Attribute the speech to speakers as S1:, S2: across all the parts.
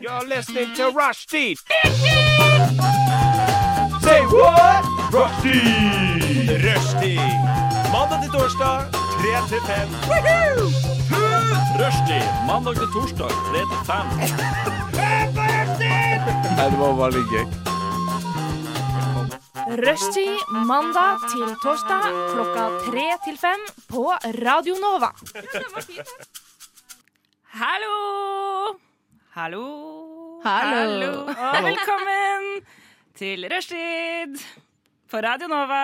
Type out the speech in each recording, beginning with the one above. S1: You're listening to Rushdie. Say what? Rushdie. Rushdie. Mandag til torsdag, 3 til 5. Rushdie. Mandag til torsdag, 3 til 5.
S2: Rushtid mandag til torsdag klokka tre til fem på Radio Nova. Hallo! Hallo.
S3: Hallo.
S2: Og velkommen til Rushtid på Radio Nova.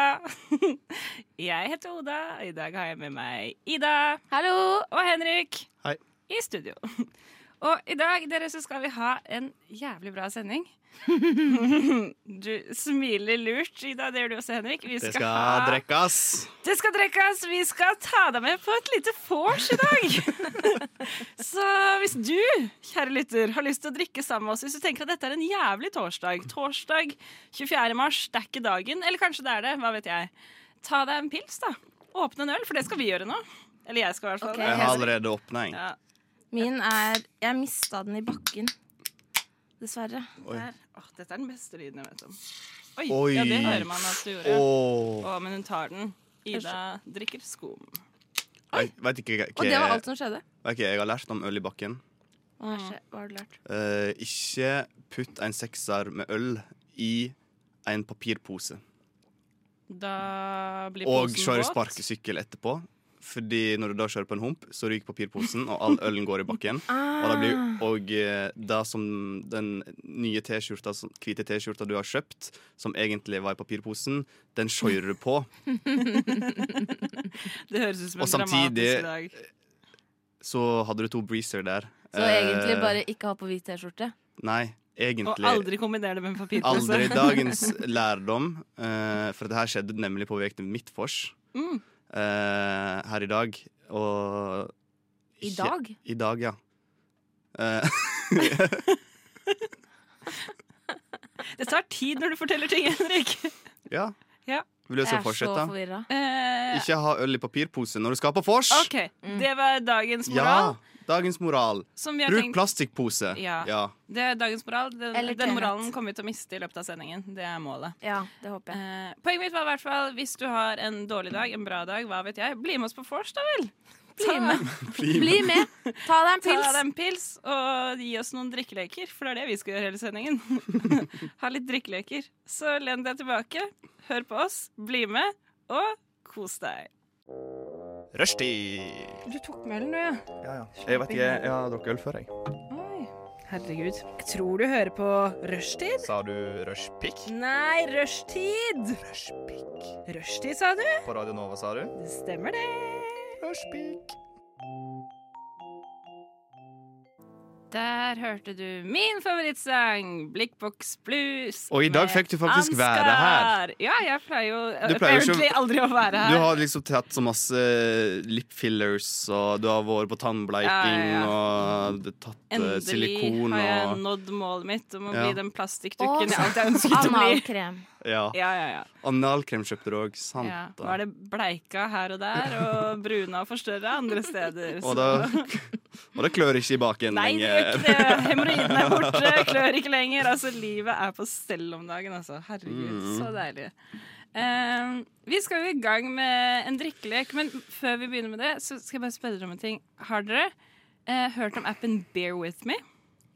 S2: Jeg heter Oda, og i dag har jeg med meg Ida
S3: Hallo!
S2: og Henrik
S4: Hei.
S2: i studio. Og i dag dere, så skal vi ha en jævlig bra sending. Du smiler lurt, Ida. Det gjør du også, Henrik. Vi
S4: Det
S2: skal
S4: skal
S2: ha-
S4: drikkes.
S2: Det skal drikkes. Vi skal ta deg med på et lite vors i dag. så hvis du, kjære lytter, har lyst til å drikke sammen med oss, hvis du tenker at dette er en jævlig torsdag Torsdag 24. mars, det er ikke dagen. Eller kanskje det er det. Hva vet jeg. Ta deg en pils, da. Åpne en øl, for det skal vi gjøre nå. Eller jeg skal i hvert fall.
S3: Ok.
S4: Jeg har allerede åpna en.
S2: Ja.
S3: Min er Jeg mista den i bakken. Dessverre.
S4: Oi.
S2: Der. Åh, dette er den beste lyden jeg vet om. Oi,
S4: Oi.
S2: Ja, det hører man at du gjorde.
S4: Åh.
S2: Å, men hun tar den. Ida drikker skum.
S4: Jeg vet ikke hva
S3: Og det var altså- alt som skjedde.
S4: vet ikke hva jeg har lært om øl i bakken.
S2: Mm.
S3: Hva skje- hva har du lært?
S4: Eh, ikke putt en sekser med øl i en papirpose.
S2: Da blir
S4: Og
S2: posen
S4: kjøre
S2: våt.
S4: sparkesykkel etterpå. Fordi når du da kjører på en hump, så ryker papirposen, og all ølen går i bakken.
S3: Ah.
S4: Og, da blir, og eh, det som den nye T-skjorta, som- hvite T-skjorta du har kjøpt, som egentlig var i papirposen, den skjører du på.
S2: Det høres ut som en
S4: Og samtidig-
S2: dramatisk dag.
S4: Så hadde du to breezer der.
S3: Så
S4: Eh,
S3: egentlig bare ikke ha på hvit T-skjorte.
S4: Nei, egentlig
S2: Og aldri kombinere det med en papirpose.
S4: Aldri dagens lærdom, eh, for det her skjedde nemlig på vei til Midtfors
S2: Mm.
S4: eh, her i dag. Og
S3: I
S4: ikke-
S3: dag?
S4: I dag, ja. Eh,
S2: Det tar tid når du forteller ting, Henrik.
S4: ja.
S2: Ja.
S4: Vil du
S3: Jeg
S4: så
S3: er så
S4: fortsette?
S3: forvirra.
S2: Eh,
S4: Ikke ha øl i papirpose når du skal på vors!
S2: OK, det var dagens moral.
S4: Ja, dagens moral.
S2: Som vi har
S4: Bruk
S2: tenkt
S4: plastikkpose.
S2: Ja.
S4: ja.
S2: Det er dagens moral. Den,
S3: Eller
S2: den
S3: Kenneth.
S2: moralen kommer vi til å miste i løpet av sendingen. Det er målet.
S3: Ja, det håper jeg.
S2: Eh, poenget mitt var i hvert fall hvis du har en dårlig dag, en bra dag, hva vet jeg, bli med oss på vors, da vel.
S3: Bli med!
S4: Bli
S3: Bli med. Ta deg en
S2: Ta deg
S3: pils.
S2: en pils og gi oss noen drikkeleker, for det er det vi skal gjøre hele sendingen. ha litt drikkeleker. Så len deg tilbake, hør på oss, bli med, og kos deg.
S4: Rushtid!
S2: Du tok med ølen, du, ja?
S5: Jeg vet ikke, jeg har drukket øl før, jeg.
S2: Oi. Herregud. Jeg tror du hører på Rushtid.
S5: Sa du rushpick?
S2: Nei, rushtid!
S5: Rushpick.
S2: Rushtid, sa du?
S5: På Radio Nova, sa du?
S2: Det stemmer, det.
S5: Rushpick.
S2: Der hørte du min favorittsang, 'Blikkboks Blues'.
S4: Og i dag
S2: med
S4: fikk du faktisk
S2: Ansgar.
S4: være her.
S2: Ja, jeg pleier jo
S4: Du pleier jo ikke-
S2: apparently aldri å være her.
S4: Du har liksom tatt så masse lip fillers, og du har vært på tannbleiking,
S2: Ja, ja,
S4: og du har tatt eh,
S2: Endelig
S4: silikon
S2: har jeg
S4: og
S2: nådd målet mitt om å
S4: Ja.
S2: bli den
S3: Og
S2: plastikkdukken jeg alltid ønsket å bli.
S3: analkrem.
S4: ja.
S2: Ja, ja, ja.
S4: Analkrem kjøpte du òg, sant?
S2: ja.
S4: da.
S2: Nå er det bleika her og der, og bruna og forstørra andre steder.
S4: Og da- og det klør ikke i baken
S2: Nei, det gjør
S4: lenger.
S2: ikke det. Hemoroidene er borte, klør ikke lenger. Altså, livet er på stell om dagen, altså. Herregud, så deilig. Eh, vi skal jo i gang med en drikkelek, men før vi begynner med det, så skal jeg bare spørre dere om en ting. Har dere eh, hørt om appen Bear With Me?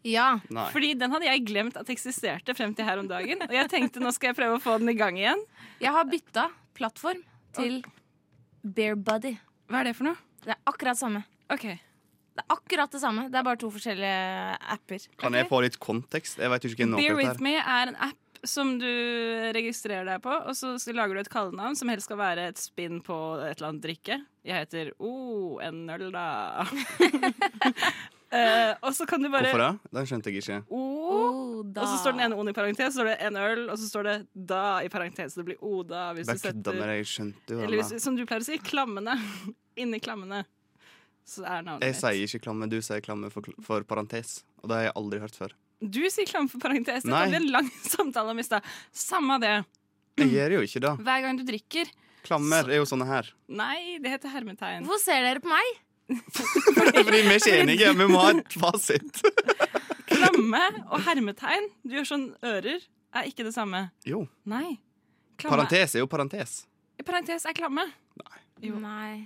S3: Ja.
S4: Nei.
S2: Fordi den hadde jeg glemt at eksisterte frem til her om dagen. Og jeg tenkte nå skal jeg prøve å få den i gang igjen.
S3: Jeg har bytta plattform til Bare Buddy.
S2: Hva er det for noe?
S3: Det er akkurat samme.
S2: Ok,
S3: Det er akkurat det samme. Det er bare to forskjellige apper.
S4: Kan jeg få litt kontekst? Jeg vet jo ikke noe
S2: Bear
S4: om
S2: With
S4: dette.
S2: Me er en app som du registrerer deg på, og så lager du et kallenavn som helst skal være et spinn på et eller annet drikke. Jeg heter O, oh, en øl, da. Eh, og så kan du
S4: her.
S2: bare
S4: Hvorfor det? Den skjønte jeg ikke.
S2: O,
S3: Oh,
S2: og så står den ene O-en i parentes, så står det en øl, og så står det da i parentes. Så det blir Oda hvis du
S4: Bare kødda
S2: setter
S4: med deg. Jeg skjønte jo
S2: Eller
S4: den.
S2: hvis, som du pleier å si, klammene. Inni klammene. Så er navnet
S4: Jeg
S2: mitt.
S4: sier ikke klamme, du sier klamme for, for parentes. Og det har jeg aldri hørt før.
S2: Du sier klamme for parentes. Det
S4: Nei.
S2: hadde vi en lang samtale om i stad. Samme det.
S4: Jeg gjør jo ikke det.
S2: Hver gang du drikker
S4: Klammer er jo sånne her.
S2: Nei, det heter hermetegn.
S3: Hvorfor ser dere på meg?
S4: Fordi vi er ikke enige, vi må ha et fasit.
S2: klamme og hermetegn Du gjør sånn ører er ikke det samme.
S4: Jo.
S2: Nei. Klamme.
S4: Parentes er jo parentes.
S2: I parentes er klamme. Jo.
S3: Nei.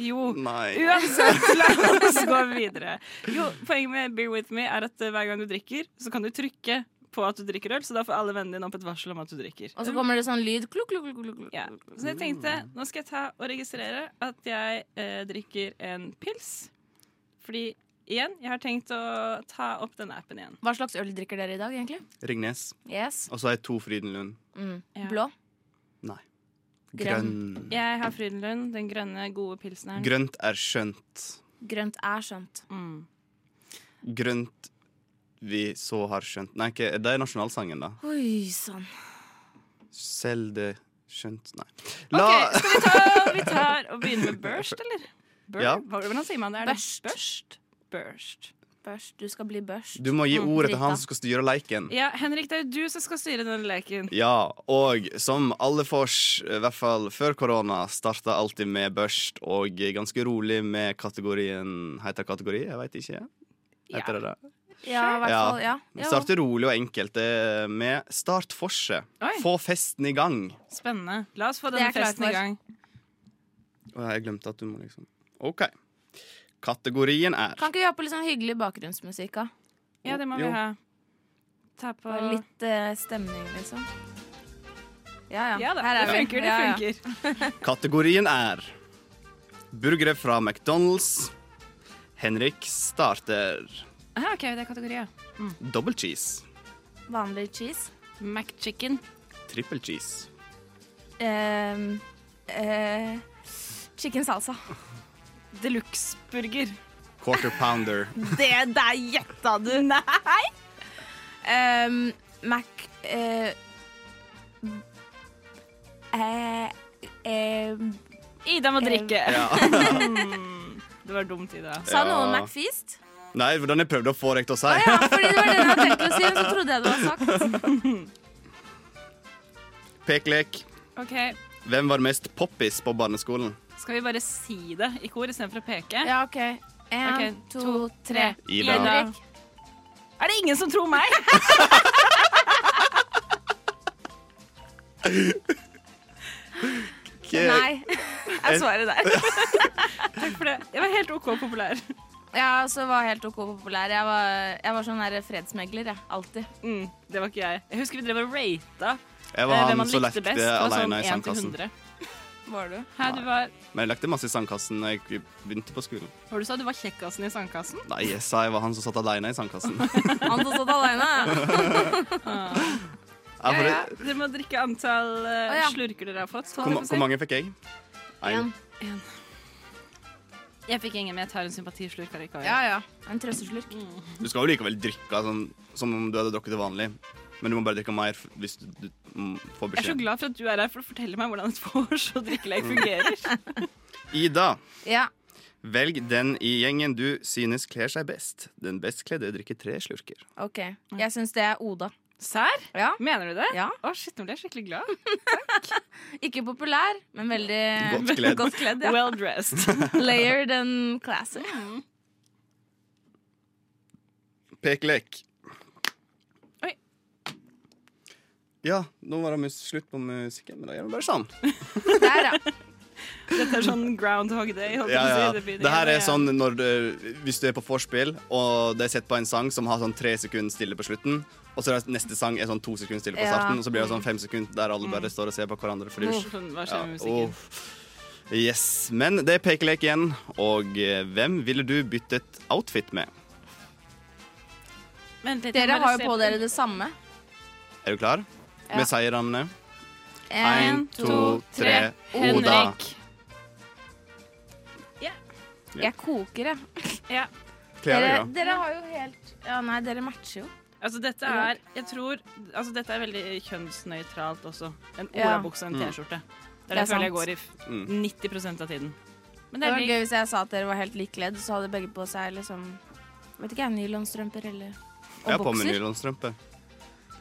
S2: Jo.
S4: Nei.
S2: Uansett, la oss gå videre. Jo, Poenget med Beer With Me er at eh, hver gang du drikker, så kan du trykke på at du drikker øl, så da får alle vennene dine opp et varsel om at du drikker.
S3: Og så kommer det sånn lyd. Kluk, kluk, kluk, kluk, kluk.
S2: Ja. Så jeg tenkte nå skal jeg ta og registrere at jeg eh, drikker en pils. Fordi igjen, jeg har tenkt å ta opp den appen igjen.
S3: Hva slags øl drikker dere i dag, egentlig?
S4: Ringnes.
S3: Yes.
S4: Og så har jeg to Frydenlund.
S3: Mm.
S2: Ja.
S3: Blå. Grønn.
S4: Grønn.
S2: Jeg har Frydenlund, den grønne, gode pilsen her.
S4: Grønt er skjønt.
S3: Grønt er skjønt.
S2: Mm.
S4: Grønt vi så har skjønt Nei, ikke, det er nasjonalsangen, da.
S3: Oi sann.
S4: Selv det skjønt Nei. La
S2: Ok, skal vi ta, vi tar og begynne med børst, eller? Bør,
S4: Ja.
S2: Hvordan sier man det? Er det
S3: Børst.
S2: børst? Børst.
S3: Børst. Du skal bli børst.
S4: Du må gi
S3: Mm,
S4: ordet til han
S3: drita.
S4: som skal styre leiken.
S2: Ja, Henrik, det er jo du som skal styre denne leken.
S4: Ja, og som alle vors, i hvert fall før korona, starta alltid med børst og ganske rolig med kategorien Heter det kategori? Jeg veit ikke. Heter det det?
S3: Ja, i hvert
S4: Ja.
S3: fall. Ja. ja.
S4: Starte rolig og enkelt det er med Start forset.
S2: Oi.
S4: Få festen i gang.
S2: Spennende. La oss få
S3: Det er
S2: denne
S3: jeg klar
S2: festen i
S3: for.
S2: gang.
S4: Og jeg glemte at du må liksom OK. Kategorien er
S3: Kan ikke vi ha på litt sånn hyggelig bakgrunnsmusikk? da?
S2: Ja, det må
S4: Jo.
S2: vi ha. Ta på
S3: Bare litt eh, stemning, liksom. Ja, ja.
S2: Ja da,
S3: Her er
S2: det
S3: vi.
S2: funker, det
S3: Ja, ja.
S2: funker.
S4: Kategorien er burgere fra McDonald's. Henrik starter
S2: Aha, ok, det er kategori, ja.
S4: double cheese,
S3: Vanlig cheese.
S2: McChicken.
S4: triple cheese,
S3: Ehm, eh, chicken salsa.
S2: Deluxe-burger.
S4: quarter pounder,
S3: Det der gjetta du! Nei! Ehm, Mac eh, eh, eh,
S2: Ida må drikke.
S4: Ja.
S2: Mm, det var dumt, Ida.
S3: Sa noen
S4: Ja.
S3: McFeast?
S4: Nei, hvordan jeg prøvde å få deg til å si.
S3: Å ja, fordi det var det jeg hadde tenkt å si, men så trodde jeg det var sagt.
S4: Pekelek.
S2: Ok,
S4: Hvem var mest poppis på barneskolen?
S2: skal vi bare si det i kor istedenfor å peke?
S3: Ja, OK. Én,
S2: Ok,
S3: to, tre.
S4: Ida.
S3: Henrik.
S2: Er det ingen som tror meg?
S3: Nei.
S2: Jeg svarer der. Takk for det. Jeg var helt OK populær.
S3: Jeg også var helt OK populær. Jeg var, jeg var sånn der fredsmegler, jeg. Alltid.
S2: Mm, det var ikke jeg. Jeg husker vi drev og rata
S4: Jeg
S2: eh,
S4: var
S2: hvem
S4: han
S2: man
S4: som
S2: likte
S4: lekte
S2: best. Det var sånn
S4: alene i
S2: 1 til
S4: sandkassen.
S2: 100.
S3: Var du?
S2: Hæ, du var,
S4: Men jeg lekte masse i sandkassen da jeg begynte på skolen.
S2: var du sa du var kjekkasen i sandkassen?
S4: Nei, jeg sa jeg var han som satt alene i sandkassen.
S3: Han som satt alene.
S4: Ja, for det,
S2: Dere må drikke antall eh,
S3: Å, ja.
S2: slurker dere har fått.
S4: hvor, ma- hvor mange fikk jeg? Én.
S3: En.
S2: Jeg fikk ingen, men jeg tar en sympatislurk allikevel.
S3: Ja, ja. En trøsteslurk.
S4: Du skal jo likevel drikke sånn, som om du hadde drukket det vanlig. Men du må bare drikke mer f- hvis du, du mm, får
S2: Jeg er så
S4: beskjed.
S2: glad for at du er her for å fortelle meg hvordan et vors og drikkelek fungerer.
S4: Ida,
S3: Ja.
S4: velg den i gjengen du synes kler seg best. Den bestkledde drikker tre slurker.
S3: OK. Jeg syns det er Oda.
S2: Sær?
S3: Ja.
S2: Mener du det?
S3: Ja.
S2: Å, shit, nå ble jeg skikkelig glad.
S3: Ikke populær, men veldig
S4: Godt kledd.
S3: Godt kledd ja.
S2: Well dressed.
S3: Layered and classy.
S4: Pekelek.
S2: Oi.
S4: Ja, nå var det mus slutt på musikken, men da gjør vi bare sånn.
S3: Der, ja.
S2: Dette er sånn Groundhog Day. holdt jeg
S4: Ja,
S2: på å
S4: ja.
S2: si. Det begynner
S4: Det her
S2: igjen,
S4: er
S2: ja.
S4: sånn når du, hvis du er på vorspiel, og de setter på en sang som har sånn tre sekunder stille på slutten, og så er det neste sang er sånn to sekunder stille på
S3: Ja.
S4: starten, og så blir det sånn fem sekunder der
S2: Mm.
S4: alle bare står og ser på hverandre. Fordi,
S2: Sånn, Hva skjer
S4: Ja,
S2: med musikken?
S4: uff. Yes, Men det er pekelek igjen, og eh, hvem ville du byttet outfit med?
S2: Vent litt, jeg
S3: Dere
S2: må bare
S3: har
S2: se
S3: jo på dere det samme.
S4: Er du klar?
S3: Ja.
S4: Med seierne.
S3: En, to, tre.
S4: Oda.
S2: Henrik.
S3: Jeg koker, jeg.
S2: Ja.
S4: Klær,
S2: Eh,
S3: Dere,
S4: ja.
S3: dere har jo helt Ja, nei, dere matcher jo.
S2: Altså, dette er Jeg tror Altså, dette er veldig kjønnsnøytralt også. En
S3: Ja.
S2: olabukse og en T-skjorte. Det
S3: Det er
S2: er det jeg føler jeg går i
S4: Mm.
S2: 90 av tiden.
S3: Det
S2: Men det
S3: var
S2: er
S3: gøy
S2: digg.
S3: hvis jeg sa at dere var helt likledd, så hadde begge på seg liksom Vet ikke jeg, nylonstrømper eller
S4: Jeg har
S3: Og
S4: på meg
S3: bukser.
S4: nylonstrømpe.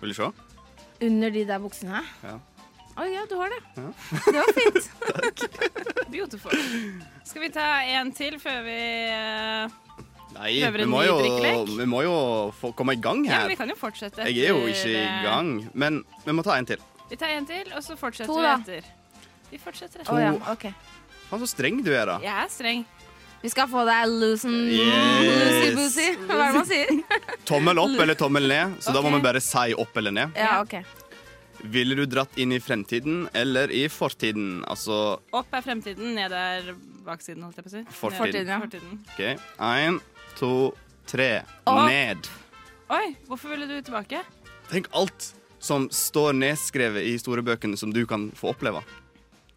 S4: Vil du se?
S3: Under de der buksene.
S4: Ja.
S3: Å ja, du har det. Det var fint.
S2: Beautiful. Skal vi ta en til før vi eh,
S4: Nei,
S2: Prøver
S4: vi
S2: en
S4: må
S2: ny
S4: jo,
S2: drikkelek?
S4: vi må jo få komme i gang
S2: Ja, men
S4: her.
S2: vi kan jo fortsette.
S4: Jeg er jo
S2: etter,
S4: ikke i
S2: eh,
S4: gang. Men vi må ta en til.
S2: Vi tar en til, og så fortsetter
S3: To,
S2: vi
S3: da.
S2: etter. Vi fortsetter
S3: Å
S2: etter.
S3: ja, ok.
S4: Faen, så streng du er, da.
S2: Jeg er streng.
S3: Vi skal få deg loosen
S4: Yes.
S3: loosey-boosey. Hva er det man sier?
S4: Tommel opp eller tommel ned, så da må
S3: Ok.
S4: vi bare si opp eller ned.
S3: Ja, ok.
S4: Ville du dratt inn i fremtiden eller i fortiden? Altså
S2: Opp er fremtiden, ned er baksiden, holdt jeg på å si.
S4: Fortiden.
S3: Fortiden, ja.
S2: Ned- Fortiden.
S4: OK. Én, to, tre.
S3: Opp.
S4: Ned.
S2: Oi, hvorfor ville du tilbake?
S4: Tenk alt som står nedskrevet i historiebøkene som du kan få oppleve.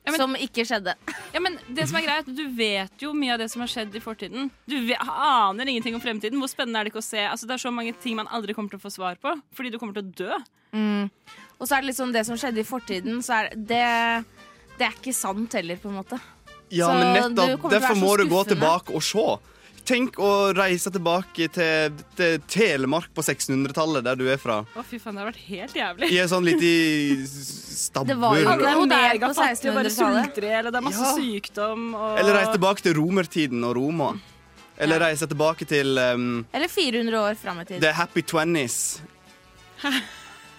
S2: Ja, men-
S3: Som ikke skjedde.
S2: Ja, men det som er greit, Du vet jo mye av det som har skjedd i fortiden. Du ve- aner ingenting om fremtiden. Hvor spennende er det ikke å se? Altså, det er så mange ting man aldri kommer til å få svar på, fordi du kommer til å dø.
S3: Og så er det litt sånn det som skjedde i fortiden, så er det Det er ikke sant heller, på en måte.
S4: Ja,
S3: Så
S4: men
S3: du
S4: nettopp
S3: kommer til å
S4: derfor
S3: være så
S4: må du gå
S3: skuffende.
S4: tilbake og se. Tenk å reise tilbake til, til Telemark på 600-tallet, der du er fra.
S2: Å, fy faen, det har vært helt jævlig.
S4: I en sånn liten stabbur.
S3: Det var jo
S2: Alle
S3: det
S2: er
S3: er mer
S2: mega
S3: på
S2: fattige og bare
S3: 1600-tallet.
S2: sulter i hjel, og det er masse
S4: Ja.
S2: sykdom og
S4: Eller reise tilbake til romertiden og Roma. Eller
S2: Ja.
S4: reise tilbake til um,
S3: Eller 400 år fram i tid.
S4: the happy twenties.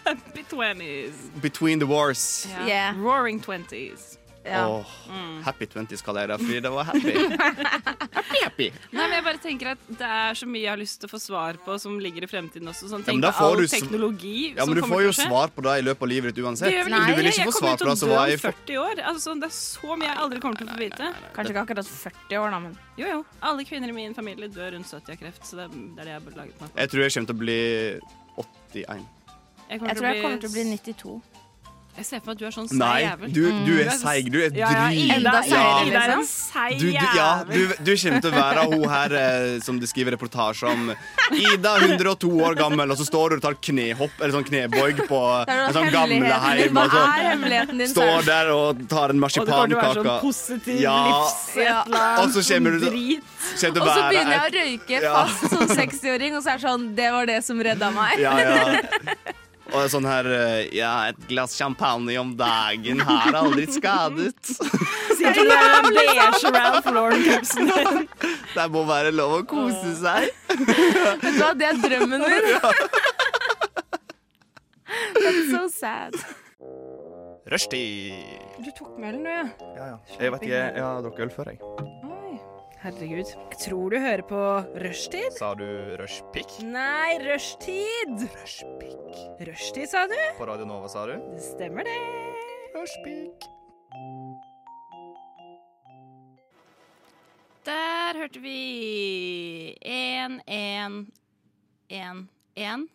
S2: Happy 20s.
S4: Between the wars.
S2: Ja.
S3: Yeah.
S2: Roaring 20s.
S3: Ja.
S4: Åh,
S2: Mm.
S4: Happy twenties kaller jeg det, fordi det var happy. happy, happy.
S2: Nei, men jeg bare tenker at Det er så mye jeg har lyst til å få svar på som ligger i fremtiden også. Sånn,
S4: Ja,
S2: tenk
S4: men da får
S2: på all
S4: du sv-
S2: teknologi
S4: Ja, men
S2: som
S4: du
S2: kommer
S4: får
S2: til
S4: jo
S2: å skje.
S4: svar på det i løpet av livet ditt
S2: Det
S4: uansett.
S2: gjør vel
S3: Nei,
S4: du vil
S2: jeg
S4: ikke få
S2: kommer
S4: svar
S2: jo
S4: på det
S2: til
S4: som
S2: å dø
S4: var i
S2: om
S4: for...
S2: 40 år. Altså, sånn, det er så mye jeg aldri kommer til å få vite.
S3: Kanskje ikke akkurat 40 år, da, men
S2: Jo, jo. Alle kvinner i min familie dør rundt 70 av kreft, så det, det er det jeg har laget meg
S4: Jeg tror jeg kommer til å bli 81.
S2: kommer
S3: jeg tror jeg kommer til å bli 92.
S2: Jeg ser for meg at du er sånn seig
S4: Nei,
S2: jævel. Mm.
S4: du, du er seig. Du er
S2: ja, ja,
S4: drit.
S2: Ida,
S3: Enda
S2: ja.
S3: seigere,
S2: Ida er
S3: liksom.
S2: en seig
S4: Du, du, ja,
S2: jævel.
S4: du, du kommer til å være hun her eh, som du skriver reportasje om. Ida, 102 år gammel, og så står du og tar knehopp eller sånn knebøy på
S3: Det er
S4: en
S3: jo
S4: sånn
S3: hemmeligheten
S4: gamleheim.
S3: din. Hva
S4: Og sånn.
S3: er hemmeligheten din?
S4: Står der og tar en
S2: Og det kommer til å være
S4: marsipankake.
S2: sånn positiv
S4: Ja.
S2: livs... Et
S3: Ja.
S2: eller annet
S4: Og så kommer du-
S2: drit.
S4: Kommer til å
S3: Og så
S4: være
S3: begynner jeg
S4: et-
S3: å røyke
S4: Ja.
S3: fast som 60-åring, og så er det sånn Det var det som redda meg.
S4: Ja, ja. Og sånn her eh, Ja, et glass champagne om dagen har aldri skadet.
S2: Sitter der med beige Ralph Lauren-kapsen.
S4: Det må være lov å kose seg.
S3: Vet du hva, det er drømmen min. That's so sad.
S5: Rushtid.
S2: Du tok med den, du, ja.
S5: Ja, ja. Jeg vet ikke, jeg har drukket øl før, jeg.
S2: Oi. Herregud. Jeg tror du hører på Rushtid.
S5: Sa du rushpick?
S2: Nei, rushtid.
S5: Rushpick.
S2: Rushtid, sa du?
S5: På Radio Nova, sa du?
S2: Det stemmer, det.
S5: Rushpick.
S2: Der hørte vi 1, 1, 1, 1.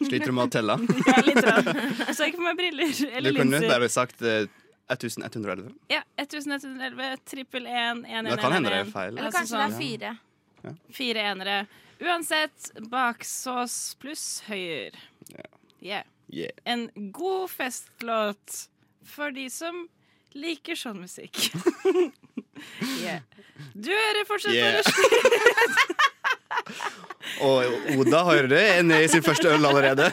S4: Sliter du med å telle?
S2: Ja, litt rann. Så jeg ikke på meg briller
S4: Du
S2: eller
S4: kunne
S2: linser.
S4: bare sagt eh, 1111.
S2: Ja, 1111, trippel 1, 1, 1, 1.
S4: Det kan hende det er feil.
S3: Eller kanskje det er fire.
S2: sånn Fire enere. Uansett, baksås pluss høyer. Yeah.
S4: Yeah.
S2: En god festlåt for de som liker sånn musikk. yeah. Du hører fortsatt på
S4: Yeah.
S2: Rushdie.
S4: Og Oda hører det, er nede i sin første øl allerede.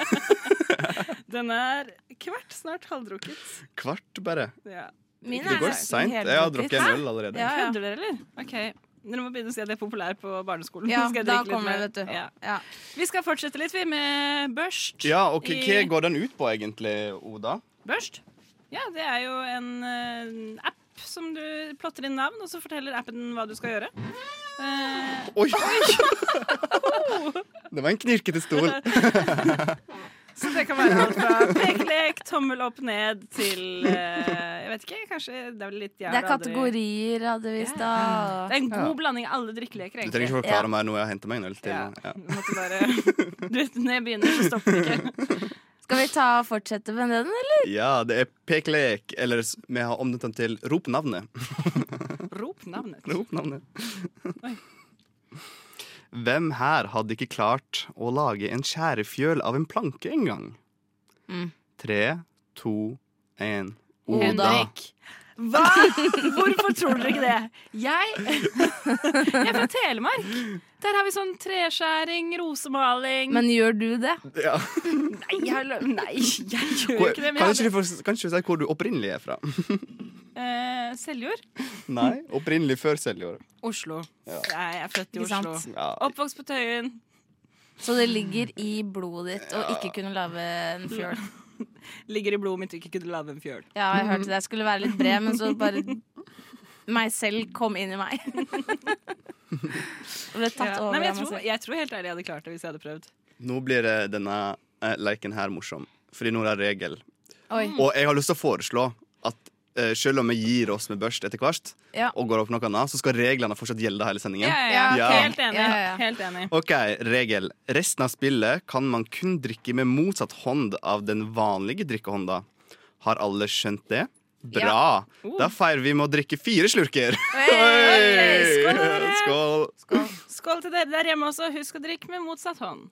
S2: Den er kvart snart halvdrukket.
S4: Kvart, bare.
S2: Ja. altså,
S3: Min
S4: Det
S3: er
S4: går
S3: nesten
S4: seint.
S3: helt
S4: Jeg har
S3: drukket.
S4: drukket en øl allerede.
S3: Ja, ja.
S2: Kødder dere, eller? Ok, Dere må begynne å si at jeg er populær på barneskolen.
S3: Ja,
S2: Skal jeg
S3: da
S2: drikke litt
S3: kommer det,
S2: mer?
S3: vet du.
S2: Ja.
S3: Ja.
S2: Vi skal fortsette litt, vi, med børst.
S4: Ja, og k- hva
S2: I-
S4: går den ut på egentlig, Oda?
S2: Børst? Ja, det er jo en eh, app som du plotter inn navn, og så forteller appen hva du skal gjøre. Eh,
S4: Oi! Det var en knirkete stol.
S2: så det kan være alt fra pekelek, tommel opp ned til eh, Jeg vet ikke, kanskje det er vel litt jævla
S3: Det er kategorier, hadde vi i stad.
S2: Det er en god blanding av alle drikkeleker,
S4: Du trenger
S2: egentlig.
S4: ikke forklare meg noe jeg har hentet meg en øl til.
S2: Ja.
S4: Ja.
S2: du Måtte bare, du vet, når jeg begynner, så stopper det ikke.
S3: Skal vi ta og fortsette med den, eller?
S4: ja, det er pekelek, eller s- vi har omdøpt den til rop navnet.
S2: Rop navnet.
S4: Rop navnet.
S2: Oi.
S4: Hvem her hadde ikke klart å lage en skjærefjøl av en planke engang?
S3: Mm.
S4: Tre, to, Oh, én.
S3: Oda.
S2: Henrik. Hva? Hvorfor tror dere ikke det? Jeg Jeg er fra Telemark. Der har vi sånn treskjæring, rosemaling
S3: Men gjør du det?
S4: Ja.
S2: Nei, jeg, har lø- nei, jeg gjør jo
S4: Hvor,
S2: ikke det.
S4: kan,
S2: Men
S4: ikke
S2: jeg hadde,
S4: du, for- kan ikke du si hvor du opprinnelig er fra?
S2: Eh, Seljord?
S4: Nei, opprinnelig før Seljord.
S2: Oslo.
S4: Ja.
S2: Nei, jeg er født i
S3: Ikke sant?
S2: Oslo.
S4: Ja,
S2: Oppvokst på Tøyen.
S3: Så det ligger i blodet ditt å ikke kunne lage en fjøl.
S2: Ligger i blodet mitt og ikke kunne lage en fjøl.
S3: Ja, jeg hørte det. Jeg skulle være litt bred, men så bare meg selv kom inn i meg. Og ble tatt
S2: Ja.
S3: over
S2: Nei, men jeg,
S3: av meg
S2: tror,
S3: selv.
S2: jeg tror helt ærlig jeg hadde klart det hvis jeg hadde prøvd.
S4: Nå blir eh, denne eh, leken her morsom, fordi nå er det regel.
S3: Oi.
S4: Og jeg har lyst til å foreslå at eh, selv om vi gir oss med børst etter hvert,
S3: Ja.
S4: og går opp noe annet, så skal reglene fortsatt gjelde hele sendingen.
S2: Ja, ja, ja.
S3: Ja,
S4: ok.
S2: Helt enig.
S3: Ja, ja, ja.
S2: Helt enig.
S4: Ok, regel. Resten av spillet kan man kun drikke med motsatt hånd av den vanlige drikkehånda. Har alle skjønt det? Bra! Da feirer vi med å drikke fire slurker.
S2: Uh. Hey! Ok, skål, dere.
S4: Skål!
S2: Skål til dere der hjemme også. Husk å drikke med motsatt hånd.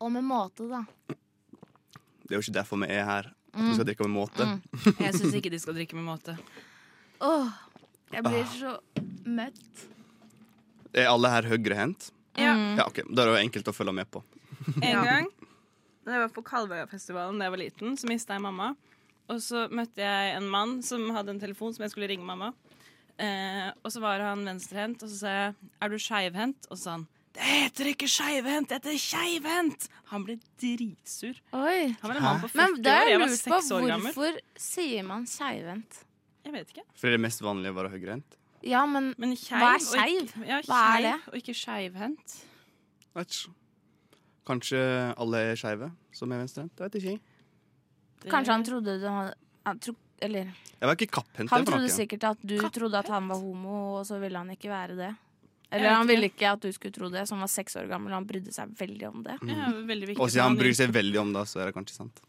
S3: Og med måte, da.
S4: Det er jo ikke derfor vi er her. At
S2: Mm.
S4: vi skal drikke med måte.
S2: Jeg syns ikke de skal drikke med måte.
S3: Åh, jeg blir så møtt.
S4: Er alle her høyrehendt?
S2: Ja,
S4: Ja, ok. Da er det jo enkelt å følge med på.
S2: En gang da jeg var på Kalvøyafestivalen da jeg var liten, så mista jeg mamma. Og så møtte jeg en mann som hadde en telefon som jeg skulle ringe mamma. Eh, og så var han venstrehendt, og så sa jeg 'er du skeivhendt?' Og så sa han 'det heter ikke skeivhendt, det heter keivhendt'. Han ble dritsur.
S3: Oi.
S2: Han var en mann på 40
S3: Men det
S2: år,
S3: er
S2: jeg var
S3: lurt på.
S2: seks år gammel.
S3: Hvorfor sier man keivhendt?
S2: Jeg vet ikke.
S4: Fordi det er mest vanlige å være høyrehendt.
S3: Ja, men
S2: Men keiv
S3: Hva er
S2: og ikke- Ja,
S3: Hva er
S2: keiv
S3: det?
S2: Og ikke skeivhendt.
S4: Vet ikke. Kanskje alle er skeive som er venstrehendt? Jeg vet ikke.
S2: Det-
S3: kanskje han trodde du hadde han tro, Eller
S4: Jeg var ikke kapphendt.
S3: han
S4: det var noe.
S3: trodde sikkert at du
S2: Kapphendt?
S3: trodde at han var homo, og så ville han ikke være det.
S2: Jeg
S3: Eller
S2: vet
S3: han
S2: ikke.
S3: ville ikke at du skulle tro det, så han var seks år gammel og han brydde seg veldig om det.
S2: Ja, veldig viktig.
S4: Og siden han bryr seg Mm. veldig om det, så er det kanskje sant.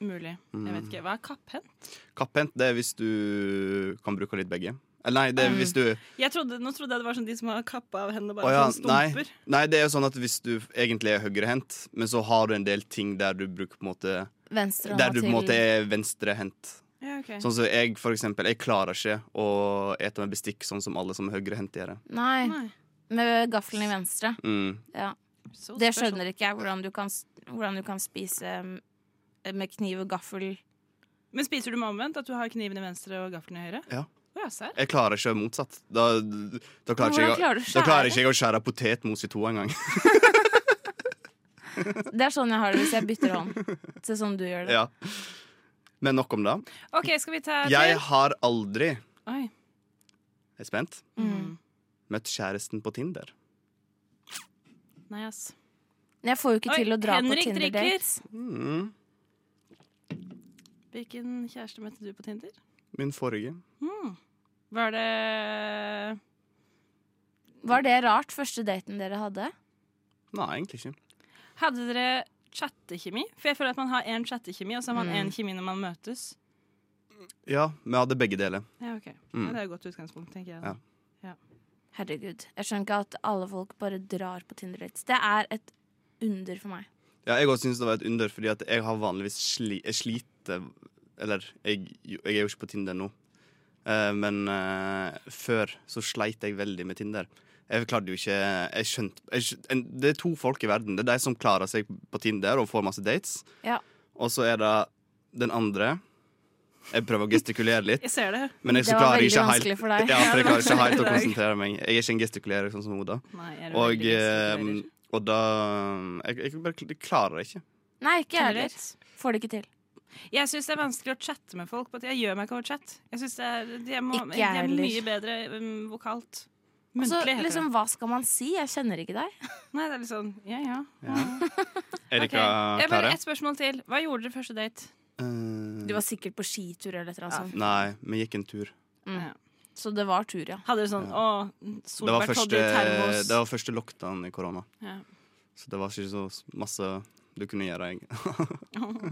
S2: Mulig. Jeg vet ikke. Hva er kapphendt?
S4: Kapphendt det er hvis du kan bruke litt begge. Eller nei, det
S3: Mm.
S4: er hvis du
S2: Jeg trodde, nå trodde jeg det var sånn de som har kappa av hendene og bare
S4: Å ja,
S2: sånn
S4: nei,
S2: stumper.
S4: nei, det er jo sånn at hvis du egentlig er høyrehendt, men så har du en del ting der du bruker på en måte
S3: Venstre
S4: Der du på en
S3: hånda
S4: måte
S3: til
S4: er venstrehendt.
S2: Ja, ok.
S4: Sånn som jeg, for eksempel. Jeg klarer ikke å ete med bestikk sånn som alle som er høyrehendte gjør. det.
S3: Nei,
S2: Nei,
S3: med gaffelen i venstre.
S4: Mm.
S3: Ja.
S2: så
S3: Det
S2: special.
S3: skjønner ikke jeg, hvordan du kan, s- hvordan du kan spise mm, med kniv og gaffel.
S2: Men spiser du med omvendt? At du har kniven i venstre og gaffelen i høyre?
S4: Ja.
S2: Å, ja, serr.
S4: Jeg klarer ikke motsatt. Da, da, klarer,
S3: Hvordan
S4: ikke
S3: klarer du
S4: jeg,
S3: å
S4: da klarer
S3: skjære?
S4: ikke jeg å skjære potetmos i to engang.
S3: Det er sånn jeg har det hvis jeg bytter hånd til sånn du gjør det.
S4: ja. Men nok om det.
S2: OK, skal vi ta
S4: Jeg
S2: til?
S4: har aldri
S2: Oi.
S4: Jeg er spent.
S2: Mm.
S4: Møtt kjæresten på Tinder.
S2: Nei, ass.
S3: Men Jeg får jo ikke
S2: Oi,
S3: til å dra
S2: Henrik
S3: på Tinder-dates.
S4: Mm.
S2: Hvilken kjæreste møtte du på Tinder?
S4: Min forrige.
S2: Mm. Var det
S3: Var det rart, første daten dere hadde?
S4: Nei, egentlig ikke.
S2: Hadde dere chattekjemi? For jeg føler at man har én chattekjemi, og så har man én
S3: Mm.
S2: kjemi når man møtes.
S4: Ja, vi hadde begge deler.
S2: Ja, ok.
S4: Mm.
S2: Ja, det er et godt utgangspunkt, tenker jeg.
S4: Ja.
S2: da.
S3: Herregud, jeg skjønner ikke at alle folk bare drar på Tinder-dates. Det er et under for meg.
S4: Ja, jeg også synes det var et under, fordi at jeg har vanligvis sli jeg sliter Eller jeg, jeg er jo ikke på Tinder nå, Eh, men eh, før så sleit jeg veldig med Tinder. Jeg klarte jo ikke jeg skjønte, jeg skj- en, Det er to folk i verden. Det er de som klarer seg på Tinder og får masse dates.
S3: Ja.
S4: Og så er det den andre Jeg prøver å gestikulere litt.
S2: Jeg ser det.
S4: Men jeg
S3: Det
S4: så
S3: var
S4: klarer
S3: veldig
S4: ikke
S3: vanskelig
S4: helt,
S3: for deg.
S4: Ja, for jeg klarer ikke helt å
S2: for deg.
S4: konsentrere meg. Jeg er ikke en gestikulerer sånn som Oda.
S2: Nei, jeg er
S4: Og,
S2: veldig
S4: eh,
S2: gestikulerer.
S4: og da jeg, jeg bare kl- klarer det ikke.
S3: Nei, ikke jeg heller.
S2: Generelt.
S3: Får det ikke til.
S2: Jeg syns det er vanskelig å chatte med folk. på at Jeg gjør meg ikke over chat. Jeg synes det er, jeg må,
S3: Ikke jeg
S2: jeg er
S3: heller.
S2: mye bedre um, vokalt.
S3: Altså,
S2: Muntlig, heter
S3: liksom, hva skal man si? Jeg kjenner ikke deg.
S2: det. Nei, det er litt sånn ja, ja. Ok.
S4: Erika,
S2: Jeg bare
S4: klare?
S2: Ett spørsmål til. Hva gjorde dere første date?
S4: Eh,
S3: Du var sikkert på skitur eller et eller annet sånt.
S4: Nei, vi gikk en tur.
S3: Mm. Så det var tur, ja.
S2: Hadde dere sånn å,
S4: Det var
S2: solbært
S4: første,
S2: hadde i termos?
S4: det var første lockdown i korona,
S2: Ja.
S4: så det var ikke så s- masse du kunne gjøre. egentlig.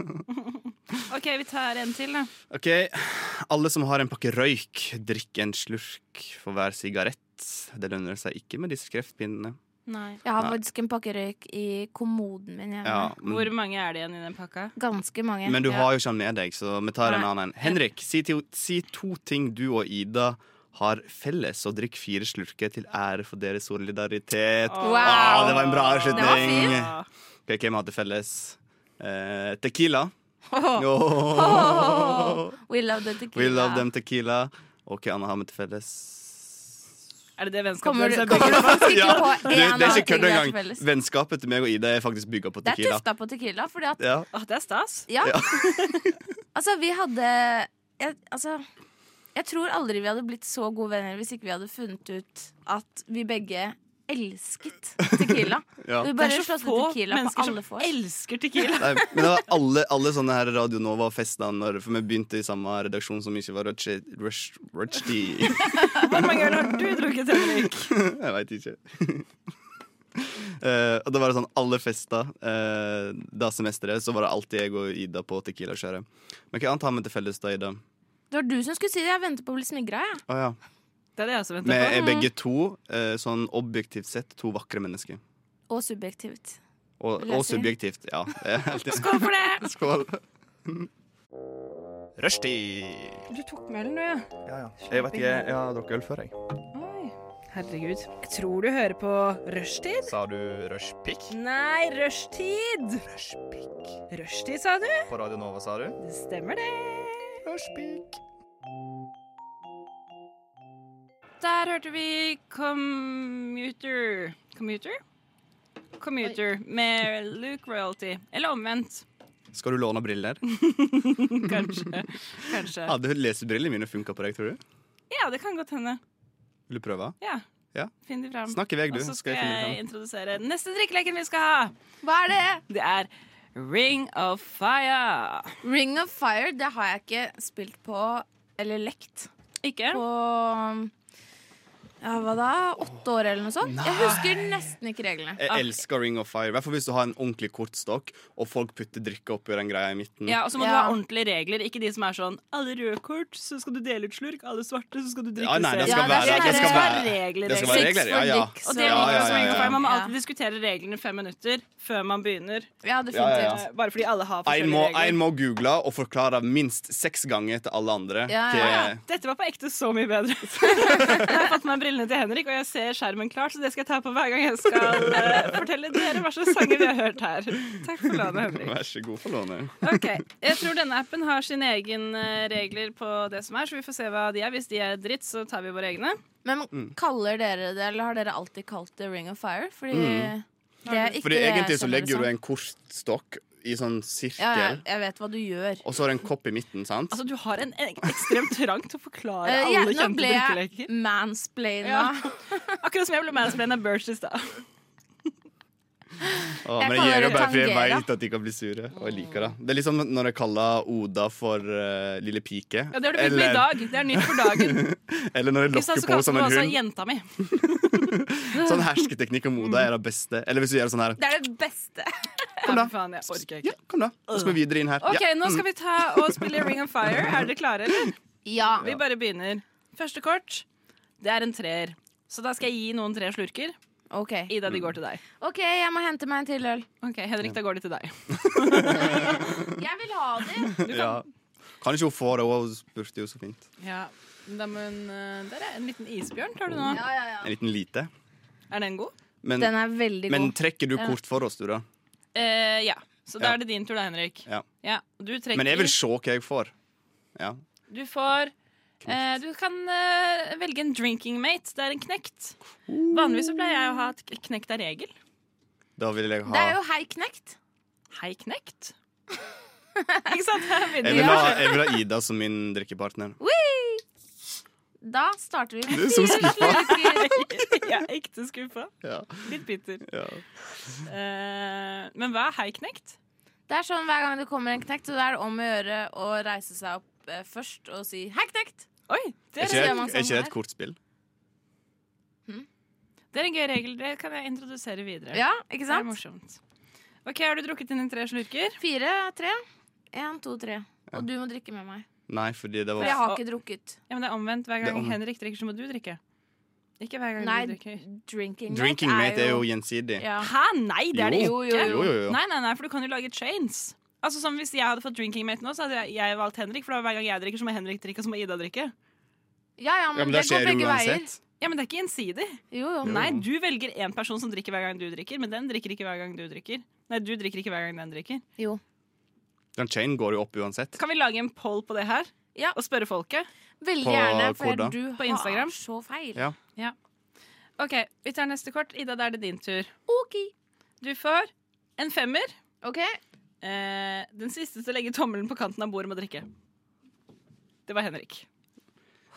S2: OK, vi tar en til, da.
S4: OK. Alle som har en pakke røyk, drikk en slurk for hver sigarett. Det lønner seg ikke med disse kreftpinnene.
S2: Nei.
S3: Jeg har
S4: Nei.
S3: faktisk en pakke røyk i kommoden min hjemme.
S4: Ja, men-
S2: Hvor mange er det igjen i den pakka?
S3: Ganske mange.
S4: Men du
S3: Ja.
S4: har jo ikke han med deg, så vi tar en
S3: Nei.
S4: annen en. Henrik, si, til, si to ting du og Ida har felles, og drikk fire slurker til ære for deres solidaritet.
S2: Åh.
S4: Ah, det var en bra
S2: Det var
S4: avslutning.
S3: fin.
S2: Ja.
S4: Ok, hvem hadde felles? Eh, tequila Åh.
S3: We love the tequila.
S4: We love them tequila. Og hva annet har vi til felles?
S2: Er det det
S3: Kommer
S2: vennskapet
S3: du,
S2: deres er
S3: kommer
S2: bygd
S3: du
S2: på?
S3: faktisk ikke på
S4: Det,
S3: én
S4: det er
S3: av
S4: ikke kødd
S3: tingene til
S4: engang.
S3: felles?
S4: Vennskapet til meg og Ida er faktisk bygga på
S3: Det er
S4: tequila.
S3: tufta på tequila, fordi at
S4: Ja.
S2: Åh, det er stas.
S3: Ja.
S4: Ja.
S3: altså, vi hadde jeg, Altså, jeg tror aldri vi hadde blitt så gode venner hvis ikke vi hadde funnet ut at vi begge elsket tequila.
S4: Ja.
S3: Vi
S2: Det
S3: bare
S2: er så
S3: slåss
S2: få
S3: ut tequila på
S2: mennesker
S3: alle
S2: som
S3: vors.
S2: elsker tequila.
S4: Nei, men det var alle, alle sånne her Radio Nova-festene, når- for vi begynte i samme redaksjon som ikke var Rush- Rush- Rushdie.
S2: Hvor mange ganger har du drukket, Henrik?
S4: Jeg veit ikke. Eh, og da var det sånn alle fester eh, da semesteret, så var det alltid jeg og Ida på Tequila-kjøret. Men hva annet har vi til felles, da, Ida?
S3: Det var du som skulle si det. Jeg venter på å bli smigra, jeg.
S4: Å ja.
S2: Det er det jeg
S4: Vi
S2: også venter på.
S4: er begge to, eh, sånn objektivt sett, to vakre mennesker.
S3: Og subjektivt.
S4: Og,
S3: Vil jeg
S4: og
S3: si.
S4: subjektivt, ja. Det er helt enig.
S2: Skål for det!
S4: Skål.
S5: Rushtid.
S2: Du tok melden, du, ja.
S5: Ja, ja.
S4: Jeg vet ikke, jeg har drukket øl før, jeg.
S2: Oi. Herregud. Jeg tror du hører på rushtid.
S5: Sa du rushpick?
S2: Nei, rushtid!
S5: Rushpick.
S2: Rushtid, sa du?
S5: På Radio Nova, sa du?
S2: Det stemmer, det.
S5: Rushpick.
S2: Der hørte vi Commuter. Commuter? Commuter med Luke Royalty. Eller omvendt,
S4: Skal du låne briller?
S2: kanskje. kanskje.
S4: Hadde lesebrillene mine funka på deg, tror du?
S2: Ja, det kan godt hende.
S4: Vil du prøve?
S2: Ja.
S4: Ja.
S2: Finn de fram.
S4: Snakk i vei, du.
S2: Og så
S4: Skal
S2: skal
S4: jeg finne
S2: jeg
S4: ut
S2: introdusere neste drikkeleken vi skal ha.
S3: Hva er det?
S2: Det er Ring of Fire.
S3: Ring of Fire, det har jeg ikke spilt på eller lekt
S2: Ikke?
S3: på ja, hva da? Åtte år eller noe sånt? Jeg husker nesten ikke reglene.
S4: Jeg elsker Ring of Fire. I hvert fall hvis du har en ordentlig kortstokk, og folk putter drikke oppi den greia i midten.
S2: Ja, og så må du
S3: Ja.
S2: ha ordentlige regler, ikke de som er sånn Alle røde kort, så skal du dele ut slurk. Alle svarte, så skal du drikke
S4: Ja, nei, det
S2: selv».
S4: skal
S3: Ja, det
S4: være,
S3: er
S4: det skal
S3: sånn
S4: være,
S2: her- regler,
S4: det skal være
S3: regler.
S4: regler. Ja, ja.
S3: Six
S2: Og
S3: for
S2: det
S3: dicks,
S4: ja, ja,
S2: liker jeg så
S4: ja,
S2: lenge.
S4: ja.
S2: for Man må
S3: Ja.
S2: alltid diskutere reglene fem minutter før man
S3: Ja,
S2: begynner.
S4: Ja, ja,
S3: definitivt.
S4: ja.
S2: eh, Bare fordi alle
S4: En
S2: har
S4: må,
S2: forskjellige
S4: en
S2: regler.
S4: må google og forklare minst seks ganger til alle andre.
S3: Ja,
S4: hva-
S3: ja,
S2: Dette var på ekte så mye bedre. jeg har fått meg brillene til Henrik, og jeg ser skjermen klart, så det skal jeg ta på hver gang jeg skal eh, fortelle dere hva slags sanger vi har hørt her. Takk for lånet, Henrik.
S4: Vær så god, Forlåne.
S2: Ok, Jeg tror denne appen har sine egne regler på det som er, så vi får se hva de er. Hvis de er dritt, så tar vi våre egne.
S3: Men
S4: Mm.
S3: kaller dere det, eller har dere alltid kalt det Ring of Fire? Fordi det er ikke
S4: Mm. Fordi
S3: det jeg
S4: egentlig så
S3: kjenner det
S4: legger du
S3: som.
S4: en kortstokk i sånn sirkel,
S3: ja, ja, Jeg vet hva du gjør.
S4: og så har du en kopp i midten, sant?
S2: Altså, Du har en, en ekstremt trang til å forklare
S3: Eh, ja,
S2: alle
S3: nå
S2: kjente
S3: ble jeg
S2: drikkeleker.
S3: mansplaina.
S2: Ja. Akkurat som jeg ble mansplaina av Birch i stad.
S4: Å,
S3: jeg
S4: men jeg
S3: kaller
S4: gjør det
S3: det
S4: bare fordi jeg
S3: tangera.
S4: vet at de kan bli sure, og jeg liker det. Det er liksom når jeg kaller Oda for eh, lille pike.
S2: Ja, det har du begynt med i dag. Det er nytt for dagen.
S4: eller når jeg
S2: I
S4: lokker
S2: stad så
S4: på
S2: kalte
S4: som
S2: du
S4: en
S2: altså
S4: hund.
S2: jenta mi.
S4: Sånn hersketeknikk om Oda er det beste. Eller hvis du gjør sånn her
S3: Det er det beste.
S2: Ja, fy faen, jeg orker
S4: Ja,
S2: ikke.
S4: kom da. Nå skal vi videre inn her.
S2: OK,
S4: Ja.
S2: nå skal vi ta og spille Ring of Fire. Er dere klare, eller?
S3: Ja.
S2: Vi bare begynner. Første kort, det er en treer. Så da skal jeg gi noen tre slurker.
S3: OK,
S2: Ida,
S4: Mm.
S2: de går til deg.
S3: Ok, jeg må hente meg en til øl.
S2: Ok, Henrik, da går de til deg.
S3: Jeg vil ha det.
S2: liksom.
S4: Ja. Kan ikke hun få det? Hun spurte jo så fint.
S2: Ja, da, men eh, Der er en liten isbjørn tar du nå.
S3: Ja, ja, ja.
S4: En liten lite.
S2: Er den god?
S4: Men,
S3: Den er veldig
S4: men
S3: god.
S4: trekker du
S3: Ja.
S4: kort for oss, du, da?
S2: Eh, ja. Så da
S4: Ja.
S2: er det din tur, da, Henrik.
S4: Ja.
S2: Du trekker
S4: Men jeg vil se hva jeg får. Ja.
S2: Du får eh, Du kan eh, velge en drinking mate. Det er en knekt. Vanligvis så pleier jeg å ha at k- knekt er regel.
S4: Da vil jeg
S3: Det
S4: ha
S3: er jo hei knekt.
S2: Hei, knekt. Ikke sant? Her
S4: jeg
S2: begynner
S4: vil
S2: vi.
S4: ha, jeg vil ha Ida som min drikkepartner.
S3: Da starter vi
S4: Du er
S3: med
S4: så
S3: fire slurker.
S2: Jeg er ekte skuffa.
S4: Ja.
S2: Litt bitter.
S4: Ja.
S2: Eh, men hva er hei, knekt?
S3: Det er sånn hver gang det kommer en knekt, så det er det om å gjøre å reise seg opp eh, først og si hei knekt.
S2: Oi!
S4: Er
S2: Det er,
S4: ikke
S3: ser
S4: det
S2: en,
S3: man
S4: er
S3: sånn
S4: ikke det
S3: her.
S4: et kortspill?
S2: det er en gøy regel. Det kan jeg introdusere videre.
S3: Ja, ikke
S2: Det er
S3: sant?
S2: morsomt. Ok, Har du drukket dine tre slurker?
S3: Fire, tre. En, to, tre. Og du må drikke med meg.
S4: Nei, fordi det
S3: For
S4: var
S3: jeg har ikke drukket.
S2: Ja, men Det er omvendt. Hver
S4: Det er
S2: gang
S4: omvendt.
S2: Henrik drikker, så må du drikke. Ikke hver gang
S3: Nei,
S2: du drikker.
S3: drinking mate
S4: Drinking mate er jo gjensidig.
S3: ja.
S2: Hæ? Nei, det er det
S4: Jo.
S2: jo.
S3: Jo, jo,
S4: Jo, jo, jo.
S2: Nei, nei, nei, for du kan jo lage chains. Altså som Hvis jeg hadde fått drinking mate nå, så hadde jeg, jeg valgt Henrik. For da hver gang jeg drikker, så må Henrik drikke, og så må Ida drikke.
S3: Ja, ja, men,
S4: Ja, men
S3: det
S4: det
S3: går
S4: skjer
S3: begge
S4: uansett.
S2: Ja, Men det er ikke gjensidig.
S3: veier. Jo, jo.
S2: Nei, du velger én person som drikker hver gang du drikker, men den drikker ikke hver gang du drikker. Nei, du drikker ikke hver gang den drikker.
S3: Jo.
S4: Den chainen går jo opp uansett.
S2: Kan vi lage en poll på det her?
S3: Ja.
S2: Og spørre folket?
S3: Veldig
S4: På
S3: gjerne,
S4: hvor
S3: for
S4: da?
S3: du
S2: På Instagram?
S3: har så feil.
S4: Ja.
S2: OK, vi tar neste kort. Ida, da er det din tur.
S3: OK.
S2: Du får en femmer.
S3: Ok.
S2: Eh, den siste til å legge tommelen på kanten av bordet med drikke. Det var Henrik.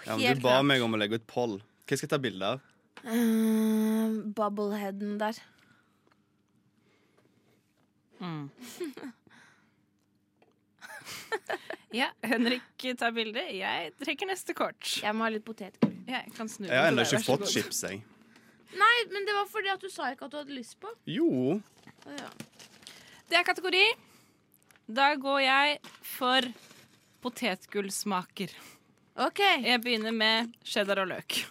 S4: Ja, men
S3: Helt
S4: du ba
S3: klart.
S4: meg om å legge ut poll. Hva skal jeg ta bilde av?
S3: Eh, Bubbleheaden der.
S2: Ja, Henrik tar bildet. Jeg trekker neste kort.
S3: Jeg må ha litt potetgull.
S2: Jeg kan snu
S4: Jeg har
S2: den
S4: ennå ikke
S2: til deg, vær så
S4: fått
S2: god.
S4: chips, jeg.
S3: Nei, men det var fordi at du sa ikke at du hadde lyst på.
S4: Jo.
S3: Å ja.
S2: Det er kategori. Da går jeg for potetgullsmaker.
S3: OK.
S2: Jeg begynner med cheddar og løk.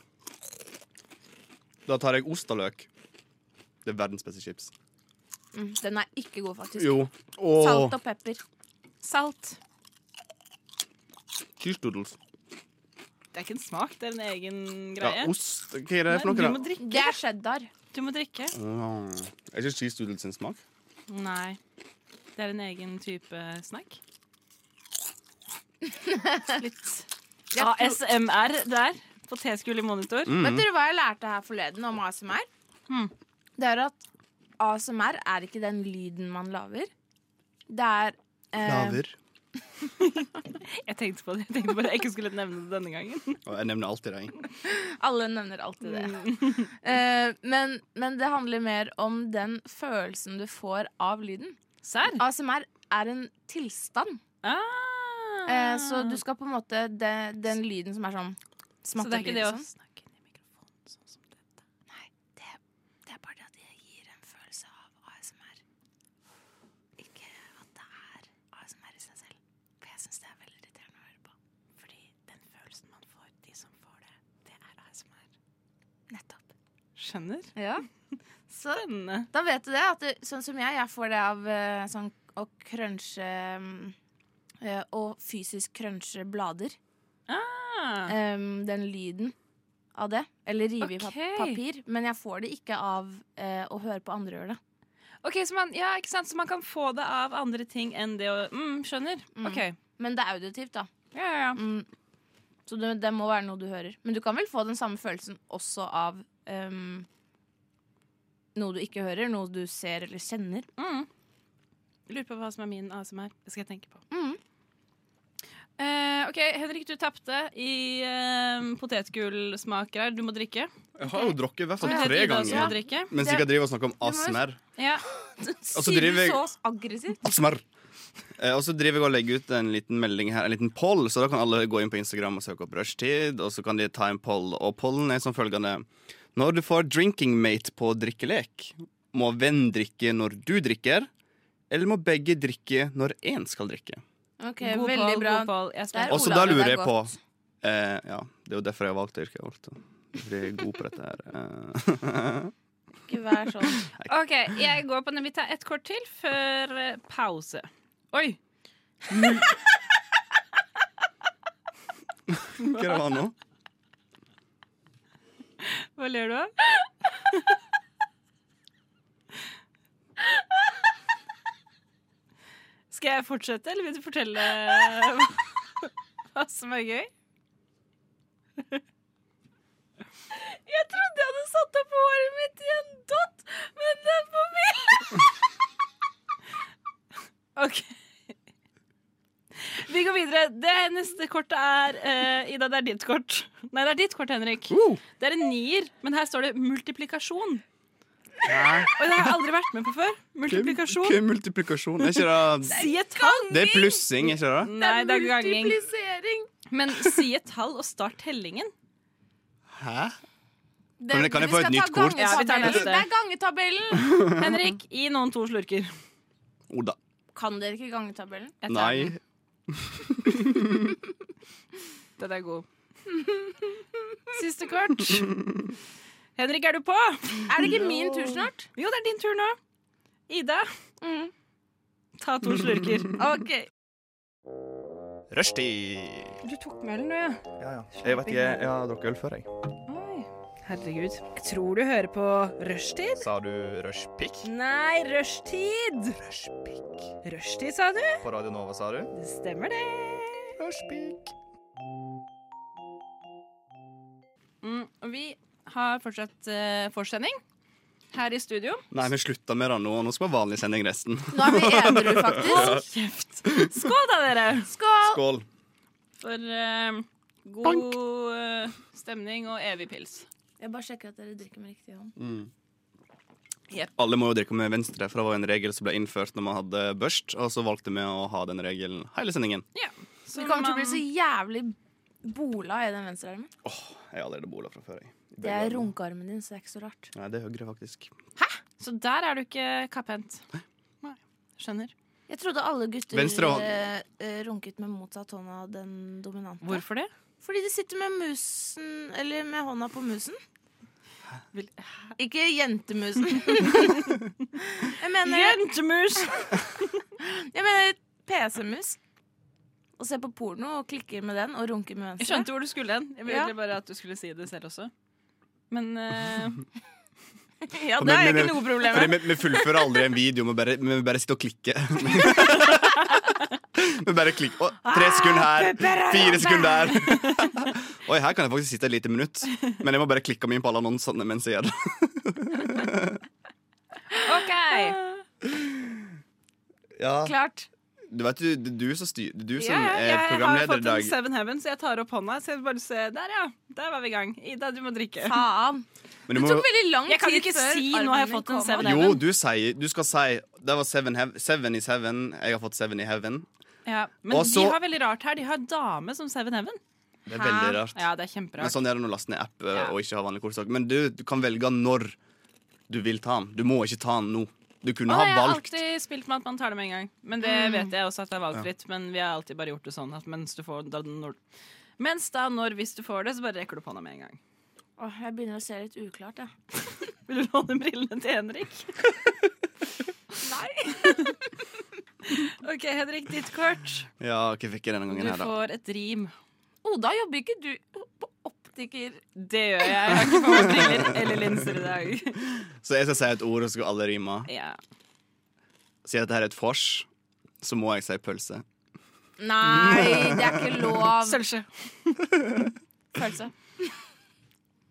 S4: Da tar jeg ost og løk. Det er verdens beste chips.
S3: Mm, Den er ikke god, faktisk.
S4: Jo. Åh,
S3: Salt og pepper.
S2: Salt.
S4: Cheese doodles.
S2: Det er ikke en smak, det er en egen
S4: Ja,
S2: greie.
S4: ost. Hva er det for
S2: Nei, du
S4: noe?
S2: må
S4: da?
S2: drikke.
S3: Det er cheddar.
S2: Du må drikke.
S4: Åh, Er ikke cheese doodles sin smak?
S2: Nei. Det er en egen type snack. Litt ASMR der. Potetgull i monitor.
S3: Vet dere hva jeg lærte her forleden om ASMR?
S2: Mm.
S3: Det er at ASMR er ikke den lyden man lager. Det er eh,
S2: Jeg tenkte på det. Jeg tenkte bare jeg ikke skulle nevne det denne gangen.
S4: Og jeg nevner alltid deg.
S3: Alle nevner alltid det.
S2: Mm.
S3: Eh, men, men det handler mer om den følelsen du får av lyden.
S2: Serr?
S3: ASMR er en tilstand,
S2: Ah.
S3: eh, så du skal på en måte det, Den lyden som er sånn
S2: Så det er ikke
S3: smattelyd
S2: det
S3: og
S2: å
S3: sånn.
S2: snakke inn i mikrofonen sånn som dette.
S3: Det er bare det at det gir en følelse av ASMR. Ikke at det er ASMR i seg selv. For jeg syns det er veldig irriterende å høre på. Fordi den følelsen man får, de som får det, det er ASMR. Nettopp.
S2: Skjønner.
S3: Ja. Så
S2: Spennende.
S3: da vet du det. At det sånn som jeg, jeg får det av eh, sånn å crunche mm, eh, Og fysisk crunche blader. Eh.
S2: Ah.
S3: Em, den lyden av det. Eller rive i pap
S2: Ok.
S3: papir. Men jeg får det ikke av eh, å høre på andre gjøre det.
S2: Ok, så man, ja, ikke sant? så man kan få det av andre ting enn det å mm, Skjønner. OK.
S3: Men det er auditivt, da.
S2: Ja, ja, ja.
S3: Mm. Så det, det må være noe du hører. Men du kan vel få den samme følelsen også av ehm, noe du ikke hører, noe du ser eller kjenner.
S2: Mm. Lurer på hva som er min ASMR. Det skal jeg tenke på.
S3: Mm.
S2: Eh, OK, Henrik, du tapte i eh, potetgullsmaker her. Du må drikke.
S4: Jeg har jo drukket i hvert fall
S2: Det
S4: tre
S2: heter Ida som må
S4: ganger.
S2: drikke.
S4: Mens jeg driver og snakker om
S3: må jo-
S4: ASMR.
S2: Ja.
S4: så
S3: Sier
S4: Altså, driver jeg-
S3: du så aggressivt?
S4: ASMR. Eh, Og så driver jeg og legger ut en liten melding her, en liten poll, så da kan alle gå inn på Instagram og søke opp rushtid, og så kan de ta en poll. Og pollen er som følgende Når du får drinking mate på drikkelek, må venn drikke når du drikker, eller må begge drikke når én skal drikke?
S3: Ok,
S2: God
S3: Veldig
S2: Pål,
S3: bra.
S2: god Pål. Jeg
S3: Der
S2: spør.
S4: Og så
S3: ordet
S4: da
S3: av det
S4: lurer
S3: der
S4: jeg på
S3: godt.
S4: eh, Ja, det er jo derfor jeg har valgt det yrket jeg valgte. Fordi jeg er god på dette her. Eh,
S3: Ikke vær sånn.
S2: OK, jeg går på den. Vi tar ett kort til før eh, pause. Oi!
S4: Hva det var nå?
S2: Hva ler du av? Skal jeg fortsette, eller vil du fortelle hva som er gøy? Jeg trodde jeg hadde satt opp håret mitt i en dott, men det er på bildet. OK. Vi går videre. Det neste kortet er eh, Ida, det er ditt kort. Nei, det er ditt kort, Henrik. Det er en nier, men her står det multiplikasjon. Og det har jeg aldri vært med på før. Multiplikasjon.
S4: Hva er multiplikasjon? Er ikke det
S2: Si et tall!
S4: Det er plussing, er ikke det?
S2: Nei, det er ganging.
S3: Multiplisering.
S2: Men si et tall og start tellingen.
S4: Hæ?
S3: Det,
S4: Men kan jeg
S3: vi
S4: få et
S3: skal
S4: nytt
S3: ta
S4: kort?
S2: Ja, vi tar
S3: gangetabellen.
S2: neste.
S3: det er gangetabellen!
S2: Henrik, gi noen to slurker.
S4: Oda.
S3: Kan dere ikke gangetabellen?
S2: Jeg tar
S4: Nei.
S2: den. Den er god. Siste kort. Henrik, er du på?
S3: Er det ikke min tur snart?
S2: Jo, det er din tur nå. Ida,
S3: Mm.
S2: ta to slurker.
S3: OK.
S5: Rushtid.
S2: Du tok med ølen, du, ja.
S5: Ja, ja. Jeg vet ikke, jeg har drukket øl før, jeg.
S2: Oi.
S6: Herregud. Jeg tror du hører på rushtid.
S5: Sa du rushpick?
S6: Nei, rushtid.
S5: Rushpick.
S6: Rushtid, sa du?
S5: På Radio Nova, sa du?
S6: Det stemmer det.
S5: Rushpick.
S2: Mm, og vi har fortsatt uh, forsending her i studio.
S4: Nei, vi slutta med det nå. Nå skal vi ha vanlig sending resten.
S3: Nå er vi edru, faktisk.
S2: Kjeft. Skål da, dere!
S3: Skål!
S4: Skål.
S2: For eh, god eh, stemning og evig pils.
S3: Jeg bare sjekker at dere drikker med riktig hånd.
S4: Alle må jo drikke med venstre, for det var en regel som ble innført når man hadde børst, og så valgte vi å ha den regelen hele sendingen.
S3: Vi kommer til å bli så jævlig bola i den venstre armen.
S4: Jeg har allerede bola fra før, jeg.
S3: Det er runkearmen din, så det er ikke så rart.
S4: Nei, det er høyre, faktisk.
S2: Så der er du ikke kapphendt. Nei. Skjønner.
S3: Jeg trodde alle gutter
S4: Venstre hånd.
S3: eh, eh, runket med motsatt hånd av den dominante.
S2: Hvorfor det?
S3: Fordi de sitter med musen Eller med hånda på musen.
S2: Vil-
S3: Ikke jentemusen. jeg mener,
S2: Jentemus!
S3: jeg mener PC-mus. Og ser på porno og klikker med den og runker med
S2: Jeg
S3: venstre.
S2: skjønte hvor du skulle hen. Jeg ville
S3: Ja.
S2: egentlig bare at du skulle si det selv også. Men eh,
S3: Ja,
S4: Men-
S3: det er
S4: men-
S3: ikke
S4: men-
S3: noe problem
S4: Fordi
S3: med.
S4: vi, vi fullfører aldri en video, vi bare, vi bare sitter og klikker. vi bare klikker. Å, tre sekunder her, fire sekunder der. Oi, her kan jeg faktisk sitte et lite minutt, men jeg må bare klikke meg inn på alle annonsene mens jeg gjør det.
S2: OK!
S4: Ja.
S3: Klart.
S4: Du vet, du, det er du som, styr, det er du som
S2: Ja, ja,
S4: er
S2: jeg har
S4: programleder
S2: fått
S4: i
S2: en
S4: dag.
S2: Seven Heaven, så jeg tar opp hånda. Så jeg vil bare se. Der, ja. Der var vi i gang. Ida, du må drikke.
S3: Faen.
S4: Men
S3: Det
S4: du må,
S3: tok veldig lang
S2: Jeg kan
S3: tid
S2: ikke
S3: før
S2: si,
S3: armen
S2: nå har jeg
S3: min
S2: fått en
S3: kom
S2: seven.
S3: av.
S4: jo, du, sier, du skal si Det var seven, hev, seven is heaven. Jeg har fått seven i heaven.
S2: Ja. Men
S4: Og så-
S2: de har veldig rart her. De har dame som Seven Heaven.
S4: Det er veldig rart.
S2: Ja, det er
S4: Men
S2: kjemperart.
S4: sånn er det når du laster ned app eh,
S2: Ja.
S4: og ikke har vanlig kortstokk. Men du, du kan velge når du vil ta den. Du må ikke ta den nå. Du kunne
S2: Og det
S4: ha
S2: har jeg
S4: valgt.
S2: alltid spilt med at man tar det med en gang. Men det vet jeg også at det er valgfritt. Men vi har alltid bare gjort det sånn at mens du får da, når, Mens da, når, hvis du får det, så bare rekker du opp hånda med en gang.
S3: Åh, jeg begynner å se litt uklart, jeg.
S2: Vil du låne brillene til Henrik? Nei. OK, Henrik, ditt kort.
S4: Ja, ok, fikk jeg denne
S2: Du
S4: gangen her, da.
S2: får et rim.
S3: Oda, jobber ikke du på optiker?
S2: Det gjør jeg. Jeg har ikke på meg briller eller linser i dag.
S4: Så jeg skal si et ord, og så skal alle rime.
S2: Ja.
S4: Sier dette her er et vors, så må jeg si pølse.
S3: Nei, det er ikke lov.
S2: Sølvskje.
S3: Følelse.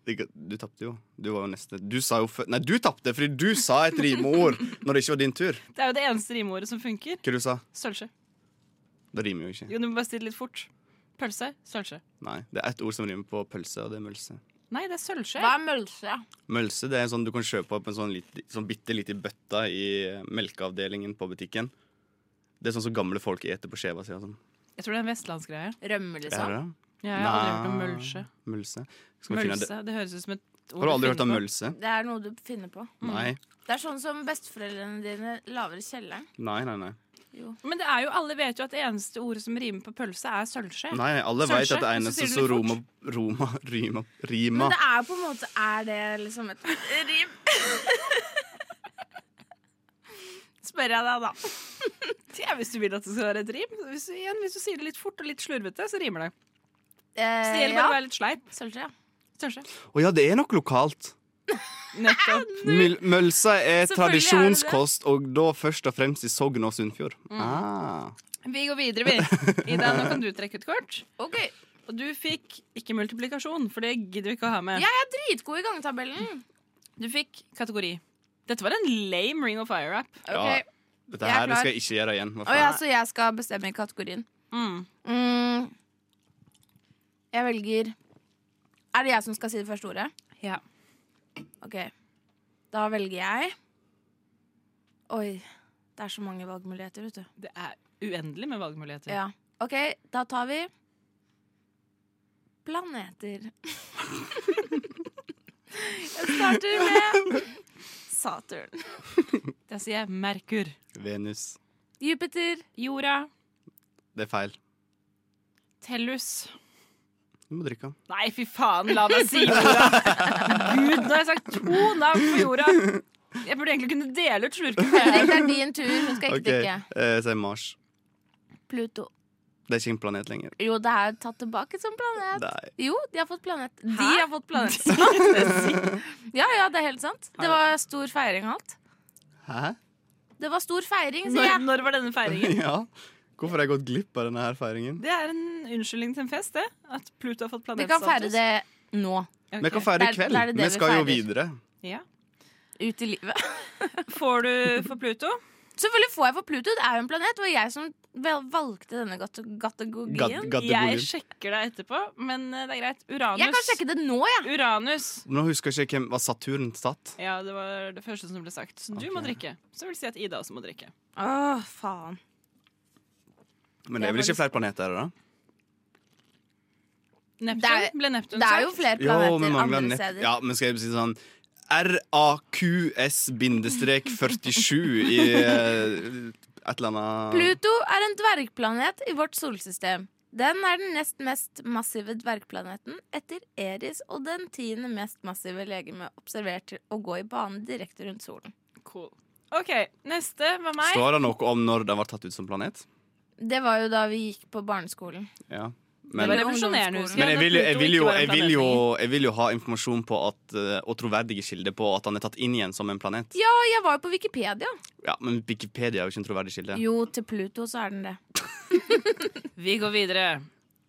S4: Ikke- Du tapte jo. Du var jo neste. Du sa jo før Nei, du tapte fordi du sa et rimeord når det ikke var din tur.
S2: Det er jo det eneste rimordet som funker.
S4: Hva du sa
S2: Sølvskje.
S4: Det rimer jo ikke.
S2: Jo, du må bare si det litt fort. Pølse. Sølvskje.
S4: Nei, Det er ett ord som rimer på pølse, og det er mølse.
S2: Nei, det er sølvskje.
S3: Hva er mølse?
S4: Mølse det er sånn du kan kjøpe opp en sånn, lit- sånn bitte liten bøtte i eh, melkeavdelingen på butikken. Det er sånn som gamle folk eter på skjeva si. og Sånn.
S2: Jeg tror det er en vestlandsgreie.
S3: Rømme,
S4: Er
S3: liksom?
S4: det det?
S2: Jeg har
S4: Nei.
S2: aldri hørt om mølse.
S4: Mølse. Skal vi finne det?
S2: Mølse, det høres ut som et
S4: Har du aldri
S2: du
S4: hørt om
S2: finner på.
S4: mølse?
S3: Det er noe du finner på.
S4: Nei.
S3: Det er sånn som besteforeldrene dine laver i kjelleren.
S4: Nei, nei, nei.
S2: Men det er jo, alle vet jo at det eneste ordet som rimer på pølse, er sølvskje.
S4: nei alle vet
S2: Sølvskje,
S4: at det
S2: og så
S4: eneste
S2: sier du
S4: som
S2: litt
S4: Roma,
S2: fort.
S4: Roma, Rima, Rima
S3: Men det er jo på en måte Er det liksom et rim? Spør jeg deg, da.
S2: Ja, hvis du vil at det skal være et rim. Hvis du, igjen, hvis du sier det litt fort og litt slurvete, så rimer det. Så det
S3: Eh,
S2: gjelder
S3: ja.
S2: bare å være litt sleip.
S3: Sølvskje, ja.
S2: Sølvskje.
S4: Å ja, det er nok lokalt.
S2: Nettopp.
S4: Møl- Mølse er
S3: Selvfølgelig er det det.
S4: tradisjonskost, og da først og fremst i Sogn og Sunnfjord.
S3: Mm.
S4: Ah.
S2: Vi går videre, vi. Ida, nå kan du trekke ut kort.
S3: OK.
S2: Og du fikk ikke multiplikasjon, for det gidder vi ikke å ha med.
S3: Jeg er dritgod i gangetabellen.
S2: Du fikk kategori. Dette var en lame Ring of Fire-app.
S4: Ja,
S3: Ok.
S4: dette
S3: Jeg er
S4: her
S3: klar.
S4: skal jeg ikke gjøre igjen. Hva
S3: Å ja,
S4: faen?
S3: så jeg skal bestemme kategorien.
S2: Mm.
S3: Mm. Jeg velger Er det jeg som skal si det første ordet?
S2: Ja.
S3: OK. Da velger jeg Oi. Det er så mange valgmuligheter, vet du.
S2: Det er uendelig med valgmuligheter.
S3: Ja. OK, da tar vi planeter. jeg starter med Saturn.
S2: Da sier jeg Merkur.
S4: Venus.
S3: Jupiter.
S2: Jorda.
S4: Det er feil.
S2: Tellus.
S4: Du må drikke.
S2: Nei, fy faen, la meg si jorda! Gud, nå har jeg sagt to navn på jorda! Jeg burde egentlig kunne dele ut slurken.
S4: Eh,
S3: Henrik, det er din tur. Hun skal ikke
S4: Ok,
S3: drikke.
S4: eh, så er Mars.
S3: Pluto.
S4: Det er ikke en planet lenger.
S3: Jo, det er tatt tilbake som planet.
S4: Nei.
S3: Jo, de har fått planet. De
S2: Hæ?
S3: har fått planet. Sant? ja, ja, det er helt sant. Det var stor feiring og alt.
S4: Hæ?
S3: Det var stor feiring, sier
S2: Når,
S3: jeg.
S2: når var denne feiringen?
S4: Ja. Hvorfor har jeg gått glipp av denne her feiringen?
S2: Det er en unnskyldning til en fest, det. At Pluto har fått
S3: Vi kan feire
S2: planetstatus.
S3: det nå.
S2: Ok.
S4: Vi kan feire i
S3: Det er-
S4: kveld.
S3: det er det det
S4: Vi
S3: vi
S4: skal jo
S3: feirer.
S4: videre.
S2: Ja.
S3: Ut i livet.
S2: Får du for Pluto?
S3: Selvfølgelig får jeg for Pluto. Det er jo en planet. Det var jeg som vel- valgte denne gate- kategorien.
S4: Gad- gad-
S2: Jeg
S4: Gategorien.
S2: sjekker deg etterpå, men eh, det er greit. Uranus.
S3: Jeg kan sjekke det nå, jeg.
S2: Uranus.
S4: Nå husker jeg ikke hvem var Saturn satt.
S2: Ja, det var det første som ble sagt. Så du
S4: Ok.
S2: må drikke. Så vil si at Ida også må drikke.
S3: Åh, faen.
S4: Men det er vel
S3: Det er
S4: ikke
S3: faktisk-
S4: flere planeter? da?
S2: Neptun
S3: Det er-
S2: ble Neptun
S3: Det er jo flere planeter
S4: Jo, men mangler
S3: andre
S4: nett-
S3: steder.
S4: Ja, men skal jeg si sånn RAQS-47 i eh, et eller annet
S3: Pluto er en dvergplanet i vårt solsystem. Den er den nest mest massive dvergplaneten etter Eris og den tiende mest massive legeme observert til å gå i bane direkte rundt solen.
S2: Cool. OK, neste var meg.
S4: Står det noe om når den var tatt ut som planet?
S3: Det var jo da vi gikk på barneskolen.
S4: Ja.
S2: Det var
S4: Men,
S2: revolusjonerende,
S3: ungdomsskolen.
S2: husker
S4: men jeg, vil,
S2: at
S4: jeg, vil jo,
S2: Pluto ikke var en
S4: jeg, vil jo,
S2: planet
S4: jeg vil jo ha informasjon på at, eh, og troverdige kilder på at han er tatt inn igjen som en planet.
S3: Ja, jeg var jo på Wikipedia.
S4: Ja, Men Wikipedia er jo ikke en troverdig kilde.
S3: Jo, til Pluto så er den det.
S2: lenger. Vi går videre.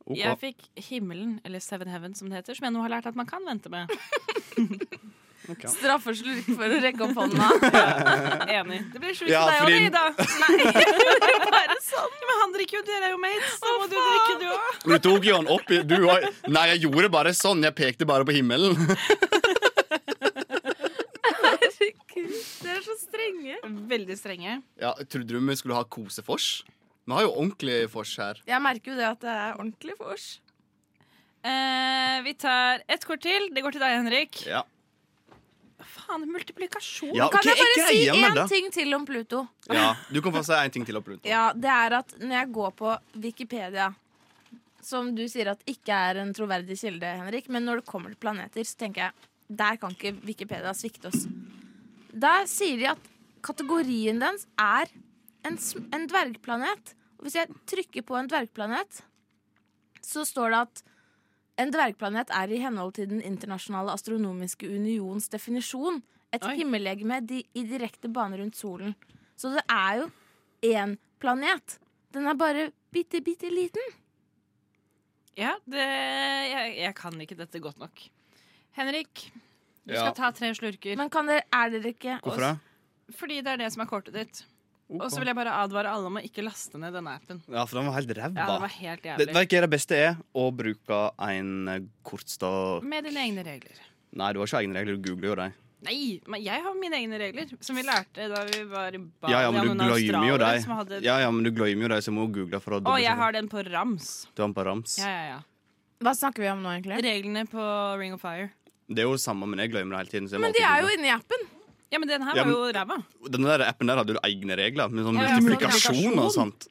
S4: Ok.
S2: Jeg fikk himmelen, eller Seven Heaven som det heter, som jeg nå har lært at man kan vente med.
S3: Straffeslurk for å rekke opp hånda.
S2: Enig. Det blir sjukt
S4: Ja,
S2: for deg
S4: fordi-
S2: òg, Ida. Nei, bare sånn. Men han drikker jo, dere er jo mates. Da må du drikke, du òg.
S4: Men du tok jo han opp i du, og- Nei, jeg gjorde bare sånn. Jeg pekte bare på himmelen.
S3: Herregud, dere er så strenge.
S2: Veldig strenge.
S4: Ja, Trodde du vi skulle ha kosefors? Vi har jo ordentlig fors her.
S3: Jeg merker jo det at det er ordentlig vors.
S2: Eh, vi tar ett kort til. Det går til deg, Henrik.
S4: Ja.
S2: Faen, multiplikasjon.
S4: Ja,
S3: Kan
S4: hva
S3: jeg
S4: er
S3: bare si
S4: greia med
S3: én
S4: det?
S3: ting til om Pluto?
S4: Ja, Du kan få si en ting til. opp, Pluto.
S3: Ja, det er at når jeg går på Wikipedia Som du sier at ikke er en troverdig kilde, Henrik Men når det kommer til planeter, så tenker jeg Der kan ikke Wikipedia svikte oss Der sier de at kategorien dens er en, sm- en dvergplanet Og hvis jeg trykker på en dvergplanet Så står det at en dvergplanet er i henhold til den internasjonale astronomiske unions definisjon et
S2: Oi.
S3: himmellegeme di- i direkte bane rundt solen. Så det er jo én planet. Den er bare bitte, bitte liten.
S2: Ja, det, jeg, jeg kan ikke dette godt nok. Henrik, du
S4: Ja.
S2: skal ta tre slurker.
S3: Men kan dere, er dere ikke
S4: Hvorfor det?
S2: Fordi det er det som er kortet ditt. Og så vil jeg bare advare alle om å ikke laste ned denne appen.
S4: Ja, for den var helt
S2: Ja, det
S4: ræva.
S2: var helt
S4: Det,
S2: jævlig.
S4: vet ikke, det beste er å bruke en eh, kortstokk
S2: Med dine egne regler.
S4: Nei, du har ikke egne regler, du googler jo dem.
S2: Nei, men jeg har mine egne regler, som vi lærte da vi var i Bali.
S4: Ja, ja, men
S2: av
S4: du
S2: noen
S4: glemmer jo
S2: australiere
S4: dem.
S2: som hadde-
S4: Ja, ja, men du glemmer jo dem, så jeg må google for å
S2: Å,
S4: dobbelt
S2: jeg
S4: sjekke.
S2: har den på rams.
S4: Du har den på rams.
S2: Ja, ja, ja.
S3: Hva snakker vi om nå, egentlig?
S2: Reglene på Ring of Fire.
S4: Det er jo det samme, men jeg glemmer det hele tiden. Så jeg må
S3: Men de
S4: alltid
S3: er jo
S4: google.
S3: inne i appen.
S2: Ja, men den her
S4: Ja,
S2: var jo ræva.
S4: Den der appen der hadde jo egne regler, med sånn
S2: Ja, ja, men
S4: multiplikasjon og
S2: multiplikasjon.
S4: sånt.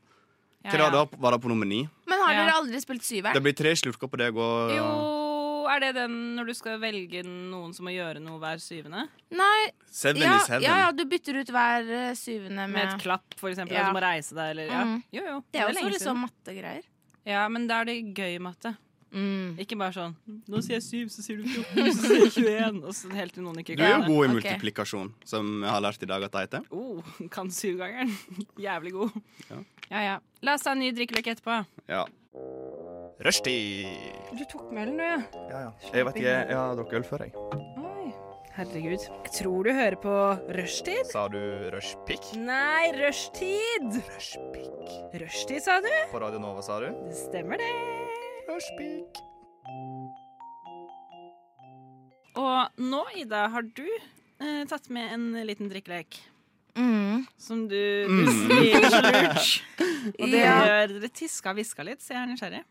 S2: Ja,
S4: Hva
S2: ja.
S4: da, var det på nummer ni?
S3: Men har
S2: Ja.
S3: dere aldri spilt
S4: Det
S3: syveren?
S4: blir tre slurker på deg og
S2: Jo,
S6: Eh.
S2: er det den når du skal velge noen som må gjøre noe hver syvende?
S3: Nei,
S4: Seven
S3: ja,
S4: is
S3: ja,
S4: heaven.
S3: ja, du bytter ut hver eh, syvende
S2: Med et
S3: med
S2: klapp, for eksempel.
S3: Ja.
S2: Ja. Du må reise deg, eller ja.
S3: Mm.
S2: Jo, jo.
S3: Det er
S2: lenge
S3: også
S2: siden.
S6: sånn-
S3: liksom mattegreier.
S2: Ja, men da er det gøy matte.
S3: Mm.
S2: Ikke bare sånn Nå sier jeg syv, så sier du 14, så sier jeg 21. Og så helt til noen ikke
S4: Du er
S2: kan
S4: jo
S2: det.
S4: god i
S3: Ok.
S4: multiplikasjon, som jeg har lært i dag at det heter.
S2: Oh, kan syvgangeren. Jævlig god.
S4: Ja.
S2: Ja, ja. La oss ta en ny drikkelek etterpå.
S4: Ja.
S5: Rushtid.
S6: Du tok med den, du, ja.
S4: Jeg vet ikke, jeg har drukket øl før, jeg.
S6: Herregud. Jeg tror du hører på Rushtid.
S5: Sa du rushpick?
S6: Nei, rushtid!
S5: Rushpick.
S6: Rushtid, sa du?
S5: På Radio Nova, sa du?
S6: Det stemmer, det.
S5: Rushpick.
S2: Og nå, Ida, har du eh, tatt med en liten drikkelek.
S3: Mm.
S2: Som du, du sier slurch. Og det
S3: Ja.
S2: gjør dere tiska og hviska litt, så jeg er nysgjerrig.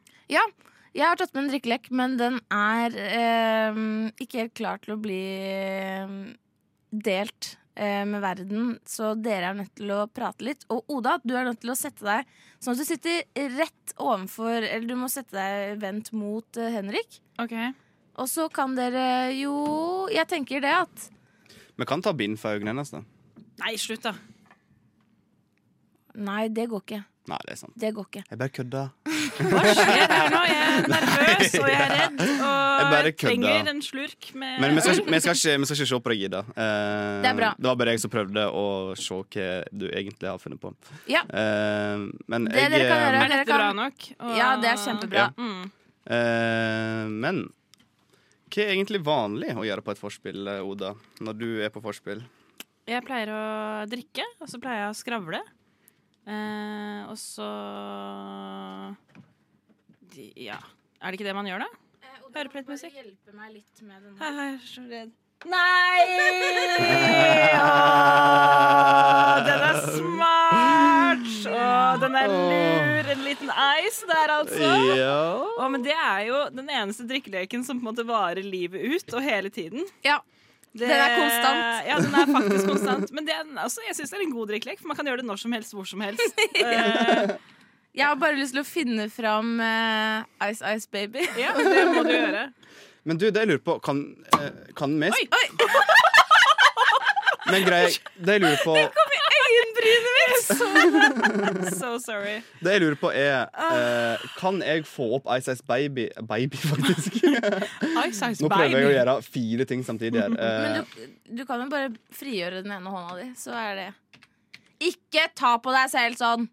S3: Jeg har tatt med en drikkelek, men den er eh, ikke helt klar til å bli eh, delt eh, med verden. Så dere er nødt til å prate litt. Og Oda, du er nødt til å sette deg sånn at du sitter rett ovenfor Eller du må sette deg vendt mot eh, Henrik.
S2: Ok
S3: Og så kan dere jo Jeg tenker det at
S4: Vi kan ta bind for øynene hennes, da.
S2: Nei, slutt, da.
S3: Nei, det går ikke.
S4: Nei, det er sant.
S3: Det går ikke.
S4: Jeg bare kødda.
S2: Hva skjer her nå? Jeg er nervøs, og jeg er redd, og
S4: Jeg bare
S2: jeg trenger
S4: kødda.
S2: en slurk med
S4: Men vi skal, ikke- vi skal, ikke, vi skal ikke se på deg, Ida. Eh,
S3: Det er bra.
S4: det var bare jeg som prøvde å se hva du egentlig har funnet på.
S3: Ja.
S4: Eh, men
S3: Det
S4: jeg
S3: dere kan gjøre-
S2: Er dette bra nok? Og- Mm.
S3: Ja, det er kjempebra.
S4: Ja. Eh, men hva er egentlig vanlig å gjøre på et forspill, eh, Oda? Når du er på forspill?
S2: Jeg pleier å drikke, og så pleier jeg å skravle. Eh, og så De- Ja. Er det ikke det man gjør, da?
S3: Eh,
S2: Høre på litt musikk?
S3: Hjelpe meg litt med den.
S2: Jeg er så redd. Nei! Åh, den er smart! Åh, den er lur. En liten ice der, altså.
S4: Ja.
S2: Å, men det er jo den eneste drikkeleken som på en måte varer livet ut og hele tiden.
S3: Ja.
S2: Det-
S3: Den er konstant.
S2: Ja, den er faktisk konstant. Men det er, en- altså, jeg syns det er en god drikkelek, for man kan gjøre det når som helst, hvor som helst. Eh,
S3: Jeg har bare lyst til å finne fram eh, Ice Ice Baby.
S4: Eh.
S2: ja, det må du gjøre.
S4: Men du, det jeg lurer på Kan, eh, kan vi
S3: Oi, oi!
S4: Men greia, det jeg lurer på
S2: So sorry.
S4: Det jeg lurer på, er eh, Kan jeg få opp Ice Ice Baby Baby, faktisk?
S2: Ice Ice
S4: Nå prøver jeg å gjøre fire ting samtidig her. Eh,
S3: Men du, du kan jo bare frigjøre den ene hånda di, så er det Ikke ta på deg selv sånn!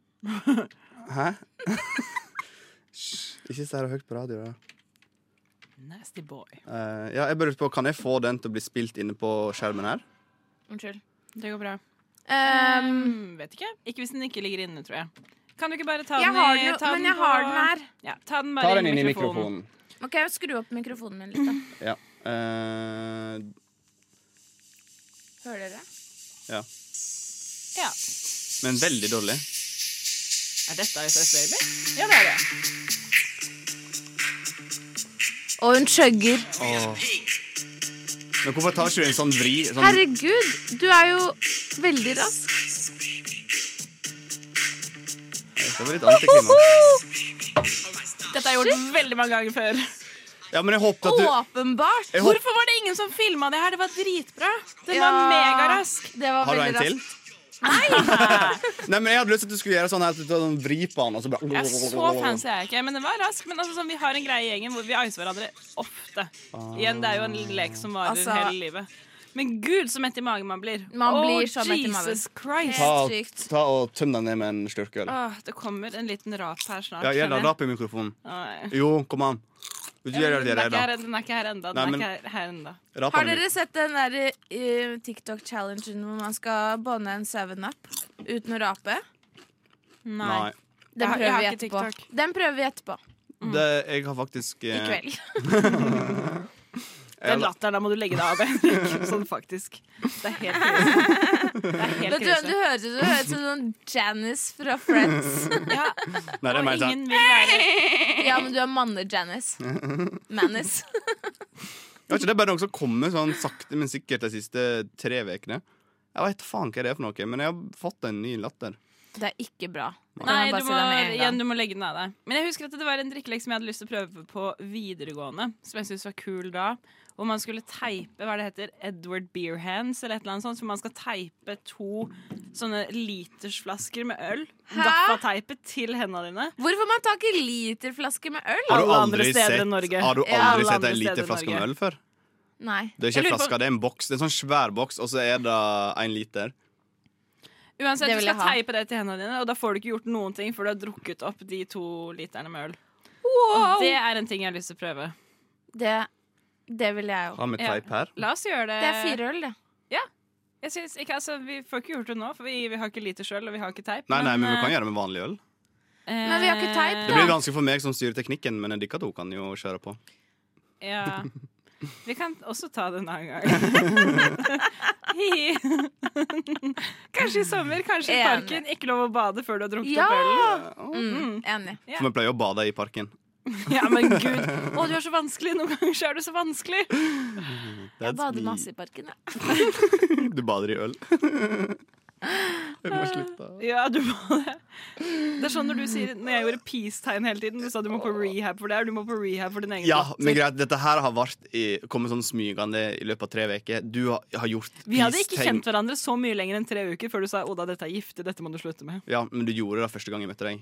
S4: Hæ? Hysj, Ikke si det høyt på radio. Da.
S2: Nasty boy.
S4: Eh, ja, jeg bare lurte på, Kan jeg få den til å bli spilt inne på skjermen her?
S3: Unnskyld.
S2: Det går bra.
S3: Ehm,
S2: Mm, vet ikke. Ikke hvis den ikke ligger inne, tror jeg. Kan du ikke bare ta
S3: jeg
S2: den i
S3: har den jo,
S2: ta
S3: men jeg
S2: på-
S3: har den her.
S2: Ja, ta den bare
S4: Ta den inn i mikrofonen.
S3: Nå kan jeg skru opp mikrofonen min litt, da.
S4: Ja. Eh,
S3: Hører dere?
S4: ja.
S2: Ja.
S4: Men veldig dårlig.
S2: Er dette Ice Ice Baby? Ja, det er det.
S3: Og hun chugger.
S4: Men hvorfor tar ikke du en sånn vri? Sånn,
S3: Herregud, du er jo veldig rask.
S4: det var litt antiklimaks.
S2: Dette har jeg gjort veldig mange ganger før.
S4: Ja, men jeg håpet at du
S3: Åpenbart!
S4: jeg håp,
S2: Hvorfor var det ingen som filma det her? Det var dritbra. Den
S3: Ja.
S2: var megarask.
S3: Det var
S4: Har du
S3: veldig
S4: en
S3: raskt.
S4: til? Nei, men Jeg hadde lyst til at du skulle gjøre sånn her at du tar sånn vri på den. Og så bare
S2: Jeg er så fancy er jeg ikke, men den var rask. Men altså, sånn, vi har en greie i gjengen hvor vi icer hverandre ofte. Igjen, det er jo en lek som varer
S3: Altså-
S2: hele livet. Men gud, så mett i magen man blir.
S3: Man
S2: Å,
S3: blir så mett i magen.
S2: Jesus Christ.
S4: Ta,
S3: Sykt.
S4: ta og Tøm deg ned med en slurkøl.
S2: Åh, det kommer en liten rap her snart.
S4: Ja, gjør det.
S2: kjenner jeg.
S4: Rap i mikrofonen.
S2: Nei.
S4: Jo, kom an. Du gjør det,
S2: Den
S4: gjør
S2: er ikke
S4: det.
S2: her- den er ikke her enda. Den
S4: Nei,
S2: er
S4: men-
S2: ikke her- her enda.
S4: Rap
S3: Har
S4: den i
S3: dere sett den der eh, TikTok-challengen hvor man skal bånde en 7-Up uten å rape?
S4: Nei.
S3: Den
S2: Jeg har-
S3: prøver
S2: jeg har
S3: vi
S2: ikke
S3: etterpå.
S2: TikTok.
S3: Den prøver vi etterpå.
S4: Det, jeg har faktisk
S3: I
S4: eh,
S3: kveld.
S2: Den latteren, da må du legge deg av. Henrik. sånn faktisk. Det er helt krise. Det er helt
S3: Vet du hvem du
S2: krise.
S3: høres ut som? Du høres ut som sånn Janice fra Friends.
S2: Ja,
S4: Nei, det er
S2: og
S4: mer sånn
S2: ingen vil være
S3: Ja, men du er manne-Janice. Manis.
S4: Jeg vet ikke, Det er bare noe som kommer sånn sakte, men sikkert de siste tre ukene. Jeg vet faen hva det er for noe, men jeg har fått en ny latter.
S3: Det er ikke bra. Det kan
S2: Nei,
S3: jeg bare
S2: du
S3: si
S2: må,
S3: deg med en gang.
S2: igjen, du må legge den av deg. Men jeg husker at det var en drikkelek som jeg hadde lyst til å prøve på videregående. Som jeg syntes var kul da. Hvor man skulle teipe hva det heter, Edward Beer Hands eller et eller annet sånt. Så man skal teipe to sånne litersflasker med øl.
S3: Hæ?
S2: Gaffateipe til hendene dine.
S3: Hvorfor man tar ikke literflasker med øl?
S2: Alle andre steder
S4: sett,
S2: enn Norge.
S4: har du
S2: Ja,
S4: aldri
S2: alle
S4: sett
S2: andre
S4: en
S2: steder
S4: liten
S2: enn
S4: flaske
S2: Norge.
S4: med øl før?
S3: Nei.
S4: Det er
S2: Jeg
S4: ikke
S2: lurer
S4: en
S2: på-
S4: flaske, det er en boks. Det er en sånn svær boks, og så er det en liter.
S2: Uansett,
S3: Det
S2: du
S3: vil jeg
S2: skal
S3: ha.
S2: teipe det til hendene dine, og da får du ikke gjort noen ting før du har drukket opp de to literne med øl. Og det er en ting jeg har lyst til å prøve.
S3: Det, det vil jeg jo.
S4: Har vi
S2: Ja.
S4: teip her?
S2: La oss gjøre det.
S3: Det er fire øl, det.
S2: Jeg synes ikke, altså, vi får ikke gjort det nå, for vi, vi har ikke liter sjøl, og vi har ikke teip.
S4: Nei, nei, men vi
S2: eh,
S4: kan gjøre det med vanlig øl.
S2: Men
S3: vi har ikke teip,
S4: Det
S3: da.
S2: eh,
S4: blir vanskelig for meg som styrer teknikken, men dere to kan jo kjøre på.
S2: Ja. Vi kan også ta det en annen gang. Hi. kanskje i sommer, kanskje i
S3: Enig.
S2: parken. Ikke lov å bade før du har drukket
S3: Ja!
S2: opp ølen.
S3: Mm, enig.
S4: For vi pleier å bade i parken.
S2: Ja, men gud. Å, du er så vanskelig. Noen ganger så er du så vanskelig.
S3: Jeg
S4: That's
S3: bader
S4: me.
S3: masse i parken, jeg.
S4: Du bader i øl. Hun
S2: Eh.
S4: må slutte.
S2: Ja, du må det. Det er sånn når du sier Når jeg gjorde peace-tegn hele tiden, du sa du må på rehab for det, og du må på rehab for din egen
S4: Ja,
S2: datter.
S4: men greit, dette her har vært i, kommet sånn smygende i løpet av tre uker. Du har, har gjort
S2: Vi hadde ikke
S4: peace-tegn.
S2: kjent hverandre så mye lenger enn tre uker før du sa Oda, dette er giftig, dette må du slutte med.
S4: Ja, men du gjorde det første gang jeg møtte deg.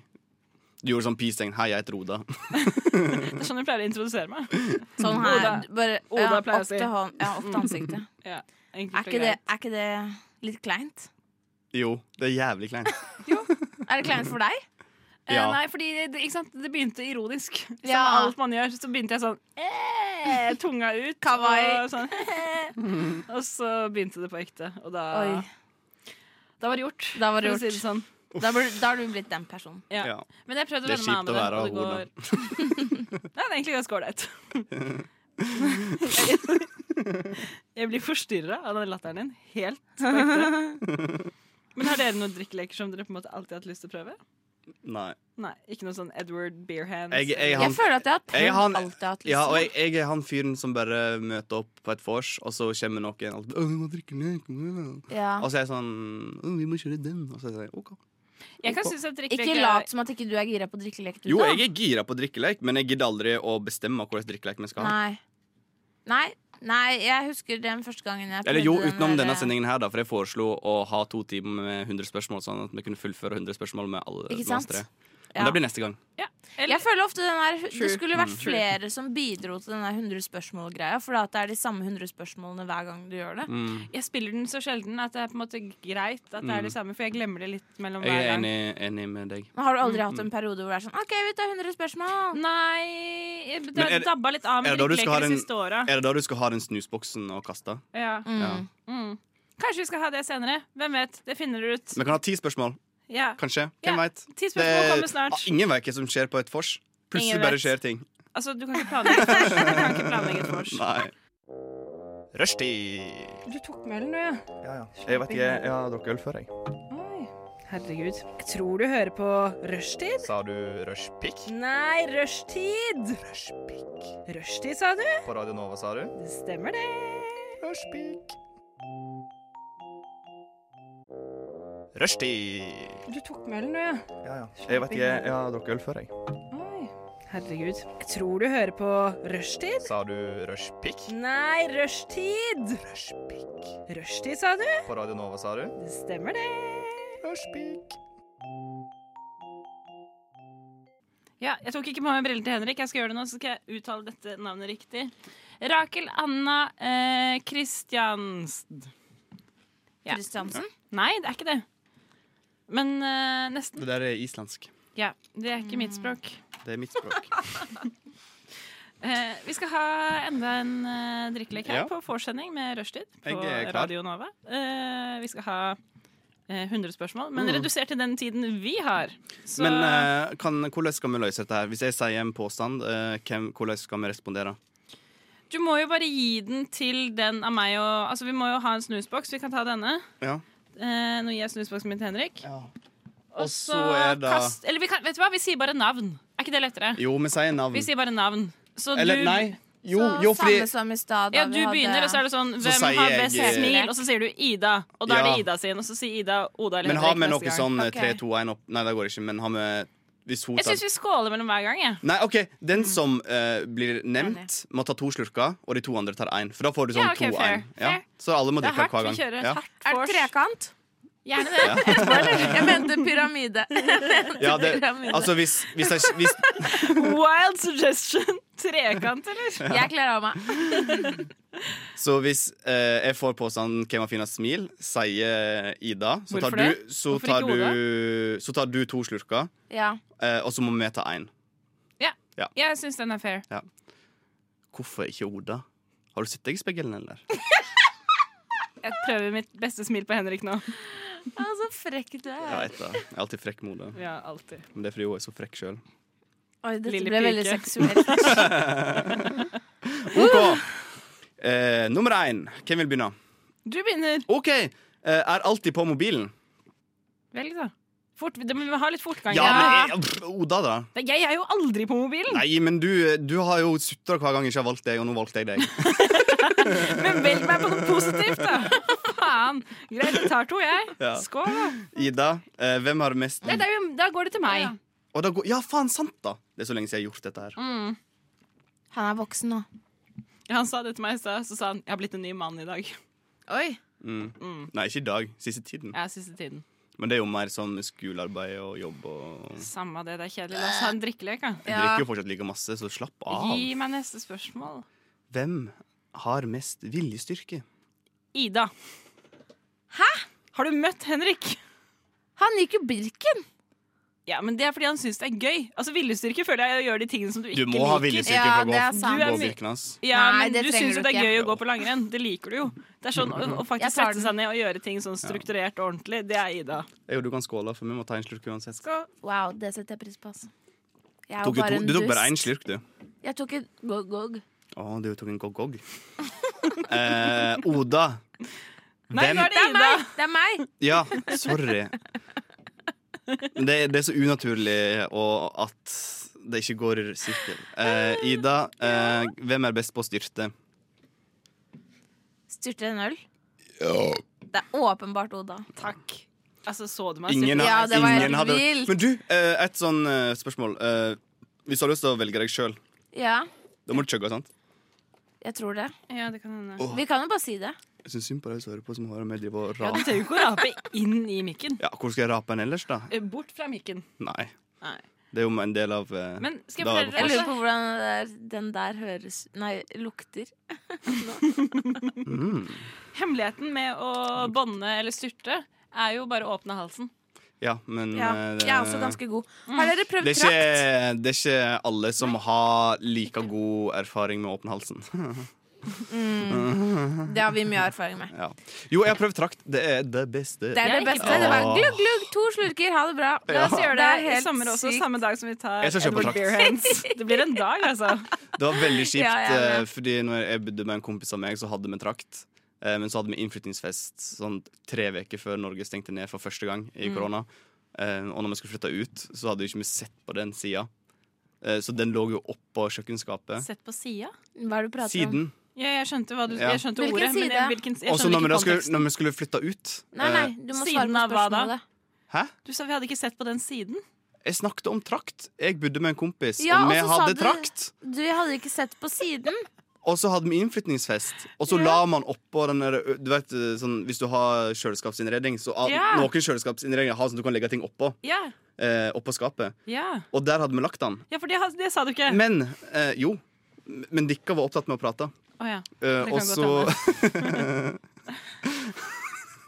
S4: Du gjorde sånn peace-tegn. Hei, jeg heter Oda.
S2: Det er sånn jeg pleier å introdusere meg.
S3: Sånn her.
S2: Oda-
S3: Bare
S2: Oda
S3: ja,
S2: pleier å
S3: opp
S2: si.
S3: til hånd, ja, opp til ansiktet.
S2: Ja,
S3: Er
S2: enkelt og
S3: ikke, det,
S2: greit.
S3: er ikke det litt kleint?
S4: Jo, det er jævlig kleint.
S3: Er det kleint for deg?
S2: Eh,
S4: Ja.
S2: Nei, fordi det, ikke sant? det begynte ironisk. Som
S3: Ja.
S2: alt man gjør. Så begynte jeg sånn eh, Tunga ut.
S3: Kawaii.
S2: Og, sånn, og så begynte det på ekte. Og da,
S3: Oi.
S2: da var det gjort.
S3: Da var det
S2: for å si
S3: gjort.
S2: sånn.
S3: Da, burde, da har du blitt den personen.
S2: Ja.
S4: Ja.
S2: Men jeg prøvde å
S4: Det er
S2: venne meg av
S4: kjipt å
S2: med det.
S4: være
S2: og
S4: Ola.
S2: det går... Nei, det er egentlig ganske ålreit. Jeg blir forstyrra av den latteren din. Helt på ekte. Men har dere noen drikkeleker som dere på en måte alltid har hatt lyst til å prøve?
S4: Nei.
S2: Nei, Ikke noe sånn Edward Beer Hands?
S4: Jeg, jeg,
S3: Jeg
S4: han,
S3: føler at jeg har
S4: jeg, han-
S3: prøvd alt jeg har hatt
S4: ja, og jeg,
S3: lyst til.
S4: jeg er han fyren som bare møter opp på et vors, og så kommer noen og alt, «Å, vi må drikke den, kom igjen».
S3: Ja.
S4: Og så er jeg sånn «Å, Vi må kjøre den. Og så er jeg sånn, OK.
S2: Jeg kan synes at drikkelek
S3: Ikke
S2: er-
S3: lat som at ikke du er gira på drikkelek. du,
S4: Jo,
S3: da.
S4: jeg er gira på drikkelek, men jeg gidder aldri å bestemme hvordan drikkelek vi skal ha.
S3: Nei. Nei. Nei, jeg husker den første gangen jeg
S4: Eller jo,
S3: prøvde den
S4: utenom
S3: der- eh,
S4: denne sendingen her, da, for jeg foreslo å ha to timer med 100 spørsmål, sånn at vi kunne fullføre 100 spørsmål med alle
S3: Ikke
S4: med
S3: sant?
S4: oss tre. Men
S3: Ja.
S4: det blir neste gang.
S3: Jeg føler ofte den der,
S2: True.
S3: Det skulle vært
S4: Mm.
S3: flere som bidro til den der 100 spørsmål-greia, for at det er de samme 100 spørsmålene hver gang du gjør det.
S4: Mm.
S2: Jeg spiller den så sjelden at det er på en måte greit at det er det samme, for jeg glemmer det litt mellom
S4: Jeg
S2: hver
S4: er enig,
S2: gang.
S4: enig med deg.
S3: Men har du
S4: Mm,
S3: aldri hatt en periode hvor det er sånn OK, vi tar 100 spørsmål.
S2: Nei jeg- Det
S4: Men er
S2: har
S4: det-
S2: dabba litt av
S4: er
S2: med
S4: det da du skal ha
S2: drikkeleker de
S4: den-
S2: siste åra.
S4: Er det da du skal ha den snusboksen og kaste?
S2: Ja.
S4: Ja.
S3: Mm.
S2: Mm. Kanskje vi skal ha det senere. Hvem vet? Det finner du ut.
S4: Vi kan ha ti spørsmål,
S2: Ja.
S4: kanskje.
S2: Ja,
S4: Hvem veit?
S2: ti spørsmål kommer snart.
S4: Ah, ingen veit hva som skjer på et vors. Plutselig
S2: Ingen
S4: bare
S2: vet.
S4: skjer ting.
S2: Altså, du kan ikke planlegge et vors. Du kan ikke planlegge et vors.
S4: Nei.
S5: Rushtid.
S6: Du tok med ølen, du, ja.
S5: Ja, ja.
S4: Jeg vet ikke, jeg har drukket øl før, jeg.
S6: Oi. Herregud. Jeg tror du hører på rushtid.
S5: Sa du rushpick?
S6: Nei, rushtid!
S5: Rushpick.
S6: Rushtid, sa du?
S5: På Radio Nova, sa du?
S6: Det stemmer, det.
S5: Rushpick. Rushtid.
S6: Du tok med ølen, du, ja.
S5: Ja, ja.
S6: Jeg vet ikke, jeg
S5: har drukket øl før, jeg.
S6: Oi. Herregud. Jeg tror du hører på rushtid.
S5: Sa du rushpick?
S6: Nei, rushtid!
S5: Rushpick.
S6: Rushtid, sa du?
S5: På Radio Nova, sa du?
S6: Det stemmer, det.
S5: Rushpick.
S2: Ja, jeg tok ikke på meg briller til Henrik. Jeg skal gjøre det nå, så skal jeg uttale dette navnet riktig. Rakel Anna eh, Kristiansen. Ja.
S3: Kristiansen?
S2: Nei, det er ikke det. Men eh, nesten.
S4: Det der er islandsk.
S2: Ja, det er ikke mitt språk.
S4: Det er mitt språk.
S2: Eh, vi skal ha enda en eh, drikkelek her
S4: Ja.
S2: på forsending med rushtid på
S4: Jeg er klar.
S2: Radio Nova. Eh, vi skal ha eh, 100 spørsmål, men redusert til den tiden vi har. Så
S4: Mm. Men eh, kan, hvordan skal vi løse dette her? Hvis jeg sier en påstand, eh, hvem, hvordan skal vi respondere?
S2: du må jo bare gi den til den av meg og Altså, vi må jo ha en snusboks. Vi kan ta denne.
S4: Ja.
S2: Eh, nå gir jeg snusboksen min til Henrik.
S4: Og så er det
S2: kast Eller vi kan, vet du hva, vi sier bare navn. Er ikke det lettere?
S4: Jo, vi sier navn.
S2: Vi sier bare navn. Så
S4: Eller
S2: du
S4: nei. Jo,
S3: Så
S4: jo fordi
S3: samme som i stad. da
S2: Ja,
S3: vi
S2: du
S3: hadde-
S2: begynner, og så er det sånn Hvem
S4: sier
S2: har best
S4: jeg-
S2: smil? Og så sier du Ida. Og da er
S4: Ja.
S2: det Ida sin. Og så sier Ida Oda eller
S4: Men har
S2: Henrik
S4: vi
S2: neste
S4: noe
S2: gang.
S4: sånn 3,
S3: Ok.
S4: 2, 1 opp Nei, det går ikke, men har vi Hvis hun
S2: Jeg Mm.
S4: tar
S2: syns vi skåler mellom hver gang, jeg.
S4: Nei, OK, den som eh, blir nevnt, må ta to slurker, og de to andre tar én. For da får du sånn
S2: Ja, ok,
S4: 2-1.
S2: fair,
S4: ja.
S2: fair.
S4: Så alle må
S2: Det er
S4: drikke
S2: hardt.
S4: hver gang.
S2: Vi kjører
S4: ja.
S2: hardt
S3: Er det
S2: vors.
S3: trekant?
S2: Gjerne det.
S3: Etterpå, eller? Jeg mente pyramide.
S4: Ja, det, altså hvis, hvis, jeg, hvis
S2: Wild suggestion. Trekant, eller?
S3: Jeg kler av meg.
S4: Så hvis eh, jeg får påstanden 'Hvem har finest smil', sier Ida, så tar,
S2: Hvorfor
S4: du,
S2: det?
S4: så,
S2: Hvorfor
S4: tar
S2: ikke
S4: du, så tar du to slurker,
S3: Ja.
S4: eh, og så må vi ta én.
S2: Jeg syns den er fair.
S4: Hvorfor ikke Oda? Har du sett deg i speilet, eller?
S2: Jeg prøver mitt beste smil på Henrik nå.
S3: Ja, så frekk du
S4: Jeg
S3: er.
S4: vet det. Jeg er alltid frekk mot det.
S2: Ja, alltid.
S4: Men det er fordi hun er så frekk sjøl.
S3: Oi, dette
S2: Lille
S3: ble veldig
S2: pike.
S3: seksuelt.
S4: OK. Eh, nummer én. Hvem vil begynne?
S2: Du begynner.
S4: OK. eh, er alltid på mobilen.
S2: Velg, da. Fort, det må vi ha litt fortgang.
S4: Ja,
S2: her.
S4: men jeg, pff, Oda, da?
S2: Det- Jeg er jo aldri på mobilen,
S4: Nei, men du, du har jo sutra hver gang jeg ikke har valgt deg, og nå valgte jeg deg.
S2: men velg meg på noe positivt, da! faen! Greit, jeg tar to, jeg.
S4: Ja.
S2: Skål, da.
S4: Ida, eh, hvem har mest
S2: Nei, det er jo, da går det til meg.
S4: Og da går, ja, faen, sant, da! Det er så lenge siden jeg har gjort dette her.
S3: Han er voksen nå.
S2: Han sa det til meg i stad, så sa han 'jeg har blitt en ny mann i dag'.
S3: Oi.
S4: Nei, ikke i dag. Siste tiden.
S2: Ja, siste tiden.
S4: Men det er jo mer sånn skolearbeid og jobb og
S2: Samme det, det er kjedelig. La oss ha en drikkelek, da.
S4: Jeg drikker jo fortsatt like masse, så slapp av.
S2: Gi meg neste spørsmål.
S4: Hvem har mest viljestyrke?
S2: Ida. Hæ? Har du møtt Henrik?
S3: Han gikk jo Birken.
S2: Ja, men det er fordi han syns det er gøy. Altså, Viljestyrke føler jeg gjør de tingene som du
S4: Du
S2: ikke
S4: må ha
S2: liker.
S4: viljestyrke for
S3: Ja,
S4: å
S3: det er
S4: gå,
S3: sant.
S2: Du er
S4: gå
S2: my-
S4: virken hans.
S2: Ja,
S3: Nei,
S2: men
S3: det
S2: du
S3: trenger
S2: syns jo
S3: du
S2: det er
S3: ikke.
S2: gøy å gå på langrenn. Det liker du jo. Det er sånn
S4: Mm,
S2: Å å faktisk
S3: Jeg tar
S2: sette seg ned og gjøre ting sånn strukturert og ordentlig, det er Ida.
S4: Jeg og du kan skåle, for vi må ta en slurk uansett.
S3: Wow, det setter jeg pris på. Altså. Jeg er jo
S4: Tok du,
S3: bare
S4: to,
S3: en
S4: du tok
S3: dust.
S4: bare én slurk, du.
S3: Jeg tok en gog-gog.
S4: Å, du tok en gog-gog. eh, Oda.
S2: Nei,
S4: Hvem-
S2: nå er
S3: Det
S2: det
S3: er
S2: Ida.
S3: meg! Det er meg.
S4: Ja, sorry. Men Det, det er så unaturlig og at det ikke går sikkert. Eh, Ida, eh, hvem er best på å styrte?
S3: Styrte en øl. Det er åpenbart Oda.
S2: Takk. Altså, så du meg
S4: Ingen,
S2: styrte?
S3: Ja,
S4: har-
S3: det var
S4: ingen
S3: helt
S4: hadde
S3: vilt.
S4: Men du, eh, et sånn eh, spørsmål. Eh, hvis du har lyst til å velge deg sjøl,
S3: Ja,
S4: da må du chugge, sant?
S3: jeg tror det.
S2: Ja, det kan hende.
S4: Åh.
S3: Vi kan jo bare si det.
S4: Jeg syns synd på deg som hører på, som hører meg drive og
S2: Ja, du
S4: rape.
S2: trenger jo ikke å rape inn i mikken.
S4: Ja, hvor skal jeg rape en ellers, da?
S2: Eh, Bort fra mikken.
S4: Nei.
S2: Nei.
S4: Det er jo en del av eh,
S2: Men skal
S4: Da er det
S2: jeg
S3: Jeg
S2: fortelle
S3: lurer
S2: dere
S3: på hvordan den der, den der høres Nei, lukter.
S2: Hemmeligheten med å bånde eller styrte er jo bare å åpne halsen.
S4: Ja, men
S3: Ja,
S4: eh, det,
S3: jeg er også ganske god. Har dere prøvd
S4: det er,
S3: trakt?
S4: ikke, det er ikke alle som har like god erfaring med å åpne halsen. Mm.
S3: Mm. Det har vi mye erfaring med.
S4: Ja. Jo, jeg har prøvd trakt. Det er det beste.
S3: Det er det
S2: Jeg er ikke
S3: beste. Det var glugg, glugg, to slurker, ha det bra.
S2: La oss gjøre det, i
S3: helt
S2: sommer også,
S3: sykt.
S2: samme dag som vi tar
S4: Jeg skal kjøpe
S2: Edward
S4: trakt.
S2: Bearhands. Det blir en dag, altså.
S4: Det var veldig kjipt,
S3: Ja, jeg er
S4: eh,
S3: med.
S4: fordi når jeg bodde med en kompis av meg, så hadde vi trakt. Eh, Men så hadde vi innflyttingsfest sånn tre uker før Norge stengte ned for første gang
S3: Mm.
S4: i korona. Eh, Og når vi skulle flytte ut, så hadde vi ikke vi sett på den sida. Eh, Så den lå jo oppå kjøkkenskapet.
S2: Sett på sida.
S3: Hva er det du prater om?
S4: Siden.
S2: Ja, jeg skjønte, hva du,
S4: Ja.
S2: jeg skjønte
S3: Hvilken
S2: ordet, men jeg,
S3: side?
S2: hvilken, jeg
S4: Og så
S2: skjønner
S4: når, vi da
S2: ikke
S4: skulle-
S2: konteksten.
S4: når vi skulle flytte ut
S3: Nei, nei,
S4: eh,
S3: du må
S2: Siden
S3: svare
S2: av
S3: på
S2: hva da?
S3: spørsmålet.
S4: Hæ?
S2: Du sa vi hadde ikke sett på den siden.
S4: Jeg snakket om trakt. Jeg bodde med en kompis,
S3: Ja,
S4: og vi
S3: og så sa
S4: hadde
S3: du-
S4: trakt.
S3: Du hadde ikke sett på siden.
S4: Og så hadde vi innflytningsfest, og så la man oppå den der du vet, sånn, Hvis du har kjøleskapsinnredning, så har-
S2: Ja.
S4: noen kjøleskapsinnredninger har sånn at du kan legge ting oppå.
S2: Ja,
S4: Eh, oppå skapet.
S2: ja.
S4: Og der hadde vi lagt den.
S2: ja for det, har- det sa du ikke.
S4: Men eh, jo. Men dere var opptatt med å prate.
S2: Å ja.
S4: Eh,
S2: Det kan
S4: og
S2: godt
S4: så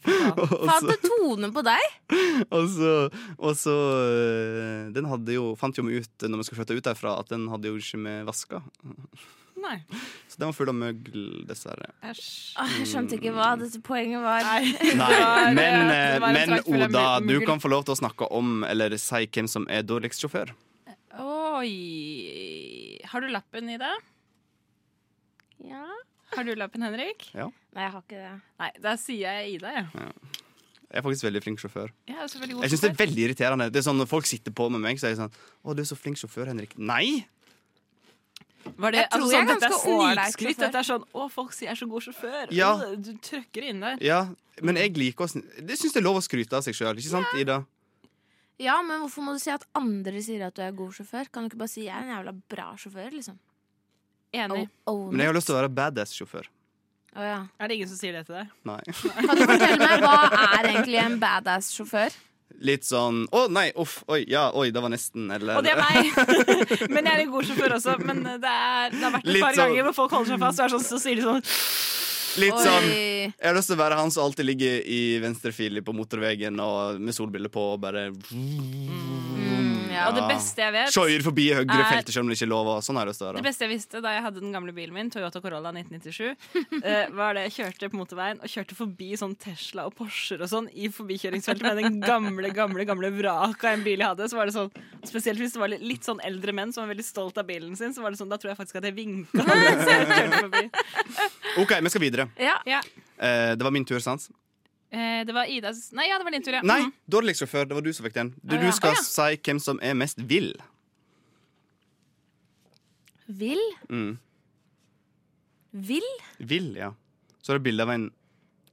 S4: Og
S3: Faen til tone på deg.
S4: og så- og så eh, Den hadde jo fant jo vi ut når vi skulle flytte ut derfra, at den hadde jo ikke vi vaska.
S2: Nei.
S4: Så den var full av møgl, dessverre.
S2: Æsj.
S3: Åh, jeg skjønte ikke
S4: Mm.
S3: hva dette poenget var.
S4: Nei, men, eh,
S2: det var en
S4: men
S2: trakt full av
S4: Oda,
S2: mugl.
S4: du kan få lov til å snakke om eller si hvem som er dårligst sjåfør.
S2: Oi. Har du lappen, Ida?
S3: Ja.
S2: Har du lappen, Henrik?
S3: Nei, jeg har ikke det.
S2: Nei, da sier jeg Ida, jeg.
S4: Jeg er faktisk veldig flink sjåfør.
S2: Jeg er så veldig god
S4: Jeg synes det er veldig irriterende Det er sånn Når folk sitter på med meg, så er jeg sånn 'Å, du er så flink sjåfør, Henrik'. Nei!
S2: Var det,
S3: Jeg tror
S2: altså,
S3: jeg
S2: sånn,
S3: er
S2: dette er
S3: ganske ålreit
S2: snikskryt.
S3: sjåfør.
S2: Dette er sånn 'Å, folk sier jeg er så god sjåfør'.
S4: Ja.
S2: Å, Du trøkker inn der.
S4: Ja, men jeg liker å sn- Det syns jeg er lov å skryte av seg sjøl, ikke sant, Ida?
S3: Ja, men hvorfor må du si at andre sier at du er god sjåfør? Kan du ikke bare si jeg er en jævla bra sjåfør, liksom?
S2: Enig.
S3: Oh,
S4: Men jeg har lyst til å være badass-sjåfør.
S3: Å, ja.
S2: Er det ingen som sier det til deg?
S4: Nei.
S3: Kan du fortelle meg hva er egentlig en badass sjåfør?
S4: Litt sånn 'Å, nei, uff, oi, ja, oi, det var nesten', eller
S2: Og det er meg! men jeg er en god sjåfør også. Men eh, det, er, det har vært et
S4: Litt
S2: par
S4: sånn-
S2: ganger hvor folk holder seg fast og er sånn, så sier de sånn
S4: Litt sånn
S3: Oi.
S4: Jeg har lyst til å være han som alltid ligger i venstre fil på motorveien og med solbriller på og bare
S3: Mm, ja.
S2: Og det beste jeg vet
S4: Kjører forbi høyre
S2: Er-
S4: feltet selv om det ikke er lov. Og sånn har jeg lyst til å
S2: det
S4: være.
S2: beste jeg visste da jeg hadde den gamle bilen min, Toyota Corolla 1997, eh, var det jeg kjørte på motorveien og kjørte forbi sånn Tesla og Porscher og sånn i forbikjøringsfeltet med den gamle, gamle gamle vraka en bil jeg hadde. Så var det sånn, Spesielt hvis det var litt- litt sånn eldre menn som var veldig stolt av bilen sin, så var det sånn, da tror jeg faktisk at jeg vinka. mens jeg kjørte forbi.
S4: OK, vi skal videre.
S3: Ja.
S2: Ja.
S4: Eh, det var min tur, sant?
S2: Eh, det var Idas Nei, ja, det var din tur, ja.
S4: Nei,
S2: Mhm.
S4: dårlig sjåfør. Det var du som fikk den. Du,
S3: Å,
S4: du
S3: ja.
S4: skal
S2: Å, ja.
S4: si hvem som er mest vill.
S3: Vil?
S4: Mm.
S3: Vil?
S4: Vill, ja. Så er det bilde av en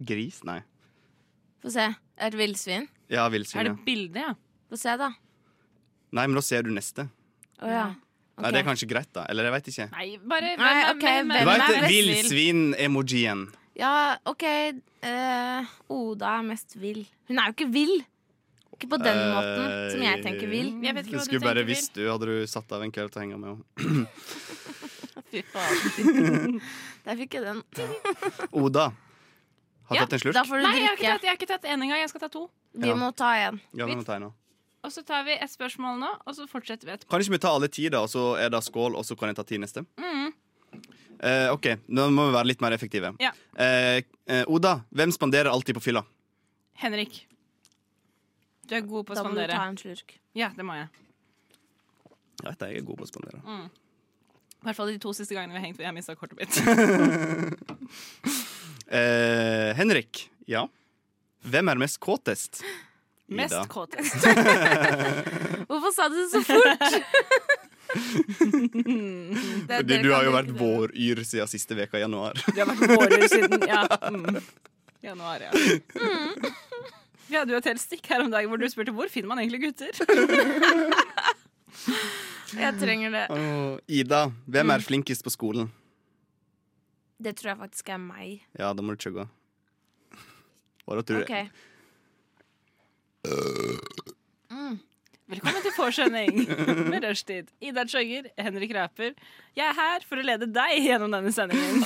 S4: Gris? Nei.
S3: Få se. Er det villsvin?
S4: Ja,
S2: Er
S4: villsvin.
S2: det
S4: Ja.
S2: bildet, ja?
S3: Få se, da.
S4: Nei, men da ser du neste.
S3: Å ja.
S4: Nei,
S3: Ok.
S4: Det er kanskje greit, da. Eller jeg veit ikke.
S2: Nei, bare
S3: Nei, ok,
S4: Du
S3: hvem
S4: veit
S3: er mest vill?
S4: villsvin-emojien.
S3: Ja, OK. eh, Oda er mest vill. Hun er jo ikke vill. Ikke på den
S4: Eh,
S3: måten som jeg tenker vill.
S2: Jeg vet ikke
S4: Jeg
S2: hva du
S4: skulle bare
S2: tenker,
S4: visst du hadde du satt av en kveld til å henge med henne.
S2: Fy faen.
S4: Eh.
S3: Der fikk jeg den.
S4: Oda. Har du
S2: Ja,
S4: tatt en slurk?
S3: Da får du
S2: Nei, jeg har ikke
S3: drikke.
S2: tatt, jeg har ikke tatt en engang. Jeg skal ta to.
S3: Vi
S4: Ja.
S3: må ta en.
S4: Ja, vi må ta en nå.
S2: Og så tar vi ett spørsmål nå, og så fortsetter vi etterpå.
S4: Kan ikke vi ta alle ti, da, og så er det skål, og så kan jeg ta ti neste? Eh, OK, nå må vi være litt mer effektive.
S2: Ja.
S4: Eh, eh, Oda, hvem spanderer alltid på fylla?
S2: Henrik. Du er god på å
S3: Da må du
S2: spandere.
S3: ta en slurk.
S2: Ja, det må jeg.
S4: Jeg vet det, jeg er god på å spandere.
S2: I hvert fall de to siste gangene vi har hengt, hvor jeg har mista kortet mitt.
S4: Eh, Henrik. Ja. Hvem er mest kåtest?
S2: Mest
S4: Ida.
S2: kåtest.
S3: Hvorfor sa du det så fort? Det-
S4: Fordi
S3: dere
S4: du
S3: kan
S4: har jo vært
S3: drikke det.
S4: våryr siden siste veka i januar.
S2: Det har vært vårer siden ja. Mm. januar, ja. Mm. Vi hadde jo et helt stikk her om dagen hvor du spurte hvor finner man egentlig gutter.
S3: Jeg trenger det.
S4: Åh, Ida, hvem er flinkest på skolen?
S3: Det tror jeg faktisk er meg.
S4: Ja, da må du chugge. Hva da, tror du?
S3: OK.
S2: Velkommen til Forskjønning med rushtid. Ida Chugger, Henrik Ræper. Jeg er her for å lede deg gjennom denne sendingen.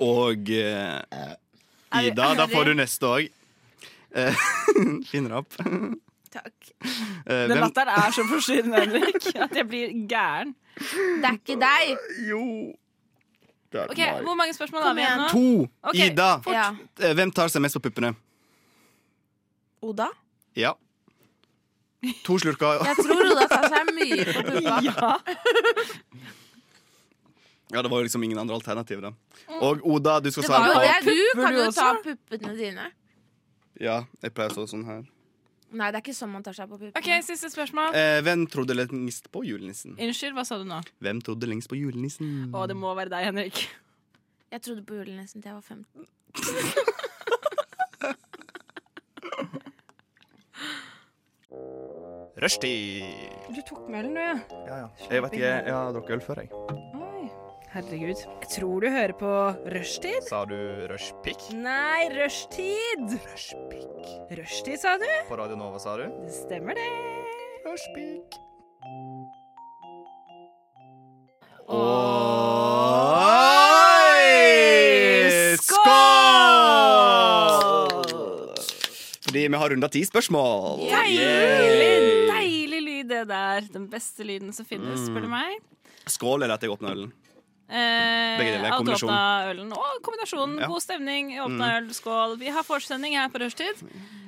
S4: Og eh,
S3: vi
S4: Ida, da
S3: ærlige?
S4: får du neste òg. Finner opp.
S3: Takk.
S4: Eh,
S2: Den
S4: hvem,
S2: latteren er så forstyrrende, Henrik, at jeg blir gæren.
S3: Det er ikke deg.
S2: Ok, Hvor mange spørsmål har vi igjen
S3: igjen.
S2: nå?
S4: to!
S2: Ok,
S4: Ida,
S3: Ja.
S4: eh, hvem tar seg mest på puppene?
S3: Oda?
S4: Ja. To slurker.
S3: Jeg tror Oda tar seg mye på puppa.
S2: Ja.
S4: Ja, det var jo liksom ingen andre alternativ, da.
S2: Mm.
S4: Og Oda, du skal
S3: Det var
S4: svare
S3: jo
S4: på
S3: det. Du
S2: Pupper
S3: kan
S2: du
S3: jo ta
S2: også?
S3: puppene dine.
S4: Ja, jeg pleier å stå sånn her.
S3: Nei, det er ikke sånn man tar seg på puppene.
S2: OK, siste spørsmål.
S4: Eh, hvem trodde lengst på julenissen?
S2: Unnskyld, hva sa du nå?
S4: Hvem trodde lengst på julenissen?
S2: Å, det må være deg, Henrik.
S3: Jeg trodde på julenissen til jeg var 15.
S5: Rushtid.
S6: Du tok med ølen, du, ja.
S5: Ja, ja. Jeg vet ikke, jeg har drukket øl før, jeg.
S6: Oi. Herregud. Jeg tror du hører på rushtid.
S5: Sa du rushpick?
S6: Nei, rushtid!
S5: Rushpick.
S6: Rushtid, sa du?
S5: På Radio Nova, sa du?
S6: Det stemmer, det.
S5: Rushpick.
S4: Oi! Skål! Fordi vi har runda ti spørsmål.
S2: Deilig, deilig lyd, det der. Den beste lyden som finnes, spør du
S5: Mm.
S2: meg.
S4: Skål eller at jeg åpner ølen.
S2: Eh,
S4: Begge deler,
S2: alt
S4: kombinasjon.
S2: åpna ølen. Og kombinasjonen.
S4: Ja. Mm.
S2: God stemning, åpna øl, skål. Vi har forsending her på rushtid.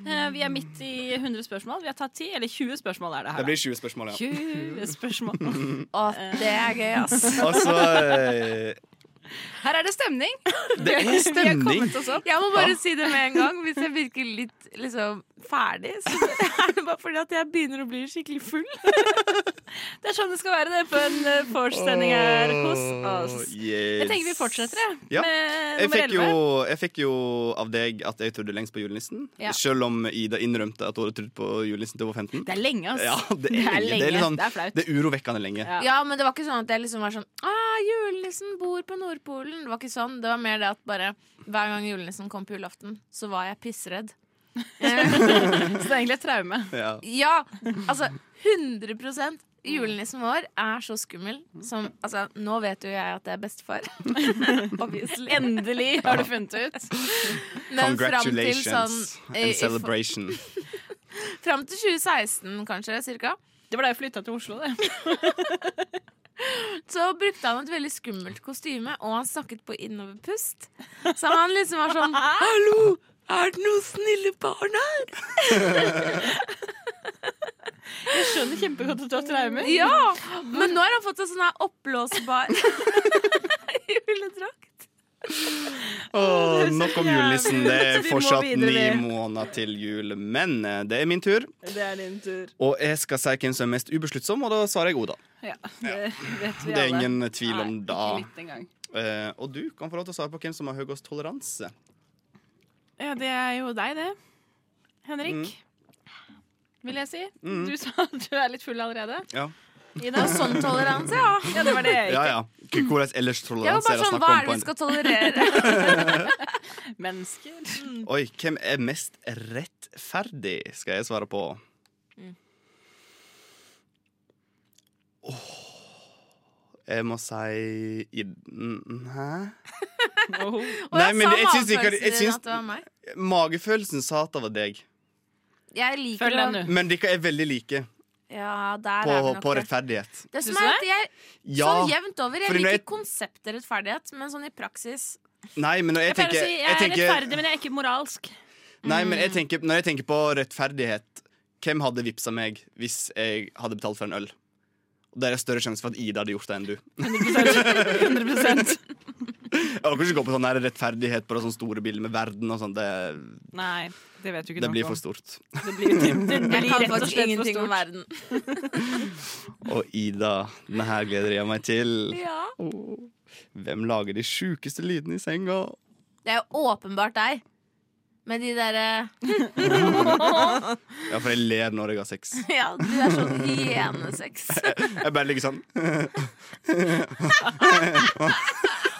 S2: Eh, vi er midt i 100 spørsmål. Vi har tatt 10, eller 20 spørsmål er det
S4: Det
S2: her. da.
S4: blir 20 spørsmål, ja.
S2: 20 spørsmål.
S3: Å, det er gøy, ass.
S4: Altså, eh,
S2: Her er det stemning.
S4: det er stemning.
S2: Kommet oss opp.
S3: Jeg må bare si det med en gang. Hvis jeg virker litt liksom, ferdig, så er det bare fordi at jeg begynner å bli skikkelig full.
S2: Det er sånn det skal være det på en eh, forsending her hos oss.
S4: Yes.
S2: Jeg tenker vi fortsetter, jeg.
S4: Ja.
S2: Med
S4: Jeg
S2: nummer
S4: fikk, jo,
S2: 11.
S4: jeg fikk jo av deg at jeg trodde lengst på julenissen.
S2: Ja.
S4: Selv om Ida innrømte at hun hadde trodd på julenissen til hun var 15.
S2: Det er lenge, ass.
S4: Ja, det er lenge. Det er, litt sånn,
S2: Det er flaut.
S4: det er urovekkende lenge.
S2: Ja.
S3: Ja, men det var ikke sånn at jeg liksom var sånn ah, julenissen bor på Nordpolen. Det var ikke sånn. Det var mer det at bare hver gang julenissen kom på julaften, så var jeg pissredd. Eh,
S2: Så det er egentlig et traume.
S4: Ja.
S3: ja, altså 100 Julenissen vår er så skummel som Altså, nå vet jo jeg at det er bestefar. Obviously.
S2: Endelig har du funnet det ut.
S3: Men fram til sånn
S4: Congratulations
S3: eh, i
S4: and
S3: for-
S4: celebration.
S3: Fram til 2016, kanskje, cirka.
S2: Det ble jo flytta til Oslo, det.
S3: så brukte han et veldig skummelt kostyme, og han snakket på innoverpust. Så han liksom var sånn Hallo! Er det noen snille barn her?
S2: Jeg skjønner kjempegodt at du har traumer.
S3: Ja! Men nå har han fått en sånn her oppblåsbar juledrakt.
S4: Åh, nok om
S2: jævlig
S4: julenissen. Det
S2: ut.
S4: er
S2: Vi må
S4: fortsatt
S2: videre,
S4: ni
S2: vi.
S4: måneder til jul. Men eh, det er min tur,
S2: Det er din tur.
S4: og jeg skal si hvem som er mest ubesluttsom, og da svarer jeg Oda.
S2: Ja, det vet vi
S4: Det er
S2: alle.
S4: ingen tvil om
S2: Nei,
S4: da.
S2: Ikke litt engang.
S4: Eh, og du kan få lov til å svare på hvem som har høyest toleranse.
S2: Ja, det er jo deg, det. Henrik. Mm. Vil jeg si.
S4: Mm.
S2: Du sa at du er litt full allerede.
S4: Ja.
S3: Ida, sånn toleranse, ja.
S2: Ja, det var det. jeg
S4: Ja,
S2: gikk.
S4: ja. K- Hvordan ellers
S3: Jeg var
S4: toleranse er
S3: bare
S4: det
S3: sånn,
S4: snakk
S3: Hva
S4: om?
S3: er
S4: på
S3: det vi
S4: en-
S3: skal tolerere?
S2: Mennesker. Mm,
S4: Oi, hvem er mest rettferdig, skal jeg svare på. Åh Jeg må si Id- mm, Hæ?
S2: Oh.
S3: Og
S4: Nei,
S3: jeg
S4: men
S3: sa
S4: jeg syns ikke
S3: matfølelsen
S4: jeg
S3: din
S4: syns-
S3: at det var meg.
S4: Magefølelsen sa at det var deg.
S3: Jeg liker
S2: Følg
S3: å-
S2: den, du.
S4: Men dere er veldig like
S3: Ja, der
S4: på,
S3: er vi nok
S4: på
S3: det.
S4: rettferdighet.
S3: Det som
S2: Syns du
S3: er at jeg,
S4: Ja.
S3: Sånn jevnt over. Jeg
S4: Fordi når
S3: liker
S4: jeg-
S3: konseptet rettferdighet, men sånn i praksis
S4: Nei, men når jeg,
S2: Jeg pleier
S4: tenker,
S2: å si jeg
S4: jeg
S2: er
S4: tenker
S2: rettferdig, men jeg er ikke moralsk.
S4: Nei, men jeg tenker, når jeg tenker på rettferdighet Hvem hadde vippsa meg hvis jeg hadde betalt for en øl? Og Det er større sjanse for at Ida hadde gjort det enn du.
S2: 100
S4: Jeg orker ikke gå på sånn her rettferdighet på det sånne store bilder med verden og sånn. Det,
S2: Nei, det vet du ikke
S4: det
S2: nok
S4: blir
S2: om.
S4: for stort.
S2: Det blir, det, det blir
S3: Jeg kan
S2: rett og
S3: faktisk
S2: slett for
S3: ingenting om
S2: stort.
S3: verden.
S4: Og Ida, denne her gleder jeg meg til.
S3: Ja.
S4: Åh. Hvem lager de sjukeste lydene i senga?
S3: Det er jo åpenbart deg. Med de eh, derre
S4: Ja, for jeg ler når jeg har sex.
S3: Ja, du er sånn hyenesex.
S4: Jeg bare ligger sånn.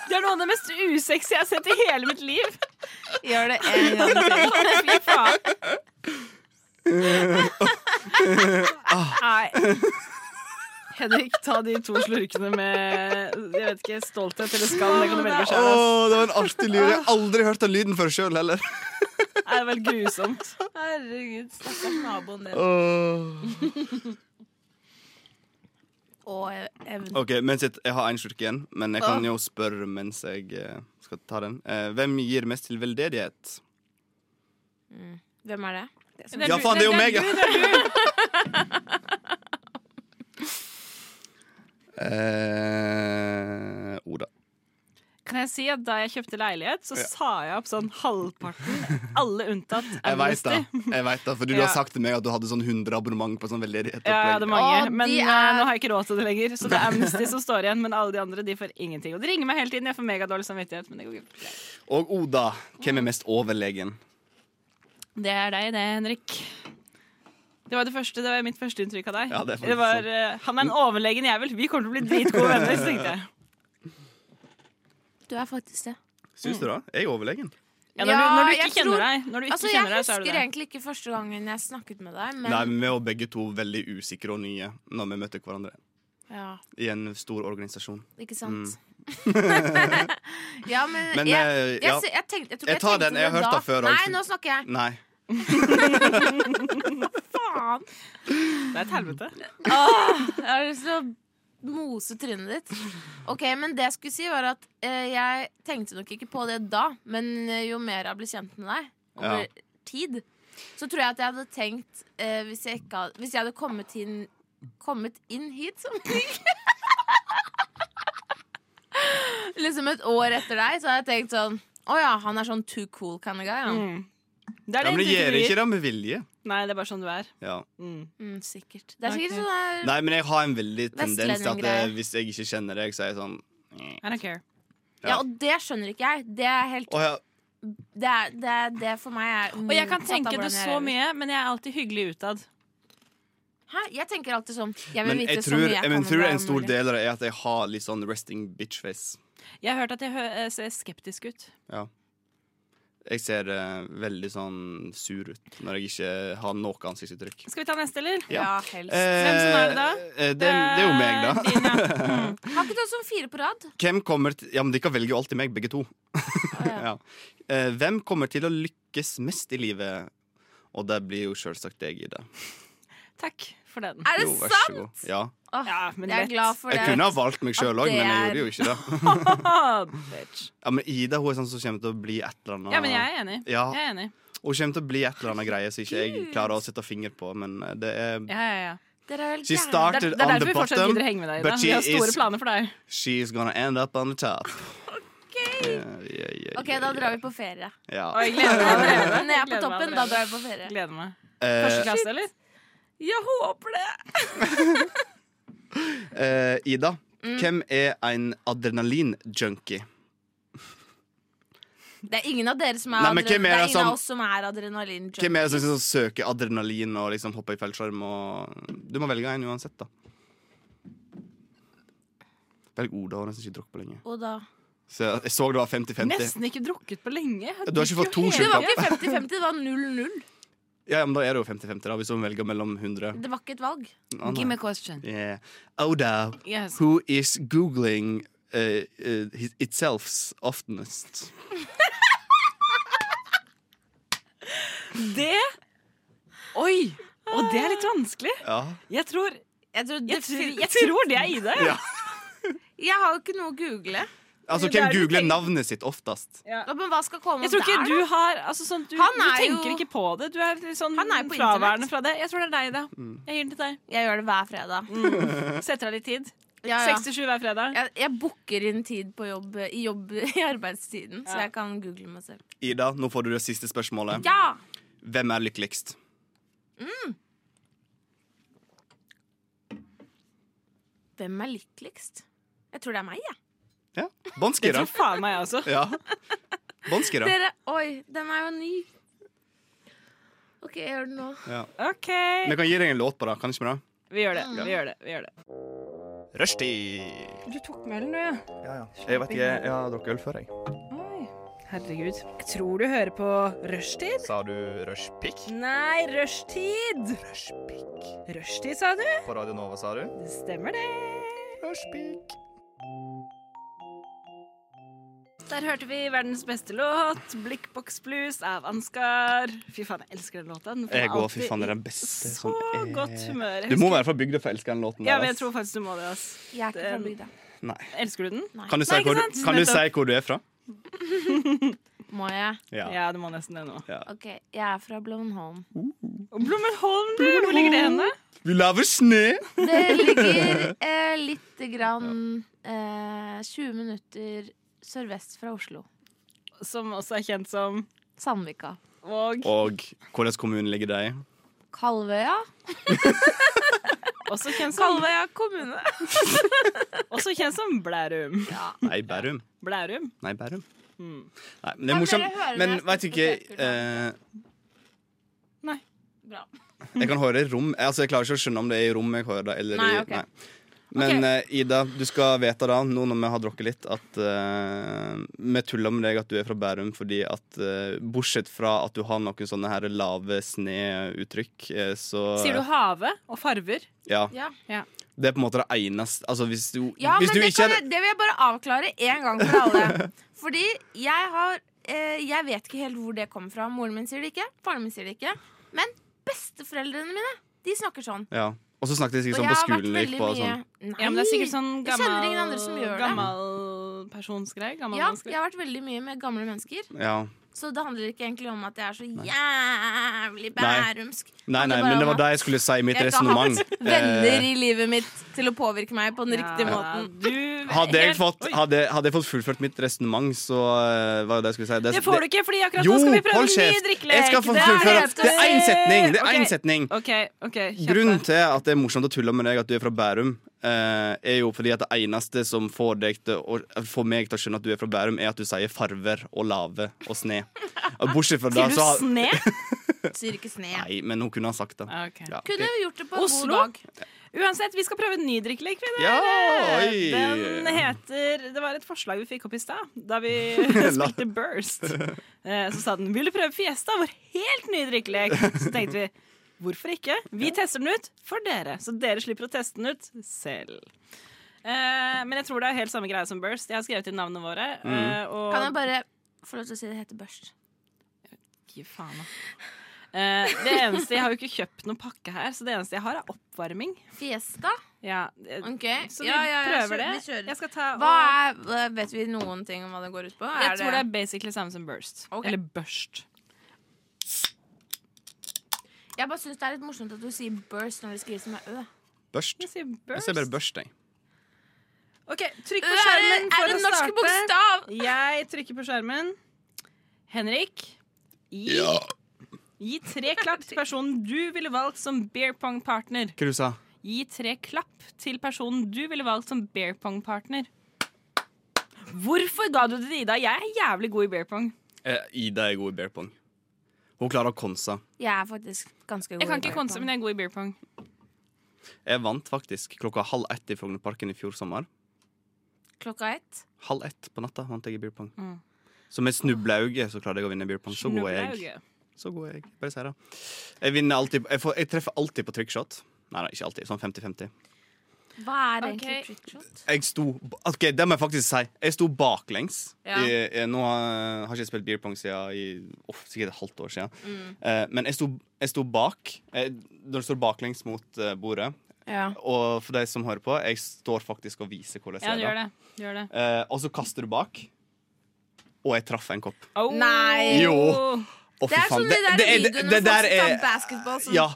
S2: Det er noe av det mest usexy jeg har sett i hele mitt liv.
S3: Gjør det en gang til.
S2: Fy faen. Nei. Henrik, ta de to slurkene med jeg vet ikke, stolthet eller skam. Det kan du velge
S4: Å,
S2: selv. ass.
S4: det var en artig lyd. Jeg har aldri hørt den lyden før sjøl heller.
S2: Nei, Det er vel grusomt.
S3: Herregud, stakkars naboen din.
S4: Åh.
S3: Og e- ev-
S4: Ok, mens jeg, jeg har en slurk igjen, men jeg kan jo spørre mens jeg eh, skal ta den. Eh, hvem gir mest til veldedighet?
S3: Hvem er det?
S4: Ja, faen, det er jo meg! Eh, Oda.
S2: Kan jeg si at Da jeg kjøpte leilighet, så sa jeg opp sånn halvparten. Alle unntatt
S4: Jeg veit det,
S2: Amnesty.
S4: jeg vet det, fordi du
S2: Ja.
S4: har sagt til meg at du hadde sånn 100 abonnement på sånn veldedighet.
S2: Ja, jeg hadde mange,
S3: Å, de
S2: men eh,
S3: er-
S2: nå har jeg ikke råd til det lenger. Så det er Amnesty som står igjen, men alle de andre de får ingenting. Og de ringer meg hele tiden. Jeg får megadårlig samvittighet, men det går ikke.
S4: Og Oda, hvem er mest overlegen?
S2: Det er deg, det, Henrik. Det var, det, første, det var mitt første inntrykk av deg.
S4: Ja, det er faktisk
S2: var, eh, han er en overlegen jævel. Vi kommer til å bli dritgode venner, så tenkte jeg.
S3: Du er faktisk det.
S4: Syns du det? Jeg er overlegen.
S2: Ja, når, du, når du
S3: jeg
S2: ikke
S3: tror-
S2: kjenner deg, når du ikke
S3: Altså, Jeg
S2: kjenner deg, så
S3: husker
S2: er du det.
S3: egentlig ikke første gangen jeg snakket med deg,
S4: Nei,
S3: men
S4: men vi var begge to veldig usikre og nye når vi møtte hverandre
S3: ja,
S4: i en stor organisasjon.
S3: ikke sant? ja, men,
S4: Men
S3: jeg,
S4: eh,
S3: jeg,
S4: ja.
S3: sy- jeg,
S4: Jeg
S3: tenkte, jeg tror ikke jeg
S4: tar
S3: tenkte
S4: den, jeg har
S3: på det
S4: hørt
S3: da.
S4: det før,
S3: Nei,
S4: altså.
S3: nå snakker jeg.
S4: Nei.
S3: Faen!
S2: Det er et helvete.
S3: Åh, Ah, jeg har lyst til å mose trynet ditt. Ok, men det jeg skulle si var at eh, jeg tenkte nok ikke på det da, men eh, jo mer jeg ble kjent med deg over
S4: Ja.
S3: tid, så tror jeg at jeg hadde tenkt eh, hvis, jeg ikke hadde, hvis jeg hadde kommet inn, kommet inn hit som Liksom et år etter deg, så hadde jeg tenkt sånn Å ja, han er sånn too cool kind of guy. Han.
S2: Mm. Det er
S4: Ja,
S2: det
S4: men det gjør
S2: inntrykket du
S4: ikke
S2: gir.
S4: det med vilje.
S2: Nei, det er bare sånn du er.
S4: Ja.
S2: Mm.
S3: Mm, sikkert. Det er sikkert
S2: Ok.
S3: sånn der
S4: Nei, men jeg har en veldig tendens til at eh,
S3: Vestlending-greier.
S4: hvis jeg ikke kjenner deg, så er jeg sånn
S2: I don't care.
S4: ja.
S3: Ja, og det skjønner ikke jeg. Det er helt
S4: Å ja.
S3: Det, er, det, er- det for meg er
S2: Og jeg kan
S3: motsatt av
S2: tenke
S3: hvordan
S2: det
S3: jeg
S2: så
S3: lever.
S2: mye, men jeg er alltid hyggelig utad.
S3: Hæ? Jeg tenker alltid sånn. Jeg vil
S4: Men
S3: vite
S4: jeg
S3: så
S4: tror,
S3: mye jeg
S4: men
S3: kan om
S4: tror
S3: deg
S4: en
S3: om
S4: stor
S3: mulig.
S4: del av det er at jeg har litt sånn resting bitch-face.
S2: Jeg har hørt at jeg hø eh, ser skeptisk ut.
S4: Jeg ser eh, veldig sånn sur ut når jeg ikke har noe ansiktsuttrykk.
S2: Skal vi ta neste, eller?
S4: Ja.
S3: Ja, helst.
S2: Hvem som er det da?
S4: Eh, det, det er jo meg, da.
S2: Din, ja. Mm.
S3: Har ikke du sånn fire på rad?
S4: Hvem kommer til, ja, men Dere velger jo alltid meg, begge to.
S3: ja.
S4: Ja. Eh, hvem kommer til å lykkes mest i livet? Og det blir jo sjølsagt deg, Ida.
S2: Takk for den.
S3: Er det
S4: Jo, vær så
S3: sant?
S4: god. Ja.
S3: Åh,
S2: Ja, men
S3: Ah, jeg er
S2: lett.
S3: glad for
S4: Jeg
S3: det.
S4: kunne ha valgt meg sjøl
S3: At
S4: òg,
S3: det
S4: men jeg
S3: er-
S4: gjorde jo ikke det.
S2: Ah, bitch.
S4: Ja, men Ida hun er sånn som kommer til å bli et eller annet
S2: Ja, men jeg er enig.
S4: Ja,
S2: Jeg er enig.
S4: Hun kommer til å bli et eller annet greie som ikke jeg klarer å sette finger på, men eh, det er
S2: Ja, ja, ja.
S3: Dere er vel
S4: She
S3: gærne.
S2: Det, er-
S4: started
S2: det er
S4: on
S2: derfor
S4: the
S2: vi fortsatt
S4: bottom,
S2: gidder å henge med deg.
S4: but
S2: Ida. Vi har
S4: she
S2: store
S4: is-
S2: planer for deg.
S4: she's gonna end up on the top.
S3: Ok.
S4: Ja, ja, ja,
S3: Ok, da drar vi på ferie.
S4: ja.
S2: Og jeg gleder meg allerede.
S3: Når jeg er på
S2: Gleder meg
S3: toppen, da
S2: allerede.
S3: drar vi på ferie.
S2: Gleder meg. Første
S4: Eh,
S2: klasse, eller?
S3: Jeg håper det!
S4: eh, Ida, hvem er en adrenalin-junkie?
S3: Det er ingen av dere som er,
S4: Nei, men
S3: adre-
S4: hvem er
S3: det er
S4: det
S3: ingen
S4: som-
S3: av oss som er adrenalin
S4: Hvem er det som liksom søker adrenalin og liksom hopper i fallskjerm? Og... Du må velge en uansett, da. Velg Oda. Hun har nesten ikke drukket på lenge.
S3: Og da
S4: Så jeg, jeg så det var 50-50.
S2: Nesten ikke drukket på lenge. Jeg
S4: Du har ikke fått to
S2: drikker jo
S3: Det
S2: hele-
S3: var ikke 50-50, det var 0-0.
S4: Ja, men da er det jo 50-50, da, hvis hun velger mellom 100.
S3: Det var ikke et valg.
S4: Ah,
S2: Give
S4: nei.
S2: me a question.
S4: yeah. Oda,
S2: Yes.
S4: who is googling uh, uh, his- itself oftenest?
S2: Det Oi! Og det er litt vanskelig.
S4: Ja.
S2: Jeg tror,
S3: Jeg, tror,
S2: jeg,
S3: det,
S2: tror, jeg
S3: jeg,
S2: tror det er Ida. jeg.
S4: ja.
S3: jeg har jo ikke noe å google.
S4: Altså,
S2: Det
S4: hvem
S2: er det du
S4: googler
S2: tenker.
S4: navnet sitt oftest?
S3: Ja, Men hva skal komme
S2: Jeg tror ikke
S3: der,
S2: du har altså, sånn, du,
S3: Han
S2: du
S3: er
S2: tenker
S3: jo-
S2: ikke på det. Du er litt sånn
S3: Han er på
S2: fraværende
S3: internett.
S2: fra det. Jeg tror det er deg, Ida.
S4: Mm.
S2: Jeg gir den til deg.
S3: da? Jeg gjør det hver fredag.
S2: Setter deg litt tid.
S3: Mm. Ja, ja.
S2: 67 hver fredag.
S3: Jeg, jeg booker inn tid på jobb i, jobb, i arbeidstiden, så
S2: Ja.
S3: jeg kan google meg selv.
S4: Ida, nå får du det siste spørsmålet.
S3: Ja!
S4: Hvem er lykkeligst?
S3: Hvem er lykkeligst? Jeg tror det er meg, jeg.
S4: Ja.
S2: Det
S4: Båndskyra.
S2: tror faen meg jeg også.
S4: Ja. Båndskyra.
S3: Dere, oi, den er jo ny. OK, jeg gjør den nå.
S4: Ja.
S2: OK.
S4: Men jeg kan gi deg en låt på det. Kan ikke vi det?
S2: Vi gjør det. Vi gjør det. Vi gjør det.
S5: Rushtid.
S6: Du tok melen, du, ja.
S5: Ja, ja. Jeg vet ikke, jeg har drukket øl før, jeg.
S6: Oi. Herregud. Jeg tror du hører på rushtid.
S5: Sa du rushpick?
S6: Nei, rushtid!
S5: Rushpick.
S6: Rushtid, sa du?
S5: På Radio Nova, sa du?
S6: Det stemmer, det.
S5: Rushpick.
S2: Der hørte vi verdens beste låt, 'Blikkboks Blues' av Ansgar. Fy faen, jeg elsker den låta. Den får
S4: Jeg
S2: meg
S4: går,
S2: alltid
S4: fy faen, det er
S2: i
S4: den beste
S2: Så godt humør. Jeg
S4: Du må være fra bygda for å elske den låten.
S2: Ja,
S4: der,
S2: men jeg
S4: ass.
S2: tror faktisk du må det. ass.
S3: Jeg er ikke fra
S2: Den-
S3: bygda.
S4: Nei.
S2: Elsker du den?
S3: Nei.
S4: Kan du si
S2: Nei, ikke
S4: hvor du,
S2: sant?
S4: kan du, si
S2: Nettopp.
S4: hvor du er fra?
S3: Må jeg?
S4: Ja.
S2: Ja, du må nesten det nå.
S3: OK, jeg er fra Blomholm.
S2: Og Blommenholm, du! Hvor ligger det henne?
S4: Vi laver snø!
S3: Det ligger eh, litt grann eh, 20 minutter sørvest fra Oslo.
S2: Som også er kjent som
S3: Sandvika.
S2: Og
S4: Og hvordan kommunen ligger der i.
S3: Kalvøya.
S2: også kjent som,
S3: Kalvøya kommune.
S2: også kjent som Blærum.
S4: Nei, Bærum.
S2: Blærum.
S4: Nei, Bærum.
S2: Mm.
S4: Nei, men det er
S3: Kan dere
S4: morsomt.
S3: høre når
S4: Men
S3: jeg
S4: veit ikke
S3: spiser
S4: eh,
S3: Bra.
S4: Jeg kan høre i rom. Altså, jeg klarer ikke å skjønne om det er i rom jeg hører det. Eller
S3: Nei,
S4: i,
S3: ok.
S4: nei. Men eh, Ida, du skal vite da, nå når vi har drukket litt, at eh, vi tuller med deg at du er fra Bærum fordi at eh, bortsett fra at du har noen sånne her lave sne-uttrykk, eh, så
S2: Sier du have og farver?
S4: ja.
S3: Ja.
S4: Det er på en måte det eneste Altså hvis du,
S3: Ja,
S4: hvis du
S3: men det,
S4: ikke
S3: kan, jeg- det vil jeg bare avklare en gang for alle. Fordi jeg har eh, Jeg vet ikke helt hvor det kommer fra. Moren min sier det ikke, faren min sier det ikke. Men besteforeldrene mine, de snakker sånn.
S4: Ja. Og så snakket jeg sikkert sånn på skolen du gikk på. og Sånn.
S3: Nei,
S2: Ja, men det er sikkert sånn
S3: Jeg kjenner ingen
S2: gammel,
S3: andre som gjør det.
S2: gammel personsgreie. Gammel
S3: ja, jeg
S2: mannsgreie.
S3: har vært veldig mye med gamle mennesker.
S4: Ja.
S3: Så det handler ikke egentlig om at jeg er så jævlig bærumsk.
S4: Nei,
S3: Handler
S4: nei,
S3: bare
S4: men det
S3: om
S4: var det jeg skulle si i mitt
S3: Jeg har
S4: resonnement. Eh.
S3: hatt venner i livet mitt til å påvirke meg på den riktige måten.
S2: Du,
S4: Eh, Hadde jeg,
S2: helt-
S4: fått,
S2: Oi.
S4: hadde, hadde jeg fått fullført mitt resonnement, så eh, var det det jeg skulle si.
S2: Det får du ikke, fordi akkurat
S4: Jo,
S2: nå skal vi prøve
S4: hold
S2: en ny
S4: kjeft!
S2: drikkelek.
S4: Jeg skal få fullføre.
S2: jeg skal
S4: Det er én
S2: si.
S4: setning! Det er
S2: Ok.
S4: én setning.
S2: OK, ok, kjempe.
S4: Grunnen til at det er morsomt å tulle med deg at du er fra Bærum, eh, er jo fordi at det eneste som får, deg til å, får meg til å skjønne at du er fra Bærum, er at du sier farver og lave og sne. Og Bortsett fra det,
S2: Sier du
S4: så har-
S2: sne?
S3: Sier ikke sne.
S4: Nei, men hun kunne ha sagt det.
S2: Ok.
S4: Ja, ok.
S3: Kunne gjort det på en
S2: Oslo?
S3: god dag.
S2: Uansett, vi skal prøve en ny drikkelek. vi,
S4: Ja,
S2: dere.
S4: oi.
S2: Den heter Det var et forslag vi fikk opp i stad, da vi spilte Burst. Eh, Så sa den 'Vil du prøve Fiesta, vår helt nye drikkelek?' Så tenkte vi hvorfor ikke? Vi tester den ut for dere, så dere slipper å teste den ut selv. Eh, Men jeg tror det er helt samme greie som Burst. Jeg har skrevet inn navnene våre.
S4: Mm.
S2: eh, Og
S3: Kan jeg bare få lov til å si det heter børst?
S2: Gi faen, da. Eh, det eneste, Jeg har jo ikke kjøpt noen pakke her, så det eneste jeg har, er oppvarming.
S3: Fiesta?
S2: Ja, eh,
S3: OK.
S2: Så vi
S3: ja, ja, ja,
S2: prøver
S3: kjør-
S2: det.
S3: Vi kjører.
S2: Jeg skal ta og-
S3: Hva er, hva- vet vi noen ting om hva det går ut på?
S2: Jeg tror det er basically samme som burst.
S3: Ok.
S2: Eller børst.
S3: jeg bare syns det er litt morsomt at du sier burst når det skrives med ø.
S4: Børst.
S2: Jeg sier
S4: Jeg
S2: burst.
S4: sier bare børst, jeg.
S2: Ok, Trykk
S3: Ø
S2: på
S3: er,
S2: skjermen
S3: er
S2: for å
S3: en norsk
S2: starte.
S3: bokstav!
S2: Jeg trykker på skjermen. Henrik, gi, gi tre klapp til personen du ville valgt som beer pong-partner.
S4: Hva du sa du?
S2: Gi tre klapp til personen du ville valgt som beer pong-partner. Hvorfor ga du det til Ida? Jeg er jævlig god i beer pong.
S4: Eh, Ida er god i bear pong. Hun klarer å konse.
S3: Jeg er faktisk ganske god
S2: Jeg kan ikke konse, men jeg er god i beer pong.
S4: Jeg vant faktisk klokka halv ett i Frognerparken i fjor sommer.
S3: Klokka ett.
S4: Halv ett på natta vant jeg i beer pong.
S2: Mm.
S4: Så med snubleauge så klarte jeg å vinne beer pong. Så god er jeg.
S2: Snubleauge.
S4: Så god er jeg. Bare si det. Jeg, vinner alltid, jeg, får, jeg treffer alltid på trickshot. Nei, nei, ikke alltid. Sånn 50-50.
S3: Hva er
S2: Ok.
S3: egentlig trickshot?
S4: Jeg sto Ok, det må jeg faktisk si. Jeg sto baklengs.
S2: Ja.
S4: Jeg, jeg, nå har jeg ikke spilt beer pong siden i, åh, sikkert et halvt år siden.
S2: Mm.
S4: Eh, men jeg sto, jeg sto bak. Eh, når du står baklengs mot eh, bordet
S6: Ja.
S4: Og for de som hører på, jeg står faktisk og viser hvordan
S2: Ja,
S4: jeg
S2: gjør
S4: er. da.
S2: det. Gjør det.
S4: Eh, og så kaster du bak. Og jeg traff en kopp.
S2: Oh.
S3: Nei.
S4: Jo. Å,
S3: Det
S4: fy faen.
S3: er
S2: sånn
S3: som de der
S4: det-
S3: videoene
S4: det
S3: med
S4: der
S3: folk som
S4: er-
S3: tar basketball som
S4: Ja.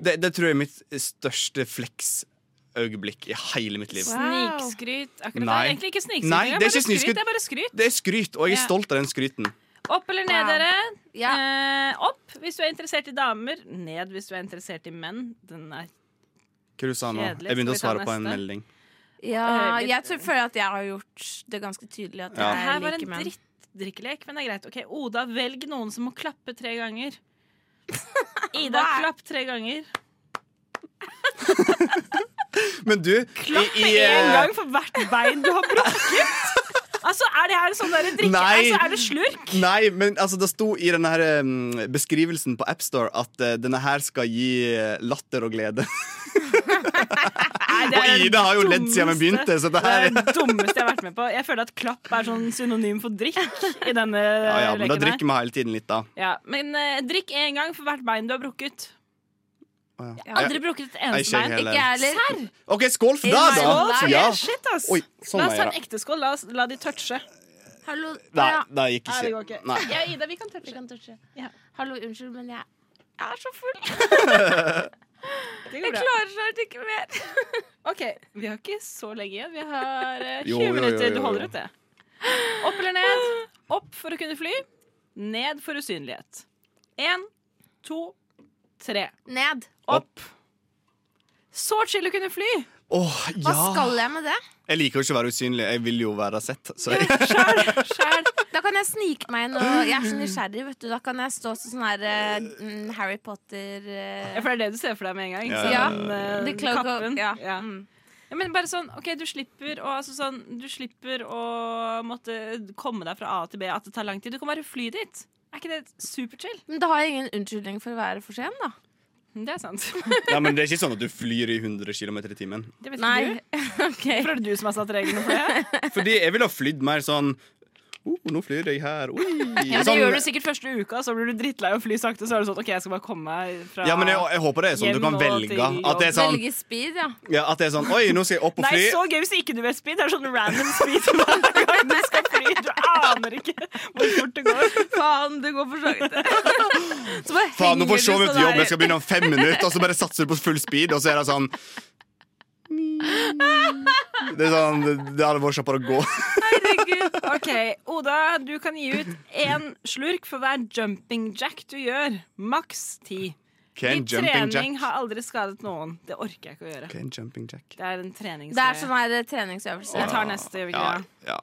S4: Det, det tror jeg er mitt største fleksøyeblikk i hele mitt liv.
S2: Snikskryt.
S4: Nei.
S2: Akkurat det er egentlig ikke snikskryt.
S4: Nei, det er
S2: bare
S4: ikke snikskryt.
S2: Det er bare skryt.
S4: Det er skryt, og jeg er
S2: Ja.
S4: stolt av den skryten.
S2: Opp eller ned,
S3: Wow.
S2: dere.
S3: Ja.
S2: Eh, opp hvis du er interessert i damer. Ned hvis du er interessert i menn. Den er
S4: Hva du sa nå?
S2: Kjedelig.
S4: Jeg begynte å
S2: Skal vi ta
S4: svare på en
S2: neste?
S4: melding.
S3: Ja,
S2: Litt-
S3: jeg tror, føler at jeg har gjort det ganske tydelig at
S4: Ja.
S2: Det her
S3: jeg
S2: var en
S3: liker menn.
S2: drittdrikkelek, men det er greit. Ok, Oda, velg noen som må klappe tre ganger. Ida,
S3: Hva?
S2: klapp tre ganger.
S4: Men du
S2: Klapp
S4: i- i,
S2: én
S4: eh,
S2: gang for hvert bein du har brukket! Altså, Er det her en sånn derre drikke...
S4: Nei.
S2: Altså, er det slurk?
S4: Nei, men altså, det sto i denne her, em, beskrivelsen på AppStore at eh, denne her skal gi eh, latter og glede.
S2: Nei,
S4: Og
S2: det er det
S4: Ida har jo ledd
S2: dummeste-
S4: siden vi begynte, så det
S2: Det
S4: her
S2: er det dummeste jeg har vært med på. Jeg føler at klapp er sånn synonym for drikk i denne
S4: Ja, ja, men da
S2: leken her.
S4: drikker vi hele tiden litt, da.
S2: Ja, men eh, drikk én gang for hvert bein du har brukket.
S4: Å,
S2: Jeg har aldri brukket et
S4: Nei, ikke
S2: eneste
S4: jeg
S2: bein.
S4: heller.
S3: Ikke jeg heller.
S4: OK, skål for det,
S2: Skål
S4: da!
S2: for
S4: Ja.
S2: det! Shit, ass.
S4: Oi, sånn
S2: La
S4: må
S2: oss
S4: jeg
S2: ta
S4: gjøre.
S2: en ekte skål. La, oss, la de touche.
S3: Hallo,
S4: Nei,
S3: ja.
S4: det gikk
S2: Nei, det går
S4: ikke.
S2: ikke.
S4: Nei.
S3: Ja, Ida, vi kan touche.
S2: Ja.
S3: Hallo, unnskyld, men jeg, jeg er så full.
S2: Det
S3: Jeg
S2: går bra.
S3: klarer snart ikke mer.
S2: Ok, Vi har ikke så lenge igjen. Vi har eh, 20
S4: Jo, jo, jo,
S2: minutter.
S4: jo,
S2: Du
S4: jo.
S2: holder ut, det. Opp eller ned? Opp for å kunne fly. Ned for usynlighet. Én, to, tre.
S3: Ned.
S4: Opp.
S2: Så chill å kunne fly!
S4: Åh,
S3: Hva
S4: ja!
S3: skal jeg med det?
S4: Jeg liker jo ikke å være usynlig. Jeg vil jo være sett. Så jeg,
S2: Sjæl, sjæl.
S3: Da kan jeg snike meg inn. Og jeg er så nysgjerrig. vet du Da kan jeg stå som sånn her eh, mm, Harry Potter eh,
S2: Ja, For det er det du ser for deg med en gang.
S4: Ja.
S2: ikke sant?
S3: Ja.
S2: Den, eh,
S3: The cloak of-
S2: kappen.
S3: ja.
S2: Ja.
S3: Mm.
S2: Ja, men bare sånn, ok, du slipper, å- altså sånn, du slipper å måtte komme deg fra A til B at det tar lang tid. Du kan bare fly dit. Er ikke det superchill?
S3: Men da har jeg ingen unnskyldning for å være for sen, da.
S2: Det er sant.
S4: Nei, men det er ikke sånn at du flyr i 100 km i timen.
S2: Det vet
S3: Nei.
S2: ikke du. Hvorfor er det du som har satt reglene for det?
S4: Fordi jeg ville ha flydd mer sånn oh, nå flyr jeg her. Oi.
S2: Ja, Det
S4: sånn,
S2: gjør du sikkert første uka, så blir du drittlei av å fly sakte. Så er det sånn, ok, jeg skal bare komme meg fra
S4: Ja, men jeg, jeg håper det er sånn. Du kan
S2: Hjem og
S4: velge.
S2: til
S4: At det er sånn,
S3: Velge speed, ja.
S4: ja, at det er sånn Oi, nå skal jeg opp og
S2: Nei,
S4: fly.
S2: så gøy hvis ikke du vet speed. Det er sånn random speed hver gang du skal fly. Du aner ikke hvor fort det går.
S3: Faen, det går for sakte. Så bare
S4: Faen, nå får
S3: henger du
S4: jeg se meg
S3: sånn
S4: til jobb.
S3: her.
S4: Jeg skal begynne om fem minutter, og så bare satser du på full speed, og så er det sånn Det er sånn Det det hadde vært kjappere å gå.
S2: Herregud. Ok, Oda, du kan gi ut én slurk for hver jumping jack du gjør. Maks ti.
S4: Can
S2: Litt
S4: jumping
S2: trening
S4: jack.
S2: har aldri skadet noen. Det orker jeg ikke å gjøre.
S4: Can jumping jack.
S2: Det er en treningsgreie.
S3: Det er sånn her eh, treningsøvelse.
S2: Vi tar neste. Gjør vi ikke
S4: Ja,
S2: det?
S4: ja.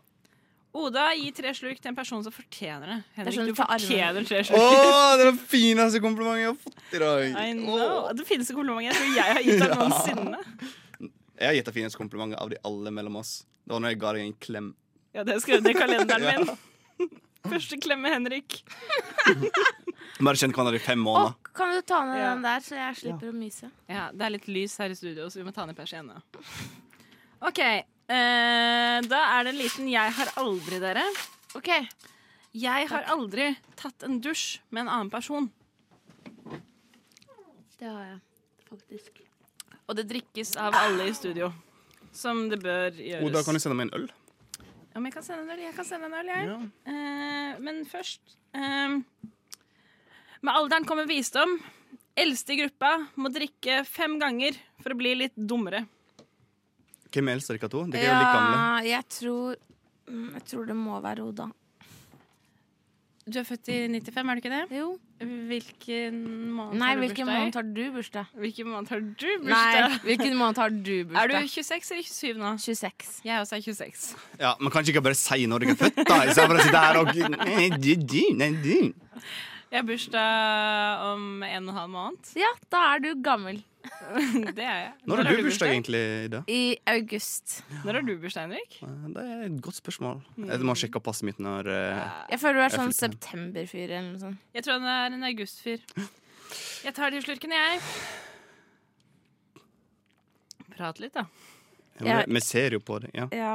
S2: Oda, gi tre slurk til en person som fortjener det. Henrik,
S3: sånn
S2: du
S3: for armene.
S2: fortjener tre
S4: Å,
S2: slurk.
S4: det er det fineste komplimentet jeg har fått i dag.
S2: I know. Det fineste komplimentet jeg tror jeg har gitt deg noensinne.
S4: Jeg har gitt det fineste komplimentet av de alle mellom oss. Det var når jeg ga deg en klem.
S2: Ja, det skrev jeg ned i kalenderen min. Første klemme, Henrik.
S4: Bare kjent hverandre i fem
S3: Å,
S4: måneder.
S3: kan du ta ned
S2: Ja.
S3: den der, så jeg slipper å myse?
S2: Ja, Det er litt lys her i studio, så vi må ta ned persiennene. OK. eh, da er det en liten 'jeg har aldri', dere.
S3: OK.
S2: Jeg har aldri tatt en dusj med en annen person.
S3: Det har jeg faktisk.
S2: Og det drikkes av alle i studio. Som det bør gjøres.
S4: Oda, kan du sende meg en øl?
S2: Om jeg kan sende en øl? Jeg kan sende en øl, jeg. Eh, men først eh, Med alderen kommer visdom. Eldste i gruppa må drikke fem ganger for å bli litt dummere.
S4: Hvem er eldst av dere to? Dere er jo litt gamle.
S3: Ja, jeg tror mm, Jeg tror det må være Oda.
S2: Du er født i 95, er du ikke det?
S3: Jo.
S2: Hvilken måned
S3: Nei,
S2: har du
S3: hvilken
S2: bursdag i?
S3: måned har du bursdag?
S2: Hvilken måned har du bursdag?
S3: Nei, hvilken måned har du
S2: Er du
S3: bursdag?
S2: 26 eller 27 nå?
S3: 26.
S2: Jeg også er 26.
S4: Ja, Men kanskje ikke bare si når dere er født, da? Istedenfor å sitte her og Nei, du, du, nei, du.
S2: Jeg har bursdag om en og en halv måned.
S3: Ja, da er du gammel.
S2: Det er jeg.
S4: Når har du bursdag, egentlig, Ida?
S3: I august.
S2: Når har du bursdag, Henrik?
S4: Eh, Det er et godt spørsmål. Jeg må sjekke passet mitt når eh,
S3: Jeg føler du er
S4: Jeg
S3: sånn
S4: fulgte.
S3: septemberfyr eller noe sånt.
S2: Jeg tror han er en augustfyr. Jeg tar de slurkene, jeg. Prat litt, da.
S4: ja, men Vi ser jo på det. Ja.
S3: Ja.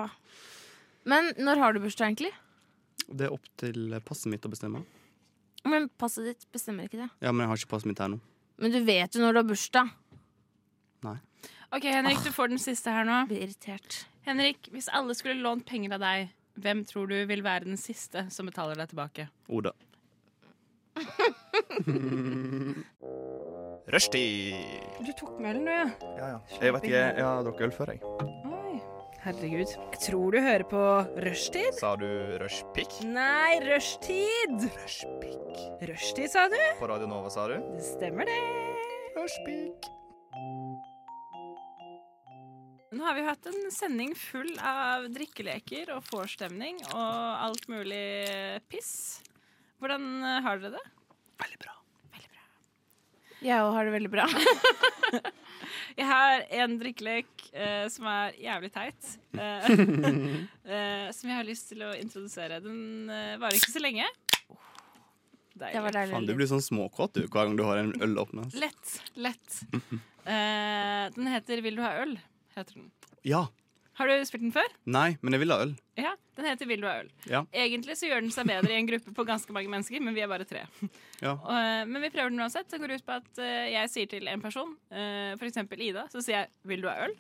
S3: Men når har du bursdag, egentlig?
S4: Det er opp til passet mitt å bestemme.
S3: Men passet ditt bestemmer ikke det.
S4: Ja, men jeg har ikke passet mitt her nå.
S3: Men du vet jo når du har bursdag.
S2: Ok, Henrik, du får den siste her nå.
S3: Blir irritert.
S2: Henrik, hvis alle skulle lånt penger av deg, hvem tror du vil være den siste som betaler deg tilbake?
S4: Oda.
S5: Rushtid.
S6: Du tok melen, du, ja.
S5: Ja, ja. Jeg vet ikke, jeg, jeg har drukket øl før, jeg.
S6: Oi. Herregud. Jeg tror du hører på rushtid.
S5: Sa du rushpick?
S6: Nei, rushtid!
S5: Rushpick.
S6: Rushtid, sa du?
S5: På Radio Nova, sa du?
S6: Det stemmer, det.
S5: Rushpick.
S2: Nå har vi hatt en sending full av drikkeleker og vorstemning og alt mulig piss. Hvordan eh, har dere det?
S3: Jeg òg har det veldig bra.
S2: Jeg har en drikkelek eh, som er jævlig teit. eh, eh, som jeg har lyst til å introdusere. Den eh, varer ikke så lenge. Deilig.
S3: Det var
S4: Faen, du
S3: deilig.
S4: blir sånn småkåt du, hver gang du har en øl åpna.
S2: Lett. Lett. Eh, den heter 'Vil du ha øl?' heter den.
S4: Ja.
S2: Har du spilt den før?
S4: Nei, men jeg vil ha øl.
S2: Ja, den heter 'Vil du ha øl'.
S4: Ja.
S2: Egentlig så gjør den seg bedre i en gruppe på ganske mange mennesker, men vi er bare tre.
S4: Ja.
S2: Og, eh, men vi prøver den uansett. Det går ut på at eh, jeg sier til en person, eh, for eksempel Ida, så sier jeg 'Vil du ha øl?'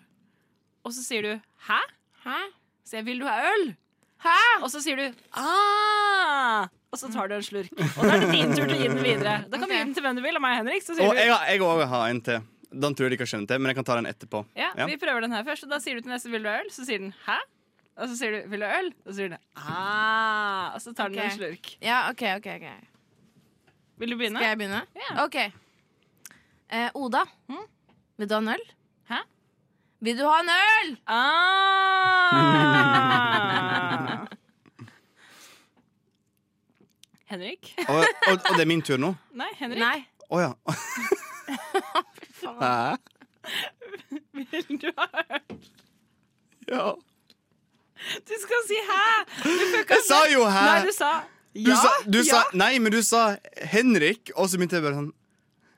S2: Og så sier du 'Hæ?'
S3: Hæ?
S2: Så sier jeg 'Vil du ha øl?'
S3: Hæ?
S2: Og så sier du ah! Og så tar du en slurk. Og da er det din tur til å gi den videre. Da kan du gi den til hvem du vil, og meg og Henrik. Så sier
S4: Og jeg
S2: du,
S4: har- jeg òg har en til. Den tror jeg de ikke har skjønt det, men jeg kan ta den etterpå.
S2: ja,
S4: Ja.
S2: Vi prøver den her først, og da sier du til neste 'vil du ha øl', så sier den 'hæ'? Og så sier du 'vil du ha øl', og så sier den 'ah', og så tar den
S3: Ok.
S2: en slurk.
S3: Ja, OK, OK. ok
S2: Vil du begynne?
S3: Skal jeg begynne?
S2: Ja.
S3: OK. Eh, Oda, vil du ha en øl?
S2: Hæ?
S3: Vil du ha en øl?
S2: Ah! Henrik?
S4: Og, og, og det er min tur nå?
S2: Nei, Henrik.
S3: Nei.
S4: Å ja. Hæ?
S2: Vil du ha øl?
S4: Ja.
S2: Du skal si 'hæ'! Du kan ikke
S4: Jeg sa jo
S2: Nei,
S4: hæ!
S2: du sa
S4: Du
S2: ja.
S4: sa, du
S2: ja.
S4: sa Nei, men du sa Henrik, og så begynte jeg bare sånn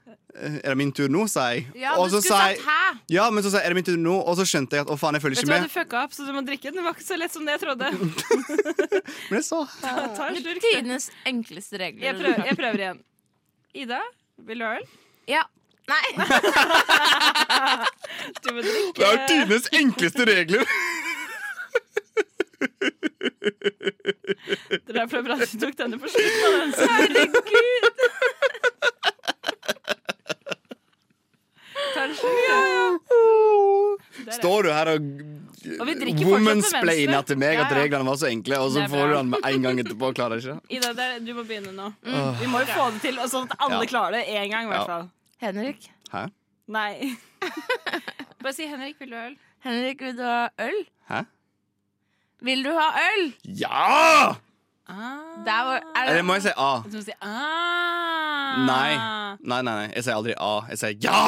S4: eh, Er det min tur nå, sa jeg.
S3: Ja,
S4: og
S3: du
S4: så
S3: skulle
S4: sa jeg
S3: sagt hæ.
S4: Ja, men så sa jeg er det min tur nå, og så skjønte jeg at å faen, jeg følger
S2: Vet
S4: ikke
S2: du hva, du
S4: med.
S2: fucka opp, så du må drikke den. Det var ikke så lett som det jeg trodde.
S4: Men jeg sa hæ.
S2: Ta en slurk. du.
S3: Tidenes enkleste regler.
S2: Jeg prøver, jeg prøver igjen. Ida, vil du ha øl?
S3: Ja. Nei.
S2: Du må drikke.
S4: Det er jo tidenes enkleste regler!
S2: Det er derfor jeg bra at du tok denne på slutten av den.
S3: Herregud.
S2: Ta en slurk, da. Der er
S4: Står du her og,
S2: Og vi drikker fortsatt med
S4: womansplainer
S2: venstre.
S4: til meg at
S2: Ja, ja.
S4: reglene var så enkle, og så
S2: Det er
S4: får
S2: bra.
S4: du den med en gang etterpå og klarer ikke?
S2: det. Ida, det er- du må begynne nå. Vi må jo få det til, og sånn at alle
S4: Mm. Ja.
S2: klarer det én gang, i
S4: Ja.
S2: hvert fall.
S3: Henrik.
S4: Hæ?
S2: Nei. Bare si 'Henrik, vil du ha øl?'
S3: Henrik, vil du ha øl?
S4: Hæ?
S3: Vil du ha øl?
S4: Ja!
S2: Ah.
S3: Der var, er det,
S4: Eller må jeg si A?
S2: Du må si ah.
S4: Nei. Nei, nei, nei. Jeg sier aldri A. Jeg sier ja!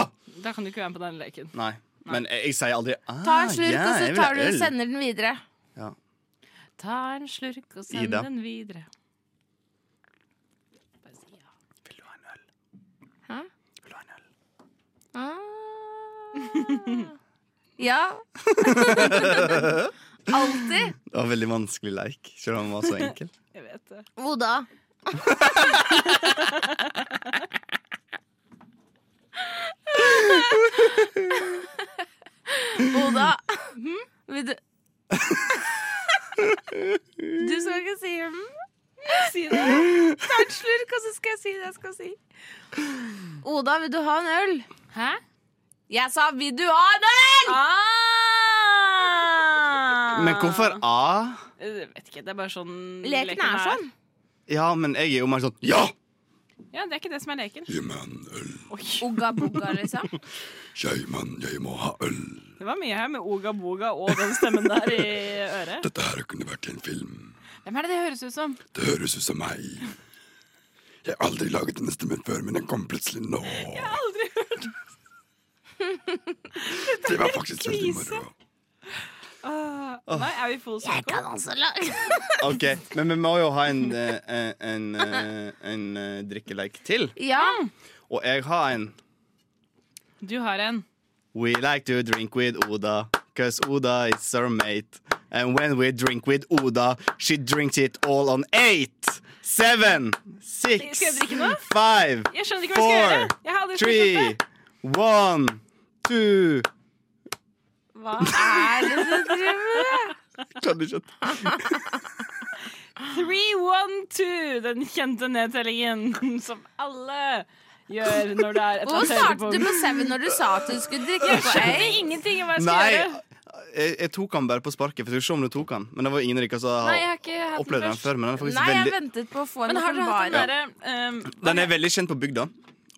S2: Da kan du ikke være med på den leken.
S4: Nei. Men jeg, jeg sier aldri ah,
S3: ta en slurk,
S4: ja,
S3: og så
S4: jeg vil ha
S3: tar du og
S4: øl.
S3: sender den videre.
S2: Ta en slurk og send
S4: Ida.
S2: den videre. Bare si ja.
S4: Vil du ha en øl?
S3: Hæ?
S4: Vil du ha en øl?
S3: Ah. Ja. Alltid.
S4: Det var en veldig vanskelig leik, selv om den var så enkel.
S2: Jeg vet det.
S3: Hvor da? Oda, Hm? vil du Du skal ikke si mm.
S2: Si det.
S3: Ta en slurk, og så skal jeg si det jeg skal si. Oda, vil du ha en øl?
S2: Hæ?
S3: Jeg sa 'vil du ha en øl'! Ah!
S2: Ah!
S4: Men hvorfor A?
S2: Jeg vet ikke. Det er bare sånn
S3: Leken er sånn.
S4: Ja, men jeg er jo mer sånn Ja!
S2: Ja, det er ikke det som er leken.
S4: Gi meg en øl.
S2: Oi,
S3: Ugga bugga, liksom.
S4: Jeg, mann, jeg må ha øl.
S2: det var mye her med Oga Boga og den stemmen der i øret.
S4: Dette her kunne vært en film.
S2: Hvem er det det høres ut som?
S4: Det høres ut som meg. Jeg har aldri laget denne stemmen før, men den kom plutselig nå.
S2: Aldri hørt.
S4: Det var faktisk
S2: veldig krise. moro. Ah, nei, er vi full psycho?
S4: Altså,
S3: også lage
S4: Ok, Men vi må jo ha en, eh, eh, en, eh, en eh, drikkeleik til.
S3: Ja.
S4: Og jeg har en
S2: Du har en.
S4: We like to drink with Oda, cause Oda is our mate. And when we drink with Oda, she drinks it all on eight, seven, six,
S2: Skal jeg drikke nå?
S4: five,
S2: Jeg skjønner ikke hva jeg skal
S4: four,
S2: gjøre. Jeg har aldri spilt
S4: three,
S2: dette.
S4: one, two
S2: Hva er det du driver med?
S4: Skjønner ikke at
S2: Three, one, two, den kjente nedtellingen som alle gjør når det er et
S3: Hvorfor
S2: eller annet
S3: startet du
S2: høydepunkt.
S3: på seven når du sa at du skulle drikke på
S2: Jeg
S3: øy?
S2: vet ingenting om hva jeg skal
S4: Nei,
S2: gjøre.
S4: jeg, jeg tok han bare på sparket. For jeg skulle se om du tok han Men det var ingen av dere som
S2: Nei, jeg
S4: har
S2: har ikke hatt
S4: opplevd
S2: den
S4: den
S2: først.
S4: før. Men den er faktisk
S3: Nei, jeg
S4: veldig
S3: ventet på å få en
S2: Men har dere hatt den
S3: åpenbaring.
S2: derre um,
S4: Den er veldig kjent på bygda.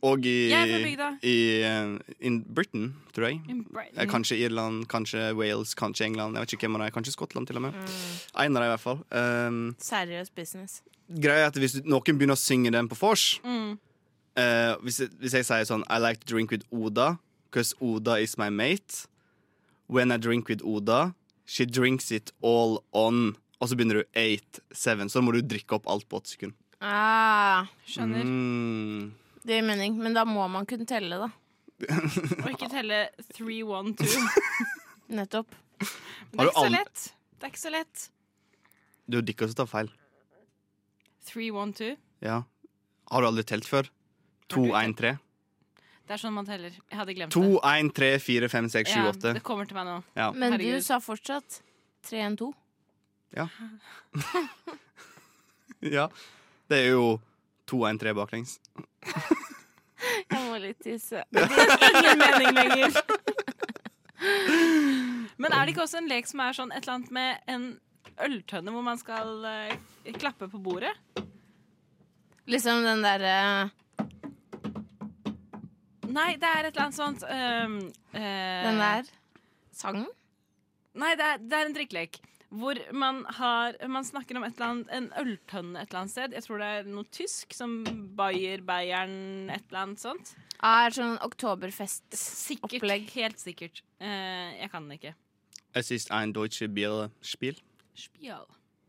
S4: Og i,
S2: Jeg er på bygda.
S4: i eh, in Britain, tror jeg. Eh,
S2: Brighton?
S4: Kanskje Irland, kanskje Wales, kanskje England. Jeg vet ikke hvem av dem. Kanskje Skottland, til og med.
S2: Mm.
S4: En av dem, i hvert fall. Um,
S3: Seriøs business.
S4: greia er at hvis noen begynner å synge den på vors
S2: Mm.
S4: eh, hvis, jeg- hvis jeg sier sånn I like to drink with Oda, because Oda is my mate. When I drink with Oda, she drinks it all on. Og så begynner du eight, seven. Så må du drikke opp alt på åtte sekunder.
S3: Ah,
S2: Skjønner.
S4: Mm.
S3: det gir mening. Men da må man kunne telle, da.
S2: Og ikke telle three, one, two. Men
S3: Nettopp.
S2: Det er
S4: Har du
S2: ikke så
S4: an-
S2: lett. Det er ikke så lett.
S4: Du er dikka som tar feil.
S2: Three, one, two.
S4: Ja. Har du aldri telt før? To,
S2: Har du
S4: én, tre.
S2: Det er sånn man teller. Jeg hadde glemt det.
S4: To, én, tre, fire, fem, seks, sju,
S2: Ja,
S4: åtte.
S2: det kommer til meg nå.
S4: Ja.
S3: Men
S2: Herregud.
S3: du sa fortsatt 3-1-2.
S4: ja. Det er jo to, én, tre baklengs.
S3: Jeg må litt tisse.
S2: Ingen mening lenger. Men er det ikke også en lek som er sånn et eller annet med en øltønne hvor man skal eh, klappe på bordet?
S3: Liksom den derre
S2: Nei, det er et eller annet sånt ehm, eh,
S3: Den der sangen?
S2: Nei, det er, det er en drikkelek. Hvor man, har, man snakker om et eller annet, en øltønne et eller annet sted. Jeg tror det er noe tysk, som Bayer, Bayern, et eller annet sånt.
S3: Ah, er sånn oktoberfest-opplegg.
S2: Sikkert. Helt sikkert. Eh, jeg kan den ikke.
S4: Es ist ein deutsche Bierspiel.
S2: Spial.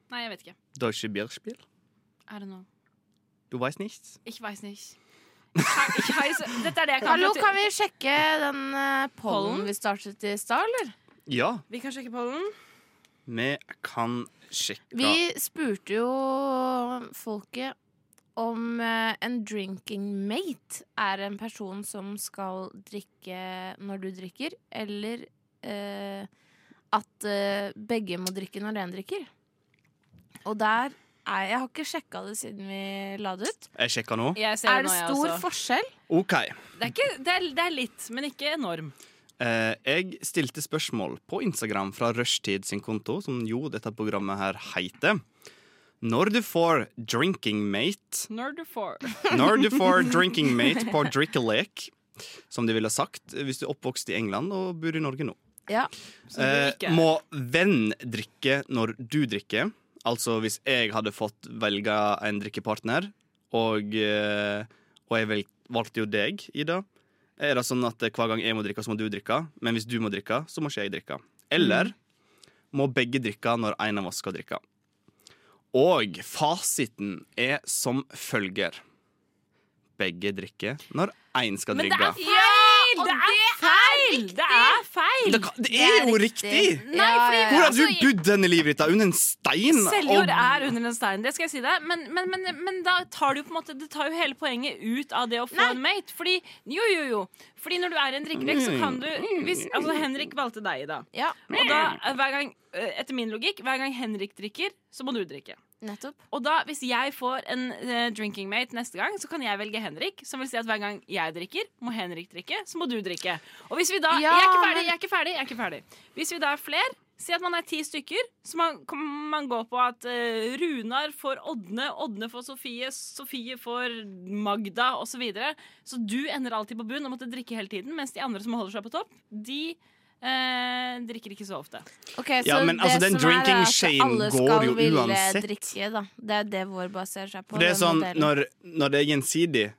S2: Nei, jeg vet ikke.
S4: Deutsche Bierspiel?
S2: Er det noe?
S4: Du weißt nichts?
S2: Ich weiß nicht. Ich hei- ich heise- Dette er det jeg kan.
S3: Hallo, kan vi sjekke den eh, pollen
S2: Pollen?
S3: vi startet i stad, eller?
S4: Ja,
S2: Vi kan sjekke pollen.
S4: vi kan sjekke
S3: Vi spurte jo folket om eh, en drinking mate er en person som skal drikke når du drikker, eller eh, at eh, begge må drikke når den drikker. Og der er Jeg har ikke sjekka det siden vi la det ut.
S4: Jeg sjekker nå.
S2: Jeg ser
S3: Er
S2: det
S3: det
S2: nå, jeg
S3: stor
S2: også.
S3: forskjell?
S4: OK.
S2: Det er, ikke, det, er, det er litt, men ikke enorm.
S4: Eh, jeg stilte spørsmål på Instagram fra Rushtid sin konto, som jo dette programmet her heter. Når du får drinking mate
S2: Når du får
S4: Når du får drinking mate på drikkelek, som de ville sagt hvis du er oppvokst i England og bor i Norge nå.
S3: Ja.
S2: Som du
S4: Eh,
S2: ikke er.
S4: må venn drikke når du drikker? Altså hvis jeg hadde fått velge en drikkepartner, og, eh, og jeg vel, valgte jo deg, Ida. Er det sånn at eh, hver gang jeg må drikke, så må du drikke? Men hvis du må drikke, så må ikke jeg drikke. Eller må begge drikke når en av oss skal drikke. Og fasiten er som følger. Begge drikker når én skal
S2: Men det
S4: drikke.
S2: er feil! Det er feil! Det er feil!
S4: Det, kan- det er jo riktig.
S3: Nei, fordi
S4: Hvor har du budd denne livet ditt? da? Under en stein?
S2: Eh, altså, Selvjord
S4: Og-
S2: er under en stein, det skal jeg si deg. Men, men, men, men da tar du på en måte Det tar jo hele poenget ut av det å få en mate. Fordi, jo, jo, jo. Fordi når du er i en drikkelek, så kan du hvis, Altså, Henrik valgte deg, da.
S3: Ja,
S2: Og da, eh, hver gang, eh, etter min logikk, hver gang Henrik drikker, så må du drikke.
S3: nettopp.
S2: Og da, hvis jeg får en eh, drinking mate neste gang, så kan jeg velge Henrik. Som vil si at hver gang jeg drikker, må Henrik drikke, så må du drikke. Og hvis vi da
S3: Ja,
S2: Jeg er ikke ferdig,
S3: men-
S2: jeg er ikke ferdig, jeg er ikke ferdig. Hvis vi da er flere, Si at man er ti stykker, så man, kan man gå på at eh, Runar får Ådne, Ådne får Sofie, Sofie får Magda osv. Så, videre. så du ender alltid på bunn og måtte drikke hele tiden, mens de andre som holder seg på topp, de eh, drikker ikke så ofte.
S3: Ok,
S4: Ja,
S3: så
S4: men
S3: det
S4: altså, den
S3: som er
S4: drinking
S3: at
S4: shame
S3: alle
S4: går
S3: skal
S4: jo
S3: ville
S4: uansett.
S3: Drikke, da. Det er det vår baserer seg på.
S4: For det er
S3: den
S4: sånn,
S3: modellen.
S4: når, når det er gjensidig,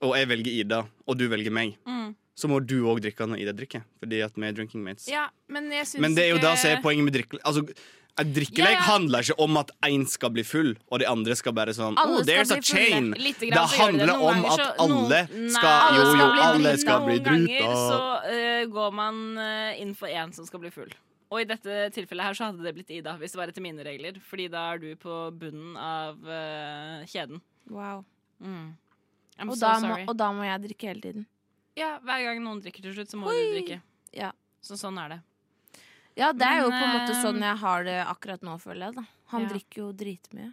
S4: og jeg velger Ida, og du velger meg,
S2: Mm.
S4: så må du òg drikke når Ida drikker. Fordi at vi er drinking mates.
S2: Ja, men jeg syns
S4: Men det er jo
S2: ikke
S4: da som er poenget med drikkelek. Altså, en drikkelek
S2: Ja, ja.
S4: handler ikke om at én skal bli full, og de andre skal bare sånn
S3: Alle
S4: oh, there's
S3: skal
S4: a
S3: bli fulle.
S4: chain.
S2: Litt
S4: Det
S2: grann så gjør de
S4: handler
S2: Noen
S4: om
S2: ganger
S4: at
S2: så-
S4: alle
S2: noen-
S4: skal-
S3: jo, jo, alle
S4: skal bli
S2: Noen ganger
S4: drita.
S2: så eh, går man eh, inn for én som skal bli full. Og i dette tilfellet her så hadde det blitt Ida, hvis det var etter mine regler. Fordi da er du på bunnen av eh, kjeden. Mm.
S3: Wow.
S2: I'm
S3: Og,
S2: so
S3: da må,
S2: sorry.
S3: og da må jeg drikke hele tiden.
S2: Ja, hver gang noen drikker til slutt, så må du
S3: Oi.
S2: drikke.
S3: Ja.
S2: Så sånn er det.
S3: Ja, det er jo
S2: Men,
S3: på en måte
S2: eh,
S3: sånn jeg har det akkurat nå, føler jeg. da Han
S2: ja.
S3: drikker jo dritmye.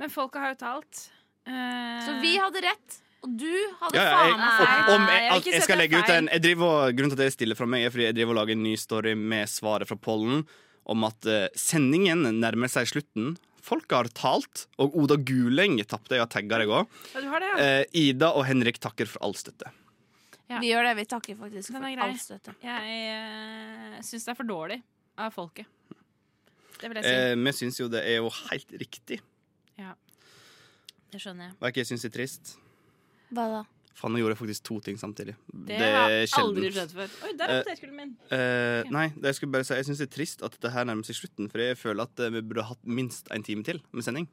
S2: Men folka har jo talt. Eh,
S3: Så vi hadde rett, og du hadde
S4: Ja, ja, jeg,
S3: faen meg feil.
S4: om, om jeg,
S2: Nei, jeg vil ikke
S4: altså, jeg skal
S2: si at det er
S4: legge ut
S2: feil.
S4: en jeg driver, Grunnen til at jeg stiller fra meg, er fordi jeg driver og lager en ny story med svaret fra pollen om at eh, sendingen nærmer seg slutten. Folket har talt, og Oda Guleng tapte. Jeg har tagga deg òg.
S2: Ja, du har det, ja.
S4: Eh, Ida og Henrik takker for all støtte.
S2: Ja.
S3: Vi gjør det. Vi takker faktisk
S2: Den er
S3: for
S2: grei.
S3: all støtte.
S2: Jeg uh, syns det er for dårlig av folket. Det vil jeg si.
S4: Eh, Vi syns jo det er jo helt riktig.
S2: det skjønner jeg.
S4: Hva er ikke jeg syns er trist?
S3: Hva da?
S4: Faen, nå gjorde jeg faktisk to ting samtidig.
S2: Det,
S4: Det,
S2: har
S4: er
S2: jeg aldri
S4: sjelden.
S2: skjedd før. Oi, der
S4: Eh,
S2: oppdater skulderen min.
S4: Eh, nei, det jeg skulle bare si Jeg syns det er trist at det her nærmer seg slutten, for jeg føler at eh, vi burde hatt minst en time til med sending.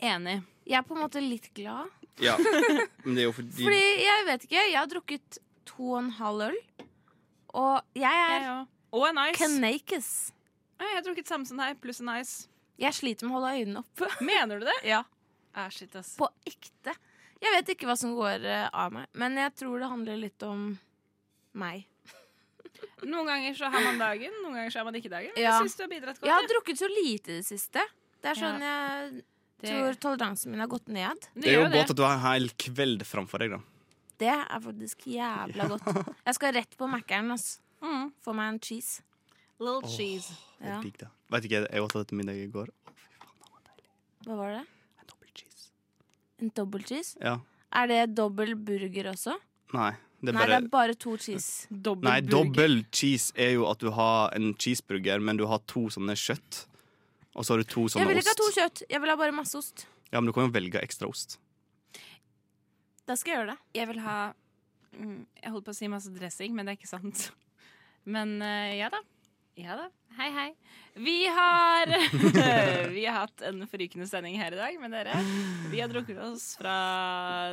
S2: Enig.
S3: Jeg er på en måte litt glad.
S4: Ja, Men det er jo fordi
S3: Fordi jeg vet ikke. Jeg har drukket to og en halv øl. Og jeg
S2: Jeg
S3: er
S2: òg. Og en ice.
S3: canakis.
S2: Nei, Jeg har drukket samme som deg, pluss en ice.
S3: Jeg sliter med å holde øynene oppe.
S2: Mener du det? Ja. Ah, shit, ass.
S3: På ekte. Jeg vet ikke hva som går eh, av meg, men jeg tror det handler litt om meg.
S2: Noen ganger så har man dagen, noen ganger så har man ikke dagen. Men
S3: Ja.
S2: jeg syns du har bidratt godt.
S3: Jeg har
S2: jeg.
S3: drukket så lite i det siste. Det er sånn jeg
S2: Det-
S3: tror toleransen min har gått ned.
S2: Du
S4: Det er
S2: gjør
S4: jo godt at du har en hel kveld framfor deg, da.
S3: Det er faktisk jævla godt. Jeg skal rett på Mækkern. ass.
S2: Mm.
S3: Få meg en cheese.
S2: Little cheese.
S4: Jeg
S3: Ja.
S4: digg det. Vet ikke, jeg åt det til middag i går.
S3: Hva var det?
S4: En dobbel cheese.
S3: En dobbel cheese?
S4: Ja.
S3: Er det dobbel burger også?
S4: Nei, det er
S3: Nei, det
S4: bare
S3: er bare to cheese.
S2: Dobbel
S4: Nei,
S2: burger.
S4: dobbel cheese er jo at du har en cheeseburger, men du har to sånne kjøtt. Og så har du to
S3: Jeg
S4: sånne
S3: vil ikke ha to
S4: ost.
S3: kjøtt. Jeg vil ha bare masse ost.
S4: Ja, men du kan jo velge ekstra ost.
S3: Da skal jeg gjøre det.
S2: Jeg vil ha mm, Jeg holdt på å si masse dressing, men det er ikke sant. Men eh, ja da. Ja da. Hei, hei. Vi har Vi har hatt en forrykende sending her i dag med dere. Vi har drukket oss fra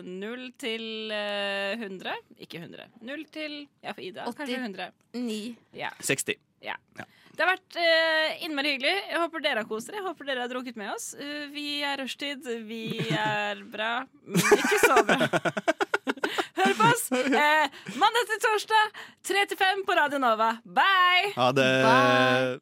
S2: null til eh, 100. Ikke 100. Null til Ja, for Ida.
S3: 80.
S2: Kanskje 100.
S3: Ni.
S2: Ja.
S4: 60.
S2: Det har vært eh, innmari hyggelig. Jeg håper dere har kost dere. Jeg håper dere har drukket med oss. Eh, vi er rushtid. Vi er bra, men ikke så bra. Hør på oss eh, mandag til torsdag, 3 til 5 på Radio Nova. Bye!
S4: Ha det.
S3: Bye.